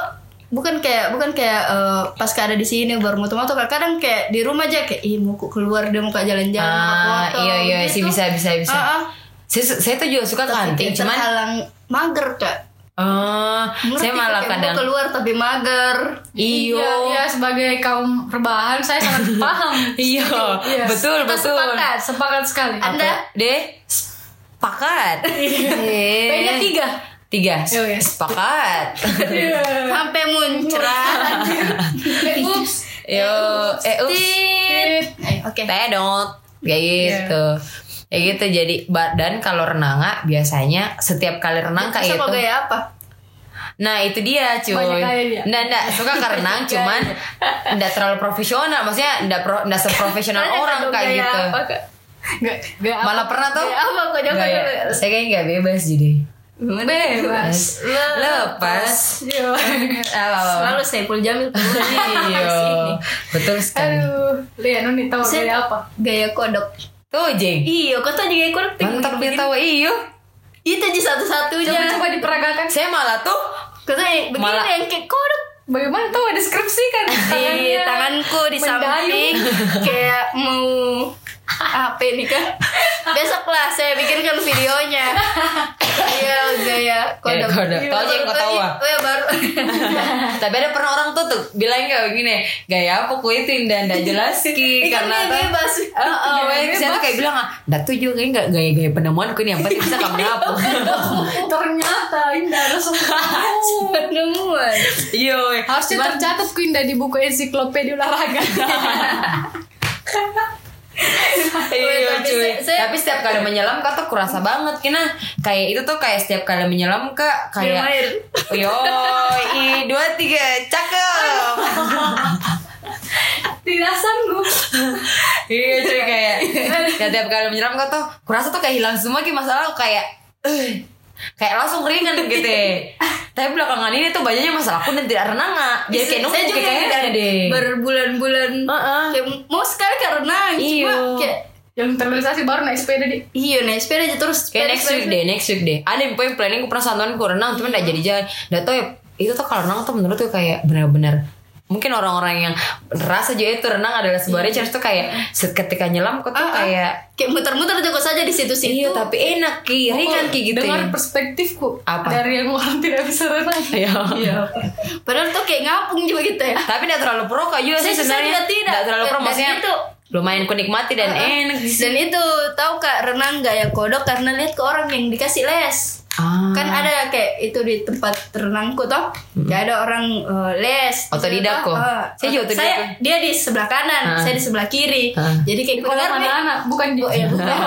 [SPEAKER 2] bukan kayak bukan kayak eh, pas ada di sini baru mau moto kadang kayak di rumah aja kayak ih mau ku keluar dia mau ke jalan-jalan
[SPEAKER 1] ah
[SPEAKER 2] foto
[SPEAKER 1] iya iya sih
[SPEAKER 2] gitu.
[SPEAKER 1] bisa bisa bisa
[SPEAKER 2] Ah, ah.
[SPEAKER 1] saya, saya tuh juga suka ke hunting
[SPEAKER 2] Kayak
[SPEAKER 1] cuman
[SPEAKER 2] terhalang mager kak
[SPEAKER 1] eh
[SPEAKER 2] Ngerti
[SPEAKER 1] saya malah
[SPEAKER 2] kayak mau
[SPEAKER 3] gitu
[SPEAKER 1] kadang
[SPEAKER 2] keluar tapi mager
[SPEAKER 1] iyo
[SPEAKER 3] Iya, iya, sebagai kaum rebahan saya sangat paham.
[SPEAKER 1] iyo
[SPEAKER 3] Yes.
[SPEAKER 1] Iya, betul
[SPEAKER 3] Iya. Kita
[SPEAKER 1] betul
[SPEAKER 3] Sepakat, sepakat sekali.
[SPEAKER 1] Apa?
[SPEAKER 2] Anda?
[SPEAKER 1] deh sepakat Eh.
[SPEAKER 3] Iya. Kayaknya tiga.
[SPEAKER 1] tiga
[SPEAKER 3] Iya, iya.
[SPEAKER 1] sepakat
[SPEAKER 3] Iya.
[SPEAKER 2] sampai muncrat
[SPEAKER 3] Eh, Ups.
[SPEAKER 1] yo eh ups
[SPEAKER 3] Tit.
[SPEAKER 2] Eh, oke
[SPEAKER 1] pedot kayak
[SPEAKER 3] Iya.
[SPEAKER 1] gitu kayak gitu jadi badan kalau renang ah, biasanya setiap kali renang gitu.
[SPEAKER 2] Saya
[SPEAKER 1] kayak
[SPEAKER 2] mau
[SPEAKER 1] itu
[SPEAKER 2] gaya apa
[SPEAKER 1] Nah itu dia cuy
[SPEAKER 3] Banyak kaya dia.
[SPEAKER 1] Nggak, nggak. Suka karena cuman Nggak terlalu profesional Maksudnya nggak, pro, nggak seprofesional
[SPEAKER 2] Tanya,
[SPEAKER 1] orang
[SPEAKER 2] Kak,
[SPEAKER 1] kayak
[SPEAKER 2] gaya
[SPEAKER 1] gitu
[SPEAKER 2] apa, Kak?
[SPEAKER 3] Gak, gak apa.
[SPEAKER 1] Malah pernah tuh
[SPEAKER 2] Gaya apa kok jangan
[SPEAKER 1] Nggak, ya. Saya kayaknya nggak bebas jadi
[SPEAKER 2] bebas
[SPEAKER 1] Lepas
[SPEAKER 3] Iya.
[SPEAKER 1] Apa, apa, apa.
[SPEAKER 2] selalu Saiful Jamil
[SPEAKER 1] Iyo. Betul sekali
[SPEAKER 3] Aduh, lihat nih tahu
[SPEAKER 2] Saya-
[SPEAKER 3] gaya apa?
[SPEAKER 2] gaya kodok
[SPEAKER 1] Tuh jeng
[SPEAKER 2] Iya, kau tuh juga ikut
[SPEAKER 1] Mantap dia tahu iyo
[SPEAKER 2] Itu aja
[SPEAKER 3] Coba
[SPEAKER 2] satu-satunya.
[SPEAKER 3] coba diperagakan.
[SPEAKER 1] Saya malah tuh
[SPEAKER 2] Kau tuh yang begini
[SPEAKER 1] Malah- Iya,
[SPEAKER 2] yang kayak kodok
[SPEAKER 3] Bagaimana tahu deskripsi kan?
[SPEAKER 2] di tanganku di samping kayak mau apa ini kan? Besok lah saya bikinkan videonya. Iya, gaya kodok.
[SPEAKER 1] kodok. Tahu aja yang kau tahu, ah.
[SPEAKER 2] Oh ya baru.
[SPEAKER 1] Tapi ada pernah orang tuh tuh Bilang kayak gini Gaya apa ku itu Indah nggak jelas ki
[SPEAKER 2] Ikan
[SPEAKER 1] Karena tuh
[SPEAKER 2] bebas.
[SPEAKER 1] Oh, oh,
[SPEAKER 3] Gaya
[SPEAKER 1] saya tuh kayak bilang ah, "Nggak tuh juga kayaknya nggak gaya-gaya penemuan ini yang penting bisa kamu apa?"
[SPEAKER 3] Ternyata Indah ada semua.
[SPEAKER 2] Penemuan.
[SPEAKER 1] Iya, weh.
[SPEAKER 3] Harusnya
[SPEAKER 1] Cuman-
[SPEAKER 3] tercatat ku Indah di buku ensiklopedia
[SPEAKER 1] kan?
[SPEAKER 3] olahraga.
[SPEAKER 1] Iya,
[SPEAKER 2] Tapi
[SPEAKER 1] cuy.
[SPEAKER 2] saya- saya-
[SPEAKER 1] Tapi setiap kali menyelam kak tuh kurasa banget kina kayak itu tuh kayak setiap kali menyelam kak
[SPEAKER 2] Minum
[SPEAKER 1] kayak
[SPEAKER 2] air.
[SPEAKER 1] yo i dua tiga cakep
[SPEAKER 3] Tidak sanggup.
[SPEAKER 1] iya cuy kayak nah, setiap kali menyelam kak tuh kurasa tuh kayak hilang semua ki masalah kayak eh, kayak langsung ringan gitu ya. tapi belakangan ini tuh banyaknya masalah aku dan tidak renang nggak jadi Iya, kayak
[SPEAKER 2] Saya
[SPEAKER 1] numpuk
[SPEAKER 2] juga
[SPEAKER 1] kayak ada deh
[SPEAKER 2] berbulan-bulan
[SPEAKER 1] Heeh.
[SPEAKER 2] kayak mau sekali karena
[SPEAKER 1] Iya.
[SPEAKER 2] cuma kayak
[SPEAKER 3] yang terrealisasi baru naik sepeda di
[SPEAKER 2] Iya naik sepeda aja terus
[SPEAKER 1] Kayak
[SPEAKER 2] sepeda,
[SPEAKER 1] next
[SPEAKER 2] sepeda,
[SPEAKER 1] week deh, next week deh. Ada yang pokoknya planning gue pernah santuan gue renang, cuman gak jadi jalan. Gak tau ya, itu tuh kalau renang tuh menurut gue kayak benar-benar mungkin orang-orang yang rasa juga itu renang adalah sebuah research tuh kayak set- ketika nyelam kok tuh
[SPEAKER 2] Ah, ah.
[SPEAKER 1] kayak
[SPEAKER 2] Kayak muter-muter aja kok saja di situ-situ.
[SPEAKER 1] iya tapi enak ki ringan ki gitu
[SPEAKER 3] Oh, dengar
[SPEAKER 1] ya.
[SPEAKER 3] perspektifku
[SPEAKER 1] Apa?
[SPEAKER 3] dari yang orang tidak bisa renang
[SPEAKER 1] Iya.
[SPEAKER 2] Padahal tuh kayak ngapung juga gitu ya.
[SPEAKER 1] tapi gak terlalu pro kok juga
[SPEAKER 2] Saya-
[SPEAKER 1] sih
[SPEAKER 2] saya
[SPEAKER 1] sebenarnya
[SPEAKER 2] juga tidak.
[SPEAKER 1] Gak terlalu pro
[SPEAKER 2] Dan
[SPEAKER 1] maksudnya
[SPEAKER 2] itu-
[SPEAKER 1] lumayan ku nikmati dan enak di
[SPEAKER 2] Dan itu tahu kak renang gak ya kodok karena lihat ke orang yang dikasih les.
[SPEAKER 1] ah.
[SPEAKER 2] Kan ada kayak itu di tempat renangku toh. Ya ada orang eh, les.
[SPEAKER 1] Hmm. Otodidak
[SPEAKER 2] Ternyata,
[SPEAKER 1] kok.
[SPEAKER 2] eh,
[SPEAKER 1] Saya juga otodidak.
[SPEAKER 2] Saya dia di sebelah kanan,
[SPEAKER 1] Ah.
[SPEAKER 2] saya di sebelah kiri.
[SPEAKER 1] Ah.
[SPEAKER 2] Jadi kayak
[SPEAKER 3] kalau
[SPEAKER 2] bener nih.
[SPEAKER 3] anak-anak bukan di
[SPEAKER 2] Oh,
[SPEAKER 1] iya,
[SPEAKER 2] ya bukan.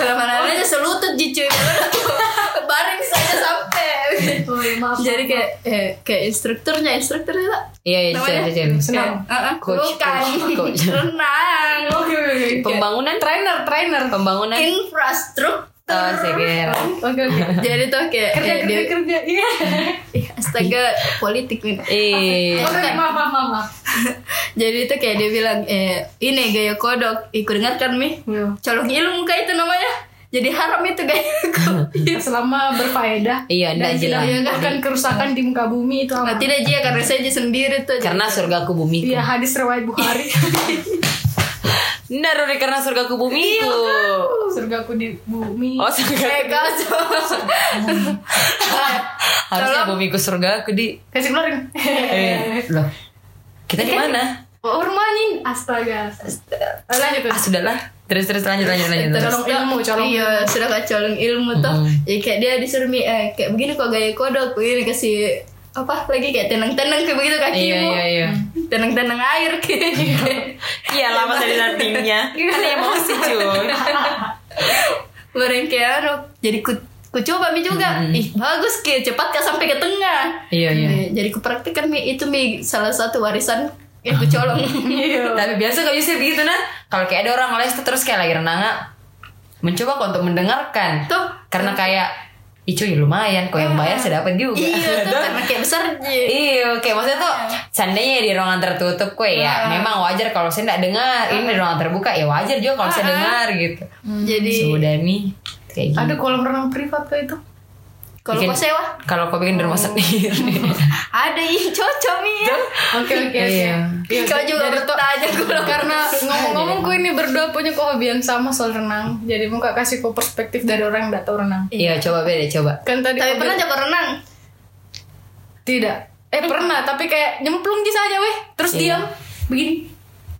[SPEAKER 2] Kalau mana aja selutut di cuy. Baring saja sampai.
[SPEAKER 3] Oh, ya, maaf
[SPEAKER 2] Jadi kayak eh, kayak instrukturnya, instrukturnya lah.
[SPEAKER 1] iya iya jadi
[SPEAKER 2] Namanya?
[SPEAKER 1] jadi
[SPEAKER 3] Senam.
[SPEAKER 2] Eh, eh, eh,
[SPEAKER 1] Coach,
[SPEAKER 2] bukan.
[SPEAKER 1] coach, coach.
[SPEAKER 2] Renang.
[SPEAKER 3] oke oke oke.
[SPEAKER 1] pembangunan
[SPEAKER 3] trainer trainer
[SPEAKER 1] pembangunan
[SPEAKER 2] Infrastruktur.
[SPEAKER 1] oh saya kira
[SPEAKER 3] oke
[SPEAKER 1] Iya.
[SPEAKER 3] oke
[SPEAKER 2] Jadi tuh kayak
[SPEAKER 3] kerja
[SPEAKER 2] eh,
[SPEAKER 3] kerja
[SPEAKER 2] dia-
[SPEAKER 3] kerja iya
[SPEAKER 2] ih, astaga politik nih.
[SPEAKER 1] Iya.
[SPEAKER 3] oke maaf maaf maaf, maaf
[SPEAKER 2] Jadi tuh kayak dia bilang eh ini gaya kodok. Ikut dengarkan mi.
[SPEAKER 3] Iya.
[SPEAKER 2] Colok ilmu kayak itu namanya. Jadi haram itu gaya kodok.
[SPEAKER 3] selama berfaedah
[SPEAKER 1] Iya,
[SPEAKER 3] dan
[SPEAKER 1] ndak
[SPEAKER 3] tidak
[SPEAKER 1] jelas.
[SPEAKER 3] menyebabkan kerusakan di muka bumi itu
[SPEAKER 2] Nah,
[SPEAKER 3] aman.
[SPEAKER 2] tidak aja karena saya aja sendiri tuh.
[SPEAKER 1] karena surgaku bumiku.
[SPEAKER 3] Iya hadis riwayat Bukhari.
[SPEAKER 1] Benar Ruri, karena surgaku bumiku.
[SPEAKER 3] Surgaku di bumi.
[SPEAKER 1] Oh, surgaku.
[SPEAKER 2] Iya, Eh, kau tuh.
[SPEAKER 1] Harusnya
[SPEAKER 2] Tolong.
[SPEAKER 1] bumiku surgaku di
[SPEAKER 3] Kasih keluarin.
[SPEAKER 1] eh loh. Kita
[SPEAKER 2] Iya
[SPEAKER 1] di mana?
[SPEAKER 3] Oh, rumahnya astaga. Eh, Lanjut.
[SPEAKER 2] kan?
[SPEAKER 1] Ah, sudahlah. Terus terus lanjut lanjut lanjut. terus.
[SPEAKER 3] Colong ilmu, colong
[SPEAKER 2] iya sudah kak colong ilmu tuh ya kayak dia disuruh mi eh, kayak begini kok gaya kodok begini kasih apa lagi kayak tenang-tenang kayak begitu kakimu
[SPEAKER 1] Iya iya iya.
[SPEAKER 2] tenang-tenang air kayak gitu.
[SPEAKER 1] Iya, lama tadi nantinya.
[SPEAKER 2] Iya.
[SPEAKER 1] Kan emosi, cuy.
[SPEAKER 2] bareng kayak anu, jadi ku, ku coba mi juga ih bagus kayak cepat kak sampai ke tengah
[SPEAKER 1] Iya iya.
[SPEAKER 2] Eh, jadi ku praktekkan mi itu mi salah satu warisan yang ku colong
[SPEAKER 1] Tapi biasa kalau bisa begitu nah, kalau kayak ada orang les tuh terus kayak lagi renang ah, mencoba kok untuk mendengarkan.
[SPEAKER 2] Tuh. Ah.
[SPEAKER 1] Karena kayak Ih cuy lumayan kok yang bayar saya dapat juga.
[SPEAKER 2] iya tuh
[SPEAKER 1] Tuh.
[SPEAKER 2] karena kayak besar Ji.
[SPEAKER 1] Iya, oke maksudnya tuh seandainya di ruangan tertutup kue ya, memang wajar kalau saya tidak dengar. Ini di ruangan terbuka ya wajar juga kalau saya dengar gitu.
[SPEAKER 2] jadi
[SPEAKER 1] Sudah nih kayak gitu.
[SPEAKER 3] Ada kolam renang privat kah itu?
[SPEAKER 2] kalau
[SPEAKER 1] Bikin-
[SPEAKER 2] kau sewa
[SPEAKER 1] Kalau kau bikin di rumah sendiri.
[SPEAKER 2] ada ih cocok mi ya
[SPEAKER 3] Oke oke
[SPEAKER 1] Iya.
[SPEAKER 3] Iya,
[SPEAKER 2] kau juga
[SPEAKER 3] jadi tuh-
[SPEAKER 2] bertanya kalau
[SPEAKER 3] karena ngomong-ngomong ku ini berdua punya kok hobi yang sama soal renang. Jadi mau kak kasih kok perspektif dari orang yang nggak tahu renang.
[SPEAKER 1] Iya, coba beda coba.
[SPEAKER 3] Kan tadi
[SPEAKER 2] tapi
[SPEAKER 3] kau
[SPEAKER 2] pernah
[SPEAKER 3] bilang-
[SPEAKER 2] coba renang
[SPEAKER 3] tidak. Eh pernah tapi kayak nyemplung di saja weh. Terus
[SPEAKER 1] Iya.
[SPEAKER 3] diam begini.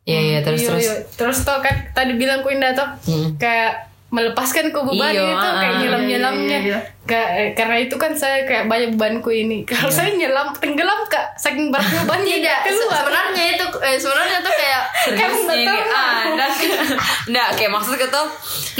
[SPEAKER 1] Iya, iya terus
[SPEAKER 3] Iyo,
[SPEAKER 1] terus.
[SPEAKER 3] iyo. terus tuh kan tadi bilang ku Indah tuh
[SPEAKER 1] Hmm.
[SPEAKER 3] kayak melepaskan ke beban
[SPEAKER 1] Iyo,
[SPEAKER 3] gitu kayak
[SPEAKER 1] ah.
[SPEAKER 3] nyelam nyelamnya
[SPEAKER 2] Iya, iya,
[SPEAKER 3] karena itu kan saya kayak banyak bebanku ini
[SPEAKER 1] Iya.
[SPEAKER 3] kalau saya nyelam tenggelam kak saking beratnya beban
[SPEAKER 2] Tidak,
[SPEAKER 3] Oh, tidak
[SPEAKER 2] se-
[SPEAKER 3] keluar
[SPEAKER 2] sebenarnya itu eh, sebenarnya tuh kayak
[SPEAKER 1] Terus ah.
[SPEAKER 3] nggak
[SPEAKER 1] ini
[SPEAKER 3] tahu.
[SPEAKER 1] ada. Nggak, kayak maksudnya tuh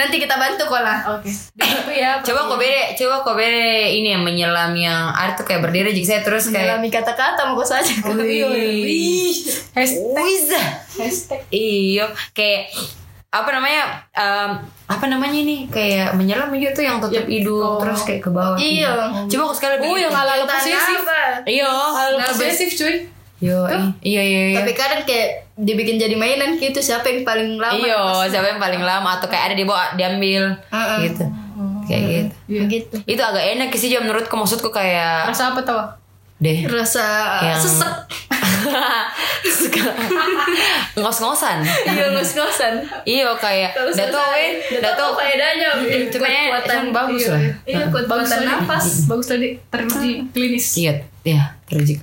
[SPEAKER 2] nanti kita bantu kok lah.
[SPEAKER 3] oke itu ya
[SPEAKER 1] coba kau beda, coba kau beda ini yang menyelam yang ada tuh kayak berdiri jadi saya terus kayak
[SPEAKER 2] Menyelami kata-kata mau kok saja. Iya.
[SPEAKER 1] Wih.
[SPEAKER 3] hashtag
[SPEAKER 1] Wizah.
[SPEAKER 3] hashtag
[SPEAKER 1] Iya, kayak apa namanya? em, apa namanya ini? Kayak menyelam aja tuh yang tutup hidung terus kayak ke bawah.
[SPEAKER 2] Iya.
[SPEAKER 1] Coba aku sekali
[SPEAKER 3] oh yang ala ala
[SPEAKER 2] Tanah
[SPEAKER 3] posesif
[SPEAKER 2] apa?
[SPEAKER 1] Iya.
[SPEAKER 3] ala
[SPEAKER 1] Nah, bes-
[SPEAKER 3] posesif cuy
[SPEAKER 1] Yo, i- iya iya iya.
[SPEAKER 2] Tapi kadang kayak dibikin jadi mainan gitu siapa yang paling lama.
[SPEAKER 1] Iya, siapa yang paling lama atau kayak ada di bawah diambil
[SPEAKER 2] Heeh.
[SPEAKER 1] gitu. Kayak gitu.
[SPEAKER 2] Begitu.
[SPEAKER 1] Itu agak enak sih Jo, menurutku maksudku kayak
[SPEAKER 3] rasa apa tau
[SPEAKER 1] deh.
[SPEAKER 2] Rasa
[SPEAKER 1] Yang-
[SPEAKER 2] sesek.
[SPEAKER 1] Suka- Ngos-ngosan.
[SPEAKER 2] Iya ngos-ngosan.
[SPEAKER 1] Iya kayak dato we, dato
[SPEAKER 2] faedahnya.
[SPEAKER 3] Iya,
[SPEAKER 1] Cuma ya, cuman bagus lah.
[SPEAKER 2] Iya, kuat kuatan nafas.
[SPEAKER 3] Nah,
[SPEAKER 2] Nah.
[SPEAKER 3] bagus tadi teruji klinis
[SPEAKER 1] Iya, ya, terujuk.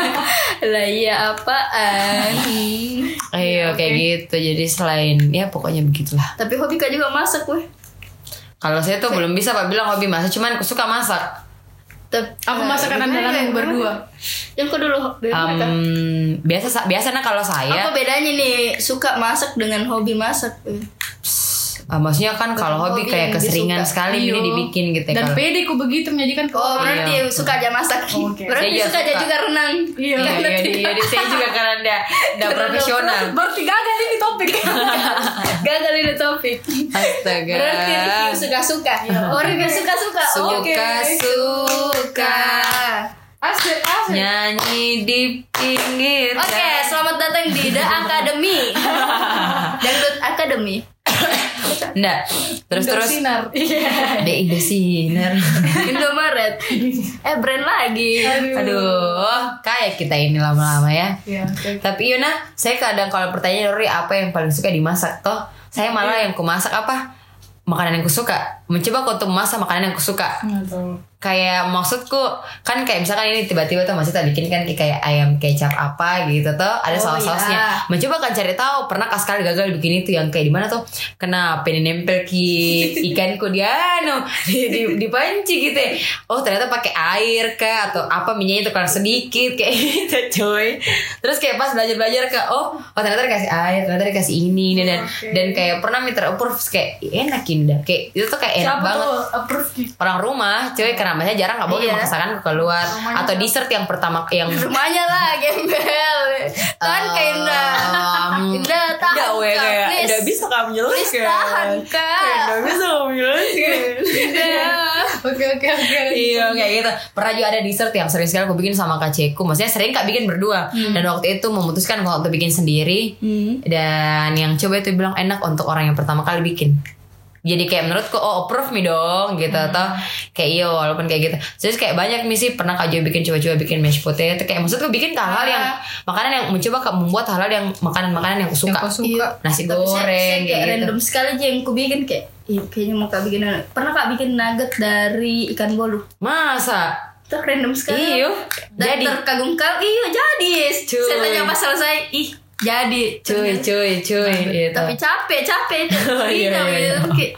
[SPEAKER 2] Lah iya apaan?
[SPEAKER 1] Iya kayak gitu jadi selain ya pokoknya begitulah.
[SPEAKER 2] Tapi hobi kak juga masak weh.
[SPEAKER 1] Kalau saya tuh belum bisa pak bilang hobi masak, cuman aku suka masak.
[SPEAKER 2] Tep- Nah, ya?
[SPEAKER 3] aku masakan andalanmu berdua
[SPEAKER 2] Yang kau dulu. dari mana, Kak?
[SPEAKER 1] Em, biasa biasanya kalau
[SPEAKER 2] Apa
[SPEAKER 1] saya,
[SPEAKER 2] bedanya nih suka masak dengan hobi masak?
[SPEAKER 1] eh, maksudnya kan kalau hobi
[SPEAKER 2] hobi
[SPEAKER 1] kayak
[SPEAKER 2] yang
[SPEAKER 1] keseringan
[SPEAKER 2] disuka.
[SPEAKER 1] sekali ini
[SPEAKER 3] Iyo.
[SPEAKER 1] dibikin gitu ya.
[SPEAKER 3] Iya. dan
[SPEAKER 1] kalau-
[SPEAKER 3] pede ku begitu menyajikan ke
[SPEAKER 2] Oh,
[SPEAKER 3] orang
[SPEAKER 2] berarti
[SPEAKER 1] Iya.
[SPEAKER 2] suka aja masak.
[SPEAKER 3] Oh, Oke.
[SPEAKER 2] Berarti
[SPEAKER 1] Saya juga
[SPEAKER 2] suka aja
[SPEAKER 1] suka.
[SPEAKER 2] juga renang.
[SPEAKER 3] Iya,
[SPEAKER 1] Iya,
[SPEAKER 2] Karena
[SPEAKER 1] iya,
[SPEAKER 2] tidak-
[SPEAKER 1] iya, iya, saya juga karena ndak
[SPEAKER 3] Ya,
[SPEAKER 1] ndak profesional.
[SPEAKER 3] Berarti gagal ini topik.
[SPEAKER 2] Gagal ini topik.
[SPEAKER 1] Astaga.
[SPEAKER 2] Berarti review suka-suka. Oh, review suka-suka. Oke.
[SPEAKER 1] Suka suka
[SPEAKER 3] asik, asik.
[SPEAKER 1] nyanyi di pinggir.
[SPEAKER 2] Oke,
[SPEAKER 1] jalan.
[SPEAKER 2] selamat datang di The Academy. Dangdut Academy.
[SPEAKER 1] Nggak. Terus terus
[SPEAKER 3] Sinar.
[SPEAKER 1] di Indosinar.
[SPEAKER 2] Indomaret. Eh brand lagi.
[SPEAKER 1] Aduh, kayak kita ini lama-lama ya.
[SPEAKER 3] Iya. oke.
[SPEAKER 1] Tapi Yuna, saya kadang kalau pertanyaan Nuri apa yang paling suka dimasak toh? Saya malah yang kumasak apa? Makanan yang kusuka. Mencoba aku untuk memasak makanan yang kusuka.
[SPEAKER 3] Nggak tahu.
[SPEAKER 1] Kayak maksudku kan kayak misalkan ini tiba-tiba tuh masih tak bikin kan kayak ayam kecap apa gitu tuh ada
[SPEAKER 2] Oh,
[SPEAKER 1] saus-sausnya.
[SPEAKER 2] iya.
[SPEAKER 1] Mencoba kan cari tahu pernah kas sekali gagal bikin itu yang kayak di mana tuh kena pengen nempel ki ikanku dia anu di, di, di panci gitu. ya. Oh ternyata pakai air kah atau apa minyaknya itu kurang sedikit kayak gitu coy. Terus kayak pas belajar-belajar ke oh oh ternyata dikasih air ternyata dikasih ini ini, dan
[SPEAKER 3] Oke.
[SPEAKER 1] dan kayak pernah minta approve kayak enak indah kayak itu tuh kayak enak
[SPEAKER 3] Siapa
[SPEAKER 1] banget
[SPEAKER 3] tuh approve gitu?
[SPEAKER 1] orang rumah cuy karena biasanya jarang nggak boleh
[SPEAKER 2] Iya.
[SPEAKER 1] memaksakan ke keluar atau dessert yang pertama yang eh,
[SPEAKER 2] Rumahnya lah gembel. Tahan ke kan Indah.
[SPEAKER 1] Um,
[SPEAKER 2] Indah tahan
[SPEAKER 1] nggak, weh,
[SPEAKER 2] Kak,
[SPEAKER 1] kayak,
[SPEAKER 2] please.
[SPEAKER 1] nggak bisa kamu
[SPEAKER 2] Please tahan Kak.
[SPEAKER 1] Nggak bisa kamu jelaskan
[SPEAKER 3] Oke oke oke.
[SPEAKER 1] Iya kayak gitu Pernah juga ada dessert yang sering sekali aku bikin sama Kak Ceku Maksudnya sering Kak bikin berdua
[SPEAKER 2] Hmm.
[SPEAKER 1] Dan waktu itu memutuskan kalau untuk bikin sendiri Dan yang coba itu bilang enak untuk orang yang pertama kali bikin jadi kayak menurutku oh approve mi dong gitu
[SPEAKER 2] Hmm.
[SPEAKER 1] atau kayak iya walaupun kayak gitu terus kayak banyak misi pernah kak juga bikin coba-coba bikin mashed potato kayak maksudku bikin hal-hal yang
[SPEAKER 2] Ah.
[SPEAKER 1] makanan yang mencoba Kak, membuat hal-hal yang makanan-makanan yang aku
[SPEAKER 3] Yang
[SPEAKER 1] suka
[SPEAKER 3] kau suka.
[SPEAKER 2] Iya.
[SPEAKER 1] nasi
[SPEAKER 2] Tapi saya- saya
[SPEAKER 1] goreng
[SPEAKER 2] kayak
[SPEAKER 1] kayak gitu
[SPEAKER 2] random sekali aja yang ku bikin kayak Iya, kayaknya mau kak bikin pernah kak bikin nugget dari ikan bolu
[SPEAKER 1] masa
[SPEAKER 2] itu random sekali
[SPEAKER 1] Iya.
[SPEAKER 2] dan
[SPEAKER 1] Jadi.
[SPEAKER 2] terkagum-kagum iya jadi
[SPEAKER 1] Cuy.
[SPEAKER 2] saya tanya pas selesai ih jadi
[SPEAKER 1] cuy cuy cuy gitu.
[SPEAKER 2] Nah, tapi capek capek
[SPEAKER 1] Oh, iya,
[SPEAKER 2] Iya,
[SPEAKER 1] iya, iya.
[SPEAKER 2] gitu. Kayak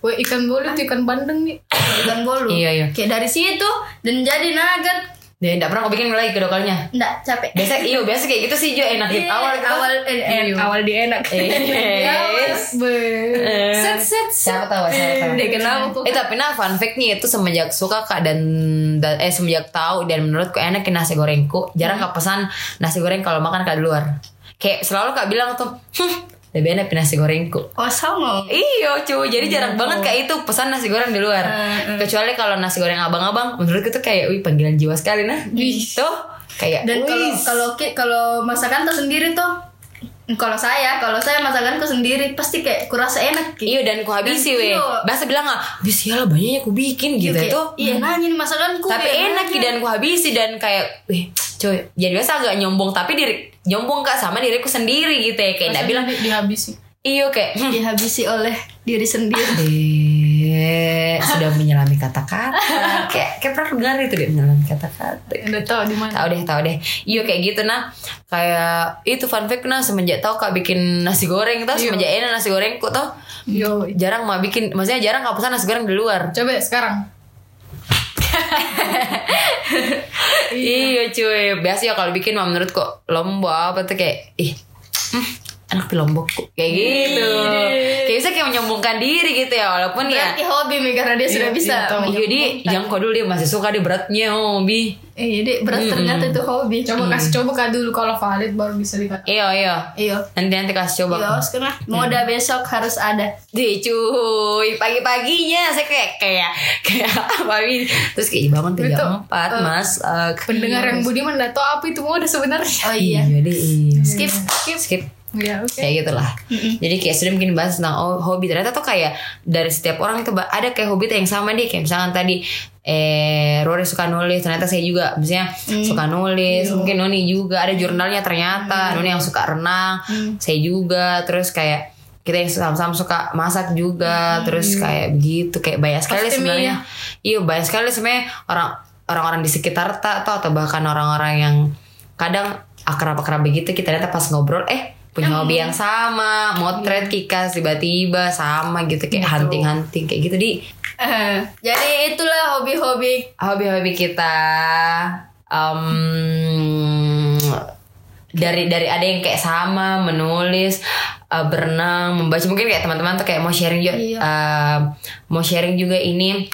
[SPEAKER 3] Wah ikan bolu tuh ikan bandeng nih.
[SPEAKER 2] ikan bolu
[SPEAKER 1] Iya, iya.
[SPEAKER 2] kayak dari situ dan jadi nugget
[SPEAKER 1] Dia enggak pernah aku bikin lagi kedua kalinya.
[SPEAKER 2] nggak capek
[SPEAKER 1] Biasa iya, biasa kayak gitu sih Jo enak gitu
[SPEAKER 2] Iya,
[SPEAKER 1] awal kita.
[SPEAKER 2] awal Iya, eh, eh,
[SPEAKER 3] Iya.
[SPEAKER 2] awal dia enak Ya,
[SPEAKER 1] Yes.
[SPEAKER 3] Be.
[SPEAKER 1] Eh.
[SPEAKER 3] Set set set.
[SPEAKER 1] Siapa tahu, siapa tahu.
[SPEAKER 2] dia kenal aku
[SPEAKER 1] Eh tapi nah fun fact-nya itu semenjak suka kak dan, dan- eh semenjak tahu dan menurutku enak nasi gorengku jarang
[SPEAKER 2] Hmm.
[SPEAKER 1] kak pesan nasi goreng kalau makan kak di luar kayak selalu kak bilang tuh "Hmm, lebih enak nasi gorengku
[SPEAKER 2] oh sama
[SPEAKER 1] Iya cuy, jadi jarang banget kayak itu pesan nasi goreng di luar.
[SPEAKER 2] Hmm,
[SPEAKER 1] Kecuali kalau nasi goreng abang-abang, menurutku tuh kayak wih panggilan jiwa sekali nah. Tuh kayak
[SPEAKER 2] dan kalau
[SPEAKER 1] wih,
[SPEAKER 2] kalau ki- kalau masakan tuh sendiri tuh kalau saya kalau saya masakanku sendiri pasti kayak kurasa enak gitu
[SPEAKER 1] Iya dan ku habisi
[SPEAKER 2] Dan
[SPEAKER 1] weh.
[SPEAKER 2] iyo.
[SPEAKER 1] Bahasa bilang nggak, bis ya lah banyaknya ku bikin gitu itu.
[SPEAKER 2] iya nanya nih masakanku
[SPEAKER 1] Tapi
[SPEAKER 2] kayak
[SPEAKER 1] enak gitu.
[SPEAKER 2] nanya.
[SPEAKER 1] ki, dan ku habisi dan kayak wih cuy. Jadi biasa agak nyombong tapi diri nyombong kak sama diriku sendiri gitu ya kayak nggak bilang
[SPEAKER 3] Di- dihabisi.
[SPEAKER 1] iyo kayak "Hmm,
[SPEAKER 2] dihabisi oleh diri sendiri
[SPEAKER 1] deh Eh, sudah menyelami kata-kata kayak kayak pernah dengar itu deh menyelami kata-kata
[SPEAKER 3] Udah tahu di mana.
[SPEAKER 1] tahu deh tahu deh iya kayak gitu nah kayak itu fun fact nah semenjak tahu kak bikin nasi goreng tau semenjak ini nasi goreng kok tau
[SPEAKER 3] Yo.
[SPEAKER 1] jarang mah bikin maksudnya jarang kak pesan nasi goreng di luar
[SPEAKER 3] Coba ya, sekarang.
[SPEAKER 1] iya cuy biasa ya kalau bikin mah menurut kok lombok apa tuh kayak ih hmm, anak di lombok kok. kayak gitu kayak bisa kayak menyombongkan diri gitu ya walaupun ya
[SPEAKER 2] berarti hobi mi karena dia sudah bisa
[SPEAKER 3] iya, tahu.
[SPEAKER 1] iya dia jangkau dulu dia masih suka dia beratnya oh bi
[SPEAKER 2] eh jadi berat ternyata itu hobi
[SPEAKER 3] Coba kasih coba kak dulu kalau valid baru bisa dikatakan.
[SPEAKER 1] iya iya
[SPEAKER 2] iya
[SPEAKER 1] nanti nanti kasih coba
[SPEAKER 2] iya harus kena moda besok harus ada
[SPEAKER 1] Deh cuy, pagi-paginya saya kayak kayak kayak apa ini? Terus kayak bangun tuh
[SPEAKER 3] Betul.
[SPEAKER 1] jam 4, masak.
[SPEAKER 3] Pendengar yang budiman udah tahu apa itu mode sebenarnya.
[SPEAKER 2] oh iya
[SPEAKER 1] deh. iya.
[SPEAKER 2] skip
[SPEAKER 1] Skip. Skip.
[SPEAKER 3] Ya oke.
[SPEAKER 1] Kayak gitu lah. Jadi kayak sering mungkin bahas tentang oh, hobi. Ternyata tuh kayak dari setiap orang itu ba- ada kayak hobi tuh yang sama deh. Kayak misalkan tadi eh Rory suka nulis. Ternyata saya juga misalnya suka nulis. Mungkin Noni juga ada jurnalnya ternyata. Noni yang suka renang. Saya juga. Terus kayak kita yang sama-sama suka masak juga terus kayak begitu kayak banyak sekali
[SPEAKER 3] Pasti, Mi,
[SPEAKER 1] sebenarnya iya banyak sekali sebenarnya orang orang-orang di sekitar tak atau bahkan orang-orang yang kadang akrab-akrab begitu kita ternyata pas ngobrol eh punya
[SPEAKER 3] Iya.
[SPEAKER 1] hobi yang sama motret kikas tiba-tiba sama gitu kayak hunting-hunting kayak gitu di
[SPEAKER 2] Eh, jadi itulah hobi-hobi
[SPEAKER 1] hobi-hobi kita um, dari dari ada yang kayak sama menulis uh, berenang membaca mungkin kayak teman-teman tuh kayak mau sharing juga
[SPEAKER 2] Iya.
[SPEAKER 1] uh, mau sharing juga ini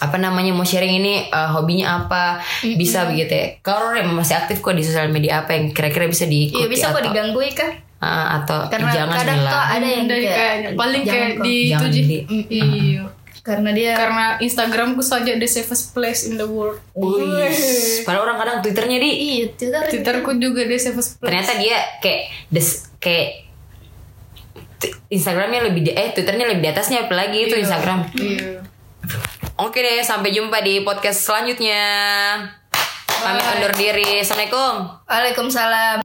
[SPEAKER 1] apa namanya mau sharing ini uh, hobinya apa bisa begitu ya kalau Rory masih aktif kok di sosial media apa yang kira-kira bisa diikuti
[SPEAKER 2] iya bisa kok
[SPEAKER 1] atau,
[SPEAKER 2] digangguin kan
[SPEAKER 1] uh, atau
[SPEAKER 2] karena
[SPEAKER 1] jangan
[SPEAKER 2] kadang
[SPEAKER 1] lah.
[SPEAKER 2] tuh ada yang
[SPEAKER 3] dari
[SPEAKER 2] kayak,
[SPEAKER 3] kayak paling kayak
[SPEAKER 2] jangan kok.
[SPEAKER 3] di
[SPEAKER 1] Jangan
[SPEAKER 3] tujuh.
[SPEAKER 1] di-
[SPEAKER 3] Mm, Iya.
[SPEAKER 2] karena dia
[SPEAKER 3] Karena Instagramku saja the safest place in the world.
[SPEAKER 1] Wih, padahal orang kadang twitternya di
[SPEAKER 2] iya Twitter
[SPEAKER 3] Twitterku juga the safest place.
[SPEAKER 1] ternyata dia kayak des kayak t- Instagramnya lebih di, eh Twitternya lebih di atasnya apalagi itu Instagram.
[SPEAKER 3] Iya.
[SPEAKER 1] Oke deh, sampai jumpa di podcast selanjutnya. Kami undur diri. Assalamualaikum.
[SPEAKER 2] Waalaikumsalam.